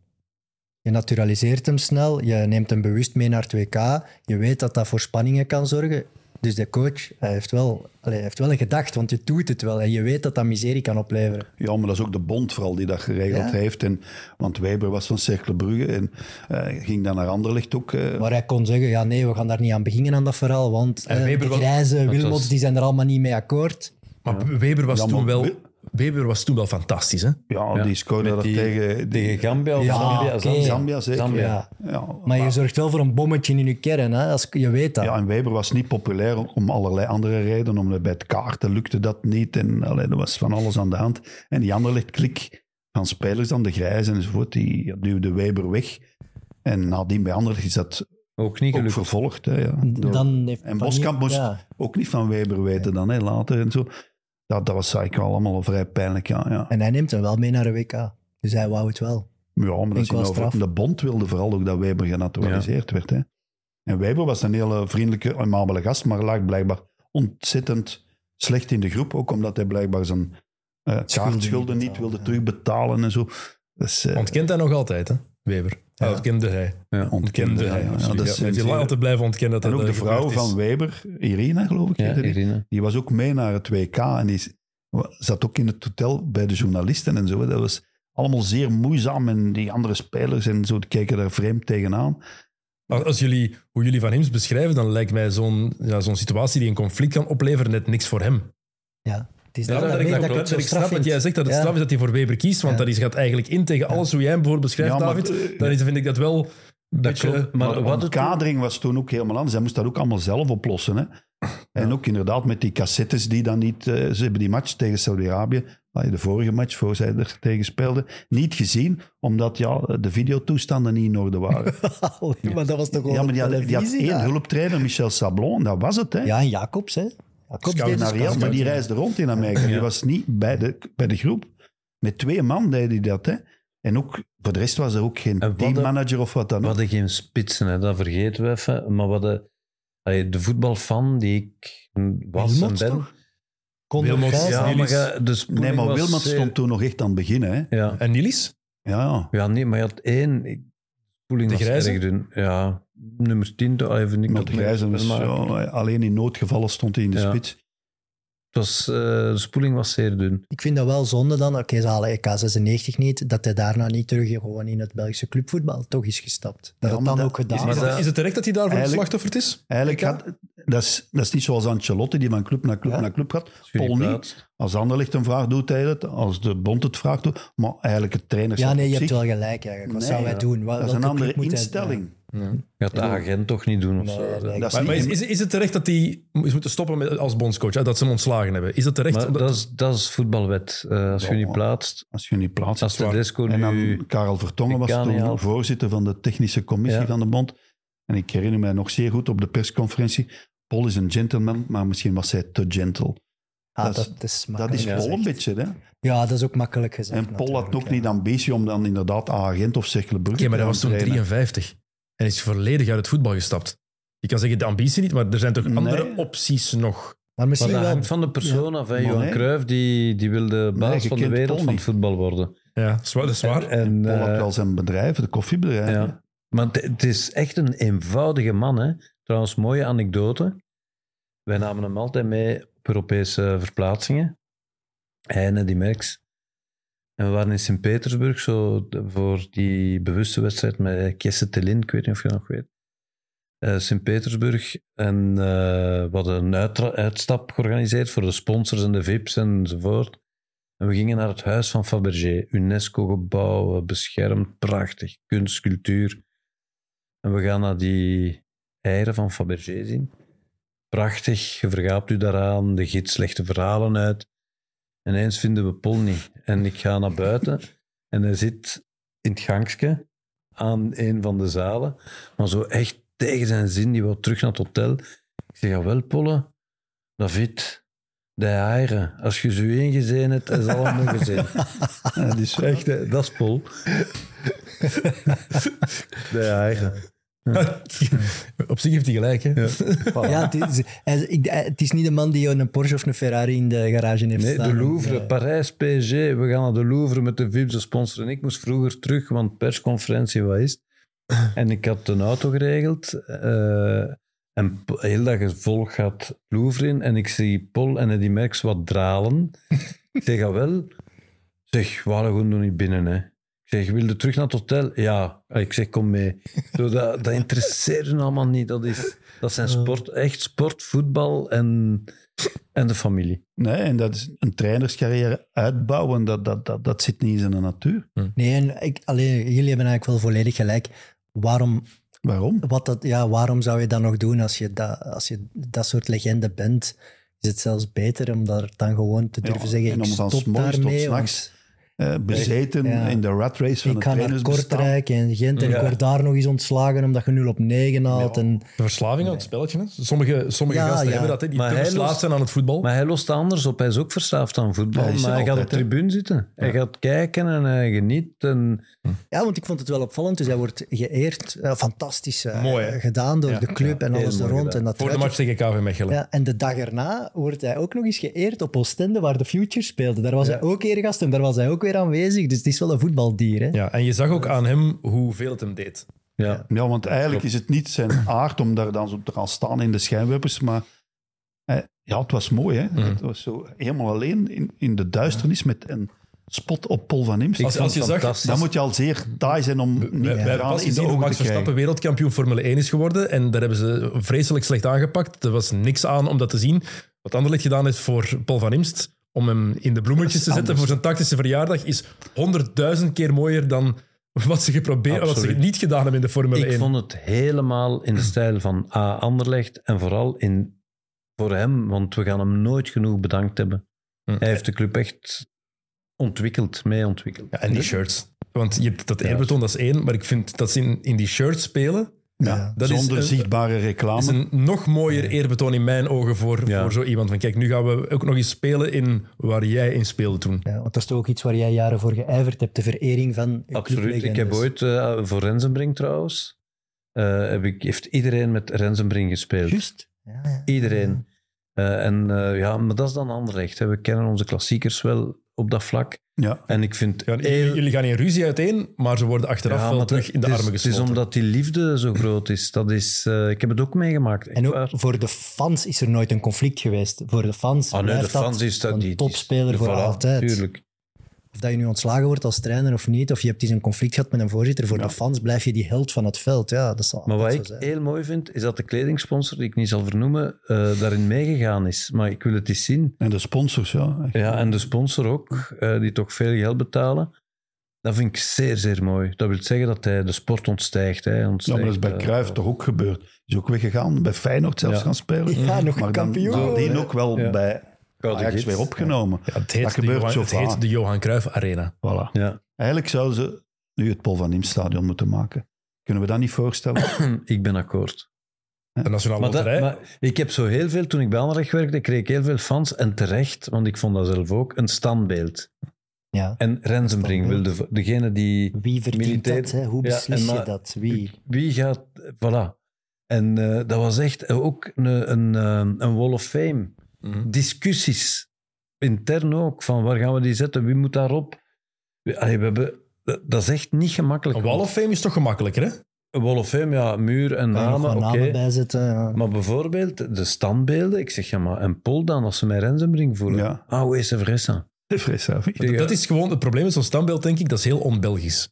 B: Je naturaliseert hem snel, je neemt hem bewust mee naar het WK, je weet dat dat voor spanningen kan zorgen. Dus de coach hij heeft, wel, allee, hij heeft wel een gedacht, want je doet het wel en je weet dat dat miserie kan opleveren.
C: Ja, maar dat is ook de bond vooral die dat geregeld
B: Ja.
C: heeft. En, want Weber was van Cercle Brugge en eh, ging dan naar Anderlecht ook. eh,
B: Maar hij kon zeggen, ja nee, we gaan daar niet aan beginnen aan dat verhaal, want
A: En
B: eh,
A: Weber
B: de
A: wel-
B: grijze
E: was-
B: Wilmots die zijn er allemaal niet mee akkoord.
A: Maar Weber was,
C: Ja,
A: toen
C: maar
A: wel,
C: We-
A: Weber was toen wel fantastisch. Hè?
C: ja,
E: Ja,
C: die scoorde
E: met
C: daar
E: die-
C: tegen...
E: Tegen Gambia of
B: Ja,
E: Zambia.
B: oké.
E: Zambia.
C: Zambia zeker.
E: Zambia.
B: Ja.
C: ja,
B: Maar je zorgt wel voor een bommetje in je kern, hè? Als, je weet dat.
C: ja, en Weber was niet populair om allerlei andere redenen. Omdat bij het kaarten lukte dat niet. En allee, er was van alles aan de hand. En die Anderlecht-klik van spelers dan, de Grijze enzovoort, die duwde Weber weg. En nadien bij Anderlecht is dat
E: Ook niet
C: ook
E: gelukt.
C: vervolgd. Hè, ja,
B: D-
C: door-
B: Dan heeft
C: En
B: Van
C: Boskamp
B: Niel-
C: moest
B: ja.
C: ook niet van Weber weten dan, hè, later en zo. Dat, dat was eigenlijk wel allemaal vrij pijnlijk, ja. Ja,
B: En hij neemt hem wel mee naar de WK. Dus hij wou het wel.
C: ja maar
B: wel
C: dat zien we over-
B: straf.
C: de bond wilde vooral ook dat Weber genaturaliseerd werd. Hè. En Weber was een hele vriendelijke, amabele gast, maar lag blijkbaar ontzettend slecht in de groep. Ook omdat hij blijkbaar zijn eh kaartschulden niet wilde
B: betalen,
C: terugbetalen en zo. Dus, eh,
A: Ontkent hij nog altijd, hè? Weber. Ja,
B: Ja.
A: dat kende hij. Ontkende
C: ontkende
A: hij.
C: hij, ja.
A: absoluut.
C: Ja, dat
A: Ja,
C: is
A: hij heeft
C: een
A: lang
C: zeer-
A: altijd blijven ontkennen dat
C: En
A: dat
C: ook de
A: eh,
C: vrouw
A: gebeurd is.
C: van Weber, Irina geloof ik,
E: Ja,
C: heette die.
E: Irina.
C: Die was ook mee naar het WK en die z- zat ook in het hotel bij de journalisten en zo. Dat was allemaal zeer moeizaam en die andere spelers en zo die keken daar vreemd tegenaan.
A: Maar als jullie, hoe jullie Van Hims beschrijven, dan lijkt mij zo'n ja, zo'n situatie die een conflict kan opleveren net niks voor hem.
B: Ja, het is
A: Ja,
B: daarom
A: dat
B: dat,
A: ik, dat
B: weet dat ik
A: klopt.
B: het zo
A: En ik snap
B: straf
A: dat jij
B: vind.
A: zegt dat het
B: Ja.
A: straf is dat hij voor Weber kiest, want
B: Ja.
A: dat is, gaat eigenlijk in tegen alles hoe jij hem bijvoorbeeld beschrijft,
C: Ja, maar,
A: David.
C: eh,
A: Dan is, vind ik dat wel een beetje...
E: klopt, maar-
C: Maar de
E: wat het-
C: omkadering was toen ook helemaal anders. Hij moest dat ook allemaal zelf oplossen. Hè? En ook inderdaad met die cassettes die dan niet... eh, ze hebben die match tegen Saudi-Arabië, ah, de vorige match, voor zij er tegen speelden, niet gezien, omdat ja, de videotoestanden niet in orde waren.
B: maar dat was toch gewoon
C: ja, maar die had, die had
B: televisie?
C: één
B: daar?
C: hulptrainer, Michel Sablon, en dat was het. Hè.
B: Ja, en Jacobs, hè.
A: Scout
B: Jacobs deed
A: naar
B: dus-
C: Naar Real, maar die reisde rond in Amerika. Die was niet bij de, bij de groep. Met twee man deed hij dat. Hè. En ook, voor de rest was er ook geen
E: En wat
C: teammanager of wat dan
E: We
C: ook.
E: hadden geen spitsen, hè, dat vergeten we even. Maar we hadden, allee, de voetbalfan die ik was
B: Wilmots
E: en ben...
B: toch? Kon
A: Wilmots,
B: nog
A: ja.
B: vijf-
E: Ja, maar
A: Niels.
E: ja, dus
C: Nee, maar Wilmot stond toen nog echt aan het begin. Hè.
E: Ja.
A: En Nilis?
C: Ja,
E: ja, nee, maar je had één... ik- Spoeling
A: De
E: was
A: Grijze?
E: erg dun. Ja, nummer 10, toch? Ah, Allee, vind ik
C: met
E: dat
C: Grijzen was
E: maar-
C: ja, alleen in noodgevallen stond hij in de
E: Ja.
C: spits.
E: Het was, eh, de spoeling was zeer dun.
B: Ik vind dat wel zonde dan, oké, ze halen EK96 niet, dat hij daarna niet terug gewoon in het Belgische clubvoetbal toch is gestapt. Dat
C: Ja,
B: had
C: maar
B: dan
C: dat-
B: ook gedaan.
A: Is,
E: Maar
A: het-
E: dat-
A: is het terecht dat hij daarvoor het
C: Eigenlijk-
A: slachtoffer is?
C: Eigenlijk
A: Ik, ja.
C: had, dat, is, dat is niet zoals Ancelotti, die van club naar club
B: Ja.
C: naar club gaat.
E: Goeie
C: Paul niet.
E: plaats.
C: Als Anderlecht een vraag doet, hij het. Als de Bond het vraagt, doet. Maar eigenlijk het trainer
B: ja,
C: staat
B: nee,
C: op
B: je hebt
C: zich.
B: wel gelijk eigenlijk. Wat
C: Nee,
B: zouden wij
C: ja.
B: doen? Wel-
C: Dat is
B: welke
C: een
B: club
C: andere
B: moet hij-
C: instelling.
E: Je had de agent toch niet doen of
B: Nee,
E: zo.
B: nee, nee.
C: Dat
A: Maar, maar is, is, is het terecht dat hij is moeten stoppen met, als bondscoach? Hè, dat ze hem ontslagen hebben? Is dat terecht?
E: Maar
A: omdat-
E: dat is, dat is voetbalwet. Eh, als
C: Ja,
E: je niet
C: maar-
E: plaatst,
C: Als je niet plaatst.
E: als de
A: waar.
E: desco
C: En
E: nu...
C: dan Karel Vertongen
E: Ik
C: was
E: kan
C: toen
E: niet helpen.
C: voorzitter van de technische commissie
E: Ja.
C: van de bond. En ik herinner mij nog zeer goed op de persconferentie. Paul is een gentleman, maar misschien was hij te gentle.
B: Ah,
C: Dat is-
B: dat, is
C: Dat
B: makkelijk
C: is Paul een
B: gezegd.
C: beetje. Hè?
B: Ja, dat is ook makkelijk gezegd.
C: En Paul had
B: natuurlijk,
C: nog
B: ja.
C: niet de ambitie om dan inderdaad agent of Cerkelenbrug
A: Oké, maar
C: te
A: dat was
C: gaan
A: toen
C: trainen.
A: 53. En is volledig uit het voetbal gestapt. Je kan zeggen de ambitie niet, maar er zijn toch
C: Nee.
A: andere opties nog.
B: Maar
E: Maar
B: misschien
E: dat
B: wel...
E: hangt van de persoon af. hè.
C: Maar
E: Johan
C: nee.
E: Cruijff die, die wil de baas
C: je
E: van de
C: kent
E: wereld
C: Paul
E: van het
C: niet.
E: voetbal worden.
A: Ja, dat is waar. Dat is waar.
E: En,
C: Paul had
E: eh,
C: wel zijn bedrijf, de koffiebedrijf.
E: ja. Maar het- het is echt een eenvoudige man. Hè. Trouwens, mooie anekdote. Wij namen hem altijd mee op Europese verplaatsingen. Hij en die Merks. En we waren in Sint-Petersburg zo de- voor die bewuste wedstrijd met Kesse Telin. Ik weet niet of je dat nog weet. Eh, Sint-Petersburg. En eh, we hadden een uitra- uitstap georganiseerd voor de sponsors en de VIP's enzovoort. En we gingen naar het huis van Fabergé. UNESCO-gebouw, eh, beschermd, prachtig. Kunst, cultuur. En we gaan naar die eieren van Fabergé zien. Prachtig, je vergaapt u daaraan, de gids legt de verhalen uit. En eens vinden we Paul niet. En ik ga naar buiten en hij zit in het gangske aan een van de zalen. Maar zo echt tegen zijn zin, die wil terug naar het hotel. Ik zeg, jawel Polle, David, de eieren. Als je ze u één gezien hebt, is het allemaal gezien.
C: Ja, dus
E: Echt, hè, dat is Paul. de eieren.
A: Op zich heeft hij gelijk. Hè?
C: Oh.
B: Ja, het is, hij- ik- hij- het is niet de man die een Porsche of een Ferrari in de garage heeft
E: Nee,
B: staan.
E: de Louvre,
B: Eh,
E: Parijs, PSG. We gaan naar de Louvre met de VIP's, de sponsor. En ik moest vroeger terug, want persconferentie, wat is het? En ik had een auto geregeld. eh, en p- heel dat gevolg gaat Louvre in. En ik zie Paul en die Merks wat dralen. ik zeg, "Ah, wel. Zeg, waarom gaan we niet binnen, hè? Ik zeg, wilde terug naar het hotel? Ja. Ah, Ik zeg, kom mee. Zo, dat, dat interesseert hun allemaal niet. Dat, is, dat zijn sport, echt sport, voetbal en, en de familie.
C: Nee, en dat is een trainerscarrière uitbouwen, dat, dat, dat, dat zit niet in zijn natuur.
B: Nee, en ik, alleen, jullie hebben eigenlijk wel volledig gelijk. Waarom,
C: Waarom?
B: wat dat, ja, waarom zou je dat nog doen als je, dat als je dat soort legende bent? Is het zelfs beter om daar dan gewoon te durven
C: Ja,
B: zeggen,
C: en
B: ik
C: om van
B: stop
C: s'morgens tot
B: daarmee,
C: s'nachts
B: want
C: Eh, bezeten
B: Ja.
C: in de rat race van
B: ik
C: het
B: ga naar
C: trainersbestaan.
B: Kortrijk en Gent en ik word daar nog eens ontslagen omdat je 0 op 9 haalt.
C: Ja.
B: En,
A: De verslaving aan het spelletje. Hè? Sommige, sommige
B: Ja,
A: gasten
B: ja.
A: hebben dat. Hè? Die
E: Maar
A: te
E: hij
A: verslaafd
E: lost-
A: zijn aan het voetbal.
E: Maar hij lost anders op. Hij is ook verslaafd aan voetbal.
C: Hij is er
E: maar hij gaat op de
C: altijd, hè?
E: tribune zitten. Hij gaat kijken en hij geniet. En
B: Ja, want ik vond het wel opvallend. Dus hij wordt geëerd, eh, fantastisch eh,
A: Mooi, hè?
B: gedaan door de club en
E: heel
B: alles er
E: mooi
B: rond.
E: gedaan.
B: En dat
A: voor de
B: eruit-
A: match tegen KV Mechelen.
B: Ja, en de dag erna wordt hij ook nog eens geëerd op Oostende, waar de Future speelde. Daar was hij ook eergast en daar was hij ook weer aanwezig. Dus het is wel een voetbaldier. Hè?
A: Ja, en je zag ook aan hem hoeveel het hem deed.
E: ja.
C: Ja, want eigenlijk is het niet zijn aard om daar dan zo te gaan staan in de schijnwerpers, maar eh, ja, het was mooi. Hè?
A: Mhm.
C: Het was zo helemaal alleen in, in de duisternis met een spot op Paul van Imst.
A: Als, als je zag,
E: fantastisch.
C: Dan moet je al zeer taai zijn om niet
A: Wij,
C: te
A: wij
C: gaan
A: pas
C: in de
A: gezien hoe
C: ogen
A: Max
C: te
A: Verstappen
C: krijgen.
A: wereldkampioen Formule 1 is geworden. En daar hebben ze vreselijk slecht aangepakt. Er was niks aan om dat te zien. Wat Anderlecht gedaan heeft voor Paul van Imst, om hem in de bloemetjes te zetten voor zijn tactische verjaardag, is honderdduizend keer mooier dan wat ze geprobeerd, wat ze
E: Absoluut.
A: niet gedaan hebben in de Formule
E: Ik
A: 1.
E: vond het helemaal in de stijl van A. Anderlecht. En vooral in, voor hem, want we gaan hem nooit genoeg bedankt hebben.
A: Hm.
E: Hij heeft de club echt ontwikkeld, mee ontwikkeld.
A: Ja, en die shirts. Want je hebt dat Everton, dat is één, maar ik vind dat ze in, in die shirts spelen,
C: Ja,
A: dat is
C: zonder
A: een-
C: zichtbare
A: is
C: reclame.
A: een nog mooier eerbetoon in mijn ogen voor,
E: Ja.
A: voor zo iemand. Van kijk, nu gaan we ook nog eens spelen in waar jij in speelde toen.
B: Ja, want dat is toch ook iets waar jij jaren voor geijverd hebt, de verering van je
E: Absoluut. Ik
B: clublegendes.
E: heb ooit eh, voor Rensenbrink trouwens. eh, heb ik, heeft iedereen met Rensenbrink gespeeld.
B: Juist. Ja, ja.
E: Iedereen.
B: Mm.
E: Eh, en eh, ja, maar dat is dan Anderlecht. Hè. We kennen onze klassiekers wel op dat vlak.
C: ja.
E: En ik vind
A: Ja,
E: heel-
A: jullie, jullie gaan in ruzie uiteen, maar ze worden achteraf
E: Ja,
A: wel
E: maar
A: terug
E: dat-
A: in de
E: het is-
A: armen gesloten.
E: Het is omdat die liefde zo groot is. Dat is eh, ik heb het ook meegemaakt. echt
B: En ook
E: waar.
B: voor de fans is er nooit een conflict geweest. Voor de fans
E: Ah, nee, de
B: blijft dat
E: fans is dat
B: een
E: die- die-
B: topspeler voor
E: Voilà,
B: altijd.
E: Tuurlijk.
B: Of dat je nu ontslagen wordt als trainer of niet, of je hebt eens een conflict gehad met een voorzitter, voor de fans blijf je die held van het veld. Ja, dat zal
E: Maar wat
B: altijd
E: ik
B: zo zijn.
E: heel mooi vind, is dat de kledingsponsor, die ik niet zal vernoemen, eh, daarin meegegaan is. Maar ik wil het eens zien.
C: En de sponsors, ja. echt.
E: Ja, en de sponsor ook, eh, die toch veel geld betalen. Dat vind ik zeer, zeer mooi. Dat wil zeggen dat hij de sport ontstijgt. Hij
C: Ja,
E: ontstijgt
C: maar dat is bij
E: eh,
C: Cruijff toch ook gebeurd. Is ook weggegaan, bij Feyenoord zelfs
E: Ja.
C: gaan spelen.
B: Ja, nog
C: maar
B: kampioen
C: Dan,
B: geworden,
C: die
B: hè?
C: ook wel
E: Ja.
C: bij
E: Gouden
C: Ajax
E: Gids.
C: weer opgenomen.
A: Ja, het heet,
C: Dat
A: de
C: gebeurt
A: Johan,
C: zo
A: het
C: vaak.
A: heet de Johan Cruijff Arena.
C: Voilà.
E: Ja.
C: Eigenlijk zouden ze nu het Paul van Imst stadion moeten maken. Kunnen we dat niet voorstellen?
E: Ik ben akkoord.
A: De Nationale
E: Maar, dat,
A: Loterij.
E: maar ik heb zo heel veel, toen ik bij Anderlecht werkte, kreeg ik heel veel fans. En terecht, want ik vond dat zelf ook, een standbeeld.
B: Ja.
E: En Rensenbrink wilde, voor- degene die...
B: Wie verdient
E: Militair-
B: dat? Hè? Hoe
E: Ja,
B: beslis
E: en maar-
B: je dat? Wie?
E: Wie gaat... Voilà. En eh, dat was echt ook een, een, eh, een wall of fame.
A: Mhm.
E: Discussies. Intern ook, van waar gaan we die zetten? Wie moet daarop? We- allee, we hebben... Dat dat is echt niet gemakkelijk.
A: Een Wall of Fame is toch gemakkelijker, hè?
E: Een wall of fame, ja, muur
A: Ah,
E: en
B: Daar nog
E: namen,
B: een
E: oké.
B: namen bij zetten. ja.
E: Maar bijvoorbeeld de standbeelden. Ik zeg, ja, maar en Pol dan, als ze mij Rensenbrink voelen.
C: Ja.
E: Ah, hoe is ze verressen?
C: De fris, hè?
E: Ja.
A: Dat is gewoon het probleem met zo'n standbeeld, denk ik. Dat is heel on-Belgisch.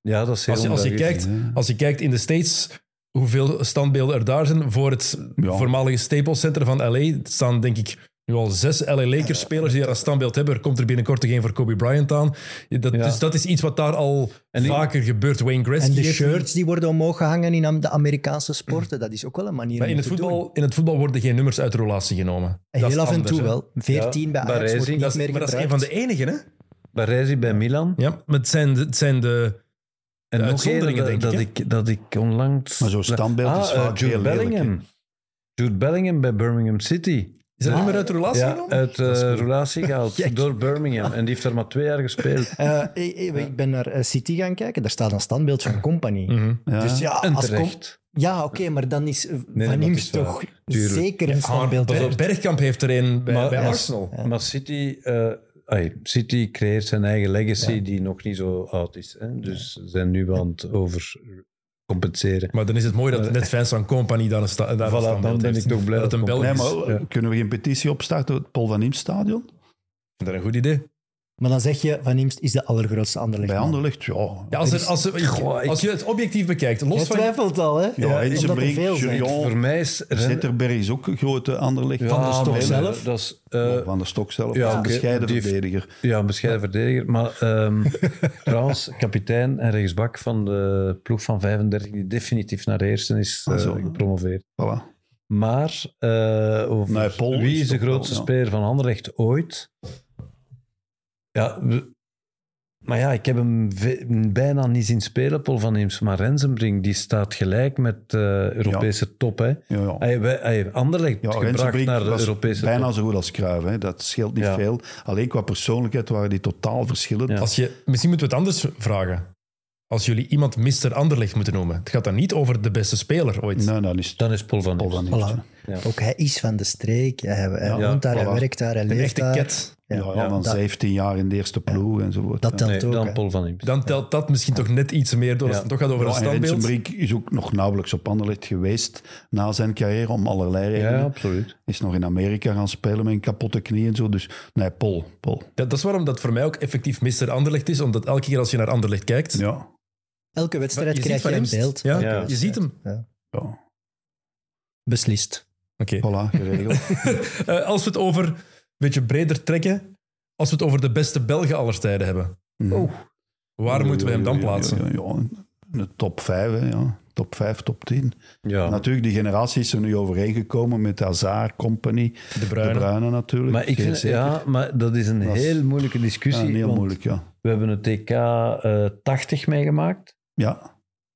E: Ja, dat is heel
A: Als je, als, je
E: onbelgisch.
A: kijkt, als je kijkt in de States hoeveel standbeelden er daar zijn voor het
C: Ja.
A: voormalige Staples Center van LA, staan denk ik nu al zes LA Lakers spelers die daar een standbeeld hebben. Er komt er binnenkort nog één voor Kobe Bryant aan. Dat,
E: Ja.
A: Dus dat is iets wat daar al
E: En die-
A: vaker gebeurt. Wayne Gretzky
B: En de
A: heeft-
B: shirts die worden omhoog gehangen in de Amerikaanse sporten, dat is ook wel een manier
A: Maar
B: om
A: in het,
B: te doen.
A: voetbal, in het voetbal worden geen nummers uit de relatie genomen. Dat is
B: Heel af en
A: anders,
B: toe
A: hè.
B: wel. 14 bij
E: Ja,
B: Ajax
E: Baresi,
B: wordt niet
E: dat
A: Dat is,
B: meer
A: maar dat is
B: gebruikt.
A: een van de enigen, hè?
E: Bij Reizi, bij Milan.
A: Ja, maar het zijn de, het zijn de
E: En
A: De
E: nog één
A: uitzonderingen,
E: dat,
A: denk
E: dat
A: ik,
E: ik, dat ik onlangs...
C: Maar zo'n standbeeld is
E: eh,
C: vaak
E: Jude
C: heel lelijk,
E: Bellingham. Jude Bellingham bij Birmingham City.
A: Is dat nummer uit de relatie
E: Ja,
A: genomen?
E: uit eh relatie gehaald door Birmingham. En die heeft daar maar twee jaar gespeeld.
A: e-
B: Eh, eh, eh, Ik ben naar eh, City gaan kijken, daar staat een standbeeld van Company.
A: Mhm.
C: Ja.
B: Dus ja,
E: En
B: als Com-
E: terecht.
B: ja oké, maar dan is eh,
E: nee,
B: Van
E: dat
B: Imst
E: is waar.
B: toch
E: Tuurlijk.
B: zeker een
A: Maar
B: standbeeld.
A: pas op, Ah, Bergkamp heeft er een bij,
E: Maar-
A: bij
E: Ja.
A: Arsenal.
B: Ja.
E: Maar City, eh, ai, City creëert zijn eigen legacy die nog niet zo oud is. Hè? Dus ze zijn nu aan het overcompenseren.
A: Maar dan is het mooi dat net fans van Company daar een, sta, daar een
E: Eh, Voilà,
A: standbeeld
E: dan ben
A: heeft.
E: ik toch blij
A: dat
E: dat
A: een
E: Company-
A: Belgisch...
C: Nee,
A: Nee,
C: maar eh, kunnen we geen petitie opstarten op het Paul van Imst stadion?
A: Dat is een goed idee.
B: Maar dan zeg je, Van Imst is de allergrootste Anderlecht.
C: Bij
B: man.
C: Anderlecht, ja.
A: Ja, als, het- als, het-
E: Goh, ik-
A: als je het objectief bekijkt,
B: Jij
A: los van...
B: twijfelt al, hè?
C: Ja, en ze
B: omdat er
C: brengt
B: veel zijn.
C: Julian
E: Voor mij is...
C: Zetterberg is ook een grote Anderlecht.
E: Ja,
B: de Stok
E: maar
B: zelf?
E: Dat is, eh,
C: van de Stok zelf,
E: ja,
C: ja, een
E: oké,
C: bescheiden
E: die-
C: verdediger.
E: Ja, een bescheiden verdediger. Maar ehm trouwens, kapitein en rechtsbak van de ploeg van 35, die definitief naar de eerste is eh,
C: Ah, zo.
E: gepromoveerd.
C: Voilà.
E: Maar eh, over
C: Nee, Paul
E: wie
C: is
E: is de
C: toch
E: grootste
C: wel, ja.
E: speler van Anderlecht ooit? Ja, we- maar ja, ik heb hem ve- bijna niet zien spelen, Paul van Eems. Maar Rensenbrink, die staat gelijk met de Europese top. Hè.
C: Ja, ja.
E: Hij, wij, hij- Anderlecht
C: Ja,
E: gebracht
C: Rensenbrink
E: naar de
C: was
E: Europese
C: bijna
E: top.
C: zo goed als Cruijff. Hè. Dat scheelt niet
E: Ja.
C: veel. Alleen qua persoonlijkheid waren die totaal verschillend.
E: Ja.
A: Als je, misschien moeten we het anders vragen. Als jullie iemand Mr. Anderlecht moeten noemen. Het gaat dan niet over de beste speler ooit.
E: Nou,
C: Nee, dan is het
E: Dan is Paul van
C: Paul
E: Eems.
C: van Imst.
B: Voilà. Ook hij is van de streek. Hij, hij
C: Ja,
B: woont daar, hij
C: voilà.
B: werkt daar, hij
A: Een
B: leeft
A: echte
B: daar.
A: cat.
C: Ja, ja,
E: Ja,
C: dan
B: dat-
C: 17 jaar in de eerste ploeg enzovoort.
B: Dat telt
E: Nee,
B: ook.
E: dan
B: hè.
E: Paul van Eems.
A: Dan telt dat misschien toch net iets meer door als
E: Ja.
A: het toch gaat over
C: Ja,
A: een
C: en
A: standbeeld.
C: Rensenbrink is ook nog nauwelijks op Anderlecht geweest na zijn carrière, om allerlei redenen.
E: Ja, absoluut.
C: Is nog in Amerika gaan spelen met een kapotte knie en zo. Dus nee, Paul. Paul.
A: Dat, dat is waarom dat voor mij ook effectief Mr. Anderlecht is. Omdat elke keer als je naar Anderlecht kijkt...
C: Ja,
B: Elke wedstrijd
A: je
B: krijg
A: ziet
B: je
A: Van
B: een
A: Imst.
B: beeld.
A: Ja,
B: Elke
E: je
A: Je ziet
B: wedstrijd.
A: hem.
C: ja.
B: Beslist.
A: Oké.
C: Voilà, geregeld.
A: Eh, als we het over een beetje breder trekken, als we het over de beste Belgen aller tijden hebben, waar moeten we hem dan plaatsen?
C: Ja, ja, ja, in de top 5, hè, ja. top 5, top 10.
E: Ja.
C: Natuurlijk, die generatie is er nu overeengekomen met Hazard, Company, De
A: Bruyne.
C: natuurlijk.
E: Maar ik
C: Geen
E: vind,
C: zeker.
E: ja, maar dat is een
C: Dat is-
E: heel moeilijke discussie.
C: Ja, heel
E: want
C: moeilijk, ja.
E: We hebben het TK eh 80 meegemaakt.
C: Ja,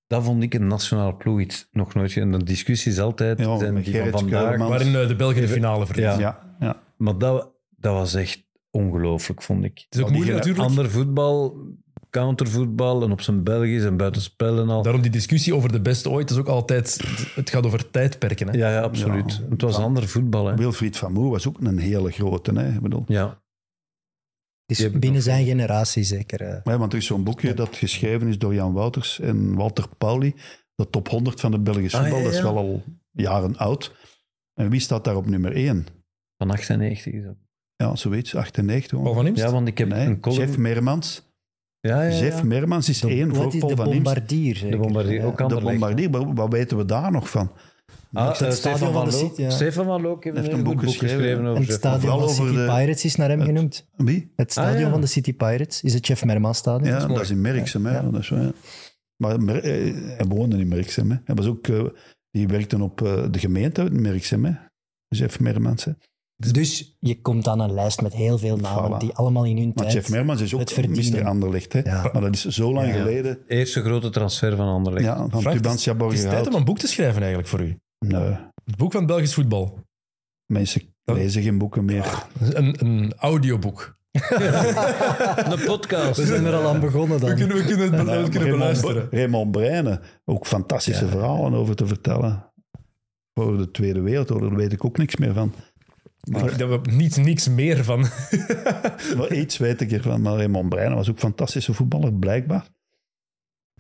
E: Dat vond ik een nationaal ploeg iets nog nooit. En de discussie is altijd,
C: Ja,
E: zijn
C: met
E: die van
C: Gerrit
E: vandaag.
C: Keulman.
A: Waarin eh, de Belgen de finale verdienen.
E: Ja.
C: ja, ja.
E: Maar dat, dat was echt ongelooflijk, vond ik.
A: Het is ook
C: die
A: moeilijk
C: gele-
A: natuurlijk.
E: Ander voetbal, countervoetbal en op zijn Belgisch en buitenspel en al.
A: Daarom die discussie over de beste ooit is ook altijd... Het gaat over tijdperken. Hè?
E: Ja, ja, absoluut.
C: Ja.
E: het was
C: Ja.
E: ander voetbal, hè.
C: Wilfried van Moer was ook een hele grote. Hè? Ik bedoel,
E: Ja.
B: Het
E: Je
B: is
E: hebt
B: binnen
E: nog-
B: zijn generatie zeker. eh.
C: Ja, want er is zo'n boekje dat geschreven is door Jan Wouters en Walter Pauli. De top 100 van het Belgisch
E: Ah,
C: voetbal.
E: ja,
C: Dat is
E: ja.
C: wel al jaren oud. En wie staat daar op nummer 1?
E: Van 98 is dat.
C: Ja, zoiets. 98.
A: Paul
C: hoor.
A: van Imst?
E: Ja, want ik heb
C: Nee,
E: een column...
C: Jeff Mermans.
E: ja, Eh, ja, ja.
C: Jeff Mermans is één
B: Wat
C: voor
B: is de
C: Paul van Imst.
B: bombardier?
E: de
B: zeker?
E: bombardier,
B: Ja.
E: ook
C: De
E: Anderlecht.
C: bombardier, wat, wat weten we daar nog van?
E: Ah,
B: het
E: eh,
B: stadion
E: Stefan
B: van
E: van
B: de
E: Loek.
B: City, ja.
E: Stefan van Loek heeft, een heel goed boek geschreven,
B: En
E: over
B: het
E: Jeff
B: stadion van
C: Vooral
B: City
C: over de-
B: Pirates is naar hem genoemd.
C: Wie?
B: Het stadion
E: Ah, ja.
B: van de City Pirates is het Jeff Mermans stadion.
C: Ja, dat is, in Merksem. hè. Dat is, wel, ja. Maar Mer- eh, hij woonde in Merksem. Hè. Hij was ook, eh, die werkte op eh, de gemeente in Merksem. Hè. Jeff Mermans. Hè.
B: Dus je komt aan een lijst met heel veel namen
C: Voilà.
B: die allemaal in hun
C: Maar
B: tijd...
C: Jeff Mermans is
B: het
C: ook
B: verdienen.
C: Mr. Anderlecht. Hè.
B: Ja.
C: Maar dat is zo lang
B: Ja.
C: geleden.
E: Mermans. Eerste grote transfer van Anderlecht.
C: Ja, van
A: Frank,
C: Tuban Jabor
A: Het is tijd om
C: gehaald.
A: een boek te schrijven eigenlijk voor u.
C: Nee,
A: Het boek van het Belgisch voetbal.
C: mensen
B: Oh.
A: Dan-
C: lezen geen boeken meer.
A: Een, een audioboek.
E: Een podcast.
B: We zijn er al aan begonnen
A: We
B: dan.
A: kunnen, we kunnen het be-
C: Nou,
A: we kunnen
C: Raymond-
A: beluisteren.
C: Raymond Breine, ook fantastische verhalen over te vertellen. Over de Tweede Wereldoorlog, daar weet ik ook niks meer van.
A: Maar daar hebben we niet niks meer van.
C: Maar iets weet ik ervan, maar Raymond Breine was ook een fantastische voetballer, blijkbaar.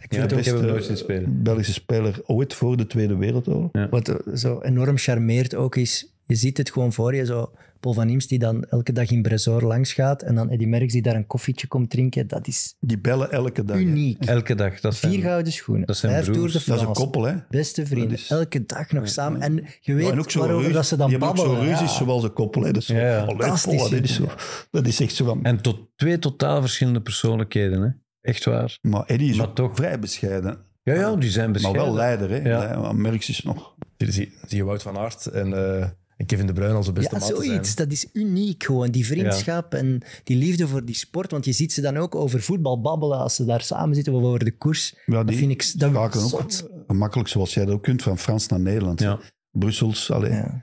C: Ik
E: Ja,
C: vind
E: ik heb hem nooit zien spelen.
C: Belgische speler ooit voor de Tweede Wereldoorlog.
B: Wat eh, zo enorm charmeert ook is, je ziet het gewoon voor je, zo Paul van Imst die dan elke dag in Bresor langs gaat en dan Eddy Merckx die daar een koffietje komt drinken, dat is
C: Die bellen elke dag. hè.
B: uniek.
E: Elke dag. Dat zijn,
B: Vier gouden schoenen,
E: dat zijn
B: vijf
E: broers.
B: Tour de
C: Dat is een
B: France,
C: koppel, hè?
B: beste vrienden,
C: Dat is-
B: elke dag nog samen. En je weet
C: Ja, en ook zo
B: waarover
C: ruzie-
B: dat ze dan
C: die hebben
B: babbelen.
C: ook zo ruzies
B: ja.
C: zoals een koppel. Hè. Dat is zo,
E: Ja, ja.
C: allee,
B: Fantastisch.
C: Paul, dit is zo, dat is echt zo van...
E: En tot twee totaal verschillende persoonlijkheden. Hè? Echt waar.
C: maar Eddie is
E: Maar
C: ook
E: toch-
C: vrij bescheiden.
E: Ja, ja, die zijn
C: Maar
E: bescheiden.
C: wel leider, hè?
E: Ja.
C: Ja. maar Merckx is nog...
A: Hier zie, zie je Wout van Aert en, eh, en Kevin De Bruyne als de beste
B: Ja,
A: maat te zijn.
B: zoiets. Dat is uniek gewoon. Die vriendschap en die liefde voor die sport. Want je ziet ze dan ook over voetbal babbelen als ze daar samen zitten of over de koers.
C: Ja,
B: dat
C: die
B: vind ik dat
C: schakelen ook
B: zot.
C: gemakkelijk, zoals jij dat ook kunt, van Frans naar Nederland.
E: Ja.
C: Brussels, allee,
B: Ja.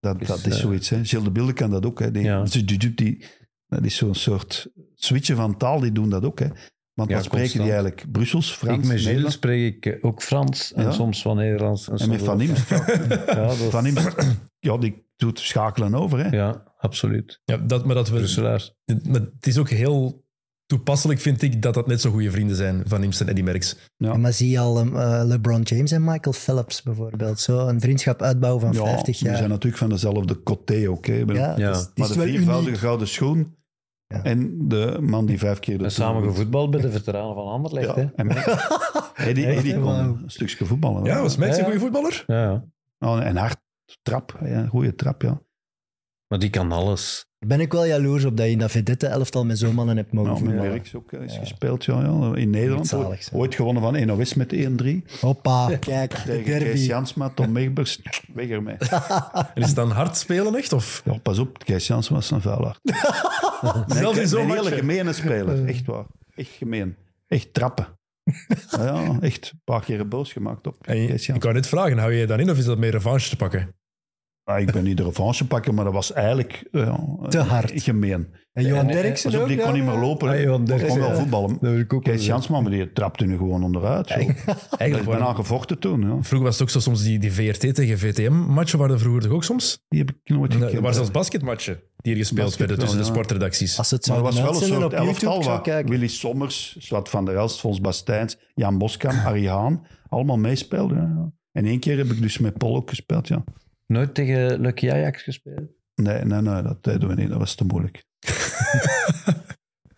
C: dat,
E: Is,
C: dat is
E: eh,
C: zoiets. Hè. Gilles de Bilde kan dat ook. Hè. Die,
E: Ja.
C: die- die- die- dat is zo'n soort switchen van taal, die doen dat ook. Hè. Want
E: Ja,
C: dan spreken
E: constant.
C: die eigenlijk Brussels,
E: Ik
C: Frans,
E: met Gilles
C: Nederlands.
E: spreek ik eh, ook Frans en
C: Ja.
E: soms van Nederlands. En,
C: En met
E: soms
C: Van Imst, ja,
E: Ja, dat-
C: Van Imst, ja, die doet schakelen over. Hè.
E: ja, absoluut.
A: Ja, dat, maar, dat we,
E: Brusselaar.
A: maar het is ook heel toepasselijk, vind ik, dat dat net zo goede vrienden zijn van Imst en Eddy Merckx.
C: Ja.
B: Maar zie je al um, eh, LeBron James en Michael Phelps bijvoorbeeld. Zo een vriendschap uitbouwen van
C: Ja,
B: 50
C: die
B: jaar.
C: zijn natuurlijk van dezelfde coté ook. Hè. Ik bedoel,
B: ja,
E: Ja.
B: dat is- dat
C: maar
B: is
C: de
B: wel
C: viervoudige
B: uniek.
C: gouden schoen
B: Ja.
C: en de man die vijf keer de
E: En
C: Tour
E: samen
C: wint.
E: gevoetbald bij de veteranen van Anderlecht.
C: Ja,
E: Hè?
C: en Eddie, Eddie kon
E: Wauw.
C: een stukje voetballen.
A: Ja, was Merckx een
E: Ja.
A: goede voetballer?
E: Ja, ja.
C: Oh, en hard trap, ja, goede trap, ja.
E: Maar die kan alles.
B: Daar ben ik wel jaloers op dat je in dat vedette elftal met zo'n mannen hebt mogen
C: Nou, met
B: voetballen.
C: Merckx ook eh, is
B: Ja.
C: gespeeld, ja, ja. In Nederland
B: Moet zalig
C: ooit,
B: zijn.
C: ooit gewonnen van NOS met 1-3. Tegen
B: Hoppa, kijk, de
C: Kees
B: derby.
C: Jansma, Tom Megbers, weg ermee.
A: En is het dan hard spelen echt? Of?
C: Ja, pas op, Kees Jansma is een vuilaard.
A: Zelfs in zo'n
C: Een hele
A: match, hè?
C: gemene speler, echt waar. Echt gemeen. Echt trappen. Ja, ja, echt een paar keren boos gemaakt op
A: En je-
C: Kees
A: ik
C: Jansma.
A: wou net vragen, hou je dan in of is dat meer revanche te pakken?
C: Ah, Ik ben niet de revanche pakken, maar dat was eigenlijk ja,
B: Te
C: eh,
B: hard.
C: Gemeen.
B: En Johan
E: En-
B: Derksen
C: eh, Pas op,
B: ook,
C: die
B: ja.
C: kon niet meer lopen.
E: Ah, Johan
C: Hij kon
E: Derksen,
C: wel
E: ja.
C: voetballen.
E: wil ik ook
C: Kees Jansma, maar die trapte nu gewoon onderuit. zo. Hij is
A: Eigenlijk
C: bijna
A: waren,
C: gevochten toen. Ja.
A: vroeger was het ook zo soms die, die VRT tegen VTM-matchen, waren er vroeger toch ook soms? eh,
C: Die heb ik nooit
A: Er
C: gekend.
A: waren zelfs basketmatchen die hier gespeeld
C: Basket
A: werden tussen
C: wel,
A: de
C: ja.
A: sportredacties.
B: Als ze het
C: Maar er
B: zouden
C: was wel een
B: uitzenden
C: soort
B: op YouTube,
C: elftal
B: ik zou
C: waar
B: kijken.
C: Willy Sommers, Swat van der Elst, Fons Bastijns, Jan Boskam, Arie Haan allemaal meespeelden. ja. En één keer heb ik dus met Paul ook gespeeld, ja.
E: Nooit tegen Lucky Ajax gespeeld.
C: Nee, nee, nee, dat deden we niet. Dat was te moeilijk.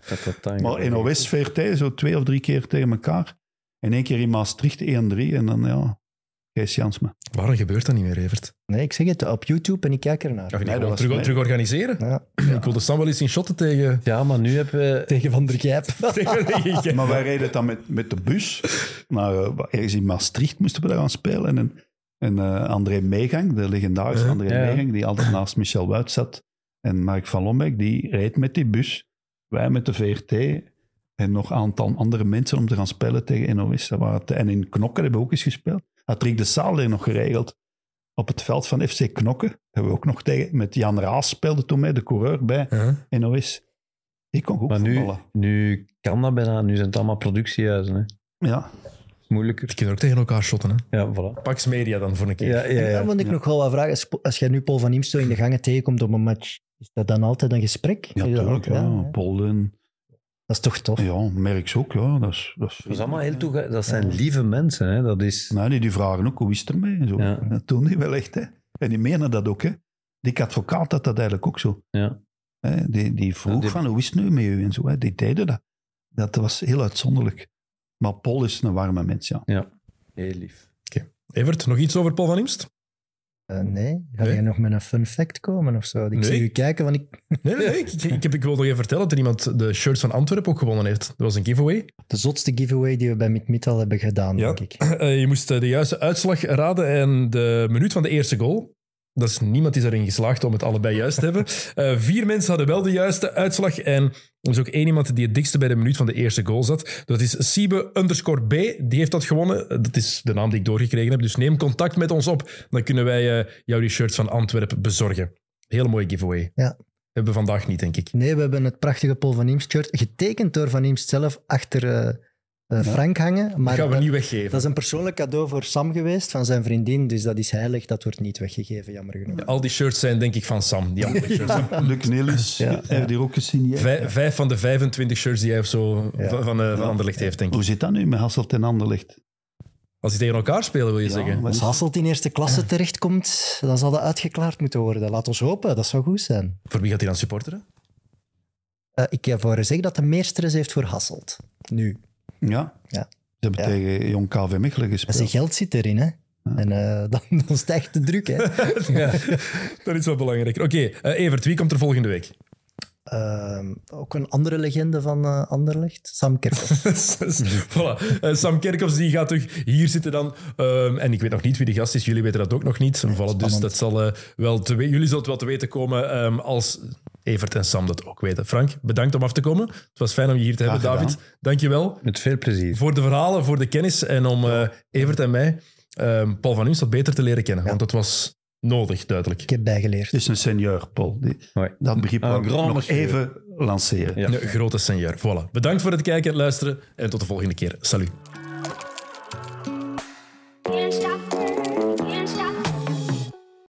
E: Dat dat dan
C: Maar NOS, VRT, zo twee of drie keer tegen elkaar. En één keer in Maastricht 1-3 en dan, ja... Kees Jansma.
A: Waarom gebeurt dat niet meer, Evert?
B: Nee, ik zeg het op YouTube en ik kijk ernaar.
A: Ga je
C: Nee,
A: niet
C: dat
A: gewoon
C: was-
A: terug,
C: nee.
A: terug organiseren?
B: Ja.
A: Ik wilde Sam wel eens in shotten tegen...
E: Ja, maar nu hebben we...
B: Tegen Van der Gijp.
A: tegen-
C: Maar wij reden dan met, met de bus. Naar, eh, ergens in Maastricht moesten we daar gaan spelen. En, en eh, André Meegang, de legendarische
A: Eh,
C: André
E: ja, ja.
C: Meegang, die altijd naast Michel Wuit zat. En Mark van Lombeek, die reed met die bus. Wij met de VRT. En nog een aantal andere mensen om te gaan spelen tegen NOS. Dat waren het- en in Knokken hebben we ook eens gespeeld. Had Rick de Saal er nog geregeld. Op het veld van FC Knokken hebben we ook nog tegen. Met Jan Raas speelde toen mee, de coureur bij
A: Huh?
C: NOS. Die kon goed
E: Maar nu,
C: voetballen.
E: nu kan dat bijna. Nu zijn het allemaal productiehuizen. Hè.
C: Ja.
E: Moeilijker.
A: Die kunnen ook tegen elkaar shotten, hè?
E: Ja, voilà.
A: Pax Media dan voor een keer.
E: Ja, ja,
B: En dan
E: ja.
B: moet ik nog wel wat vragen. Als- Als jij nu Paul van Imsto in de gangen tegenkomt op een match, is dat dan altijd een gesprek?
C: Ja,
B: Is dat
C: natuurlijk.
B: ook-
C: Ja,
B: ja, hè?
C: Polden.
B: Dat is toch tof?
C: Ja, merk ook. Ja. Dat, is, dat, is,
E: Dat, is allemaal heel toega- dat zijn lieve mensen. Hè. Dat is...
C: Nee, nee, die vragen ook, hoe is het ermee? en Zo.
E: Ja.
C: Dat doen die wel echt. Hè. En die menen dat ook. Hè. Dick advocaat had dat eigenlijk ook zo.
E: Ja.
C: Hè, die, die vroeg
E: Ja, die-
C: van, hoe is het nu met u? En zo, hè. Die deden dat. Dat was heel uitzonderlijk. Maar Paul is een warme mens, ja.
E: Heel lief.
A: Evert, nog iets over Paul van Imst?
B: Eh, nee? Ga
A: Nee.
B: jij nog met een fun fact komen of zo? Ik
A: Nee.
B: zie u kijken, want ik...
A: Nee, nee, nee, ik, ik, heb, ik wil nog even vertellen dat er iemand de shirts van Antwerpen ook gewonnen heeft. Dat was een giveaway.
B: De zotste giveaway die we bij MidMid al hebben gedaan,
A: Ja.
B: denk ik.
A: Eh, je moest eh, de juiste uitslag raden en de minuut van de eerste goal. Dat is niemand is erin geslaagd om het allebei juist te hebben. Eh, vier mensen hadden wel de juiste uitslag. En er is ook één iemand die het dikste bij de minuut van de eerste goal zat. Dat is Siebe underscore B. Die heeft dat gewonnen. Eh, Dat is de naam die ik doorgekregen heb. Dus neem contact met ons op. Dan kunnen wij eh, jou die shirts van Antwerpen bezorgen. Hele mooie giveaway.
B: Ja.
A: Hebben we vandaag niet, denk ik.
B: Nee, we hebben het prachtige Paul van Imst shirt, getekend door Van Imst zelf, achter eh, eh, Frank hangen. Maar
A: Dat gaan we
B: dat-
A: niet weggeven.
B: dat is een persoonlijk cadeau voor Sam geweest, van zijn vriendin. Dus dat is heilig, dat wordt niet weggegeven, jammer genoeg.
A: Al die shirts zijn denk ik van Sam. Die andere shirts.
C: Luc Nelis
B: Ja.
C: heeft hier ook gesigneerd.
A: Vij- vijf van de 25 shirts die hij of zo
B: Ja.
A: van, van, eh, van
C: Ja.
A: Anderlecht heeft, denk ik.
C: Hoe zit dat nu met Hasselt en Anderlecht?
A: Als die tegen elkaar spelen, wil je
C: Ja,
A: zeggen.
C: wat
B: Als
C: is-
B: Hasselt in eerste klasse terechtkomt, dan zal dat uitgeklaard moeten worden. Laat ons hopen, dat zou goed zijn.
A: Voor wie gaat hij dan supporteren?
B: Eh, ik heb voor gezegd dat de meesteres heeft voor Hasselt. Nu.
C: Ja.
B: Ja.
C: Ze hebben
B: Ja.
C: tegen Jong KV Mechelen
B: En
C: gespeeld.
B: zijn geld zit erin, hè. En eh, dan, dan stijgt de druk, hè.
A: Dat is wel belangrijker. Oké, eh, Evert, wie komt er volgende week?
B: Ehm, ook een andere legende van eh, Anderlecht, Sam Kerkhoff.
A: Dus, voilà. Eh, Sam Kerkhoffs die gaat toch hier zitten dan. Ehm, en ik weet nog niet wie de gast is. Jullie weten dat ook nog niet. voilà, dus
B: spannend.
A: dat zal, eh, wel te we- jullie zullen het wel te weten komen ehm, als Evert en Sam dat ook weten. Frank, bedankt om af te komen. Het was fijn om je hier te hebben,
C: Graag gedaan.
A: David. Dankjewel.
E: Met veel plezier.
A: voor de verhalen, voor de kennis en om eh, Evert en mij ehm, Paul van Imstad beter te leren kennen. Want dat was nodig, duidelijk.
B: ik heb bijgeleerd.
C: Het is een senior, Paul. Die,
E: Hoi.
C: dat begrip
E: Een
C: wou ik
E: grand
C: nog
E: monsieur.
C: even lanceren.
E: Ja.
A: Een grote senior. Voilà. Bedankt voor het kijken en luisteren en tot de volgende keer. Salut.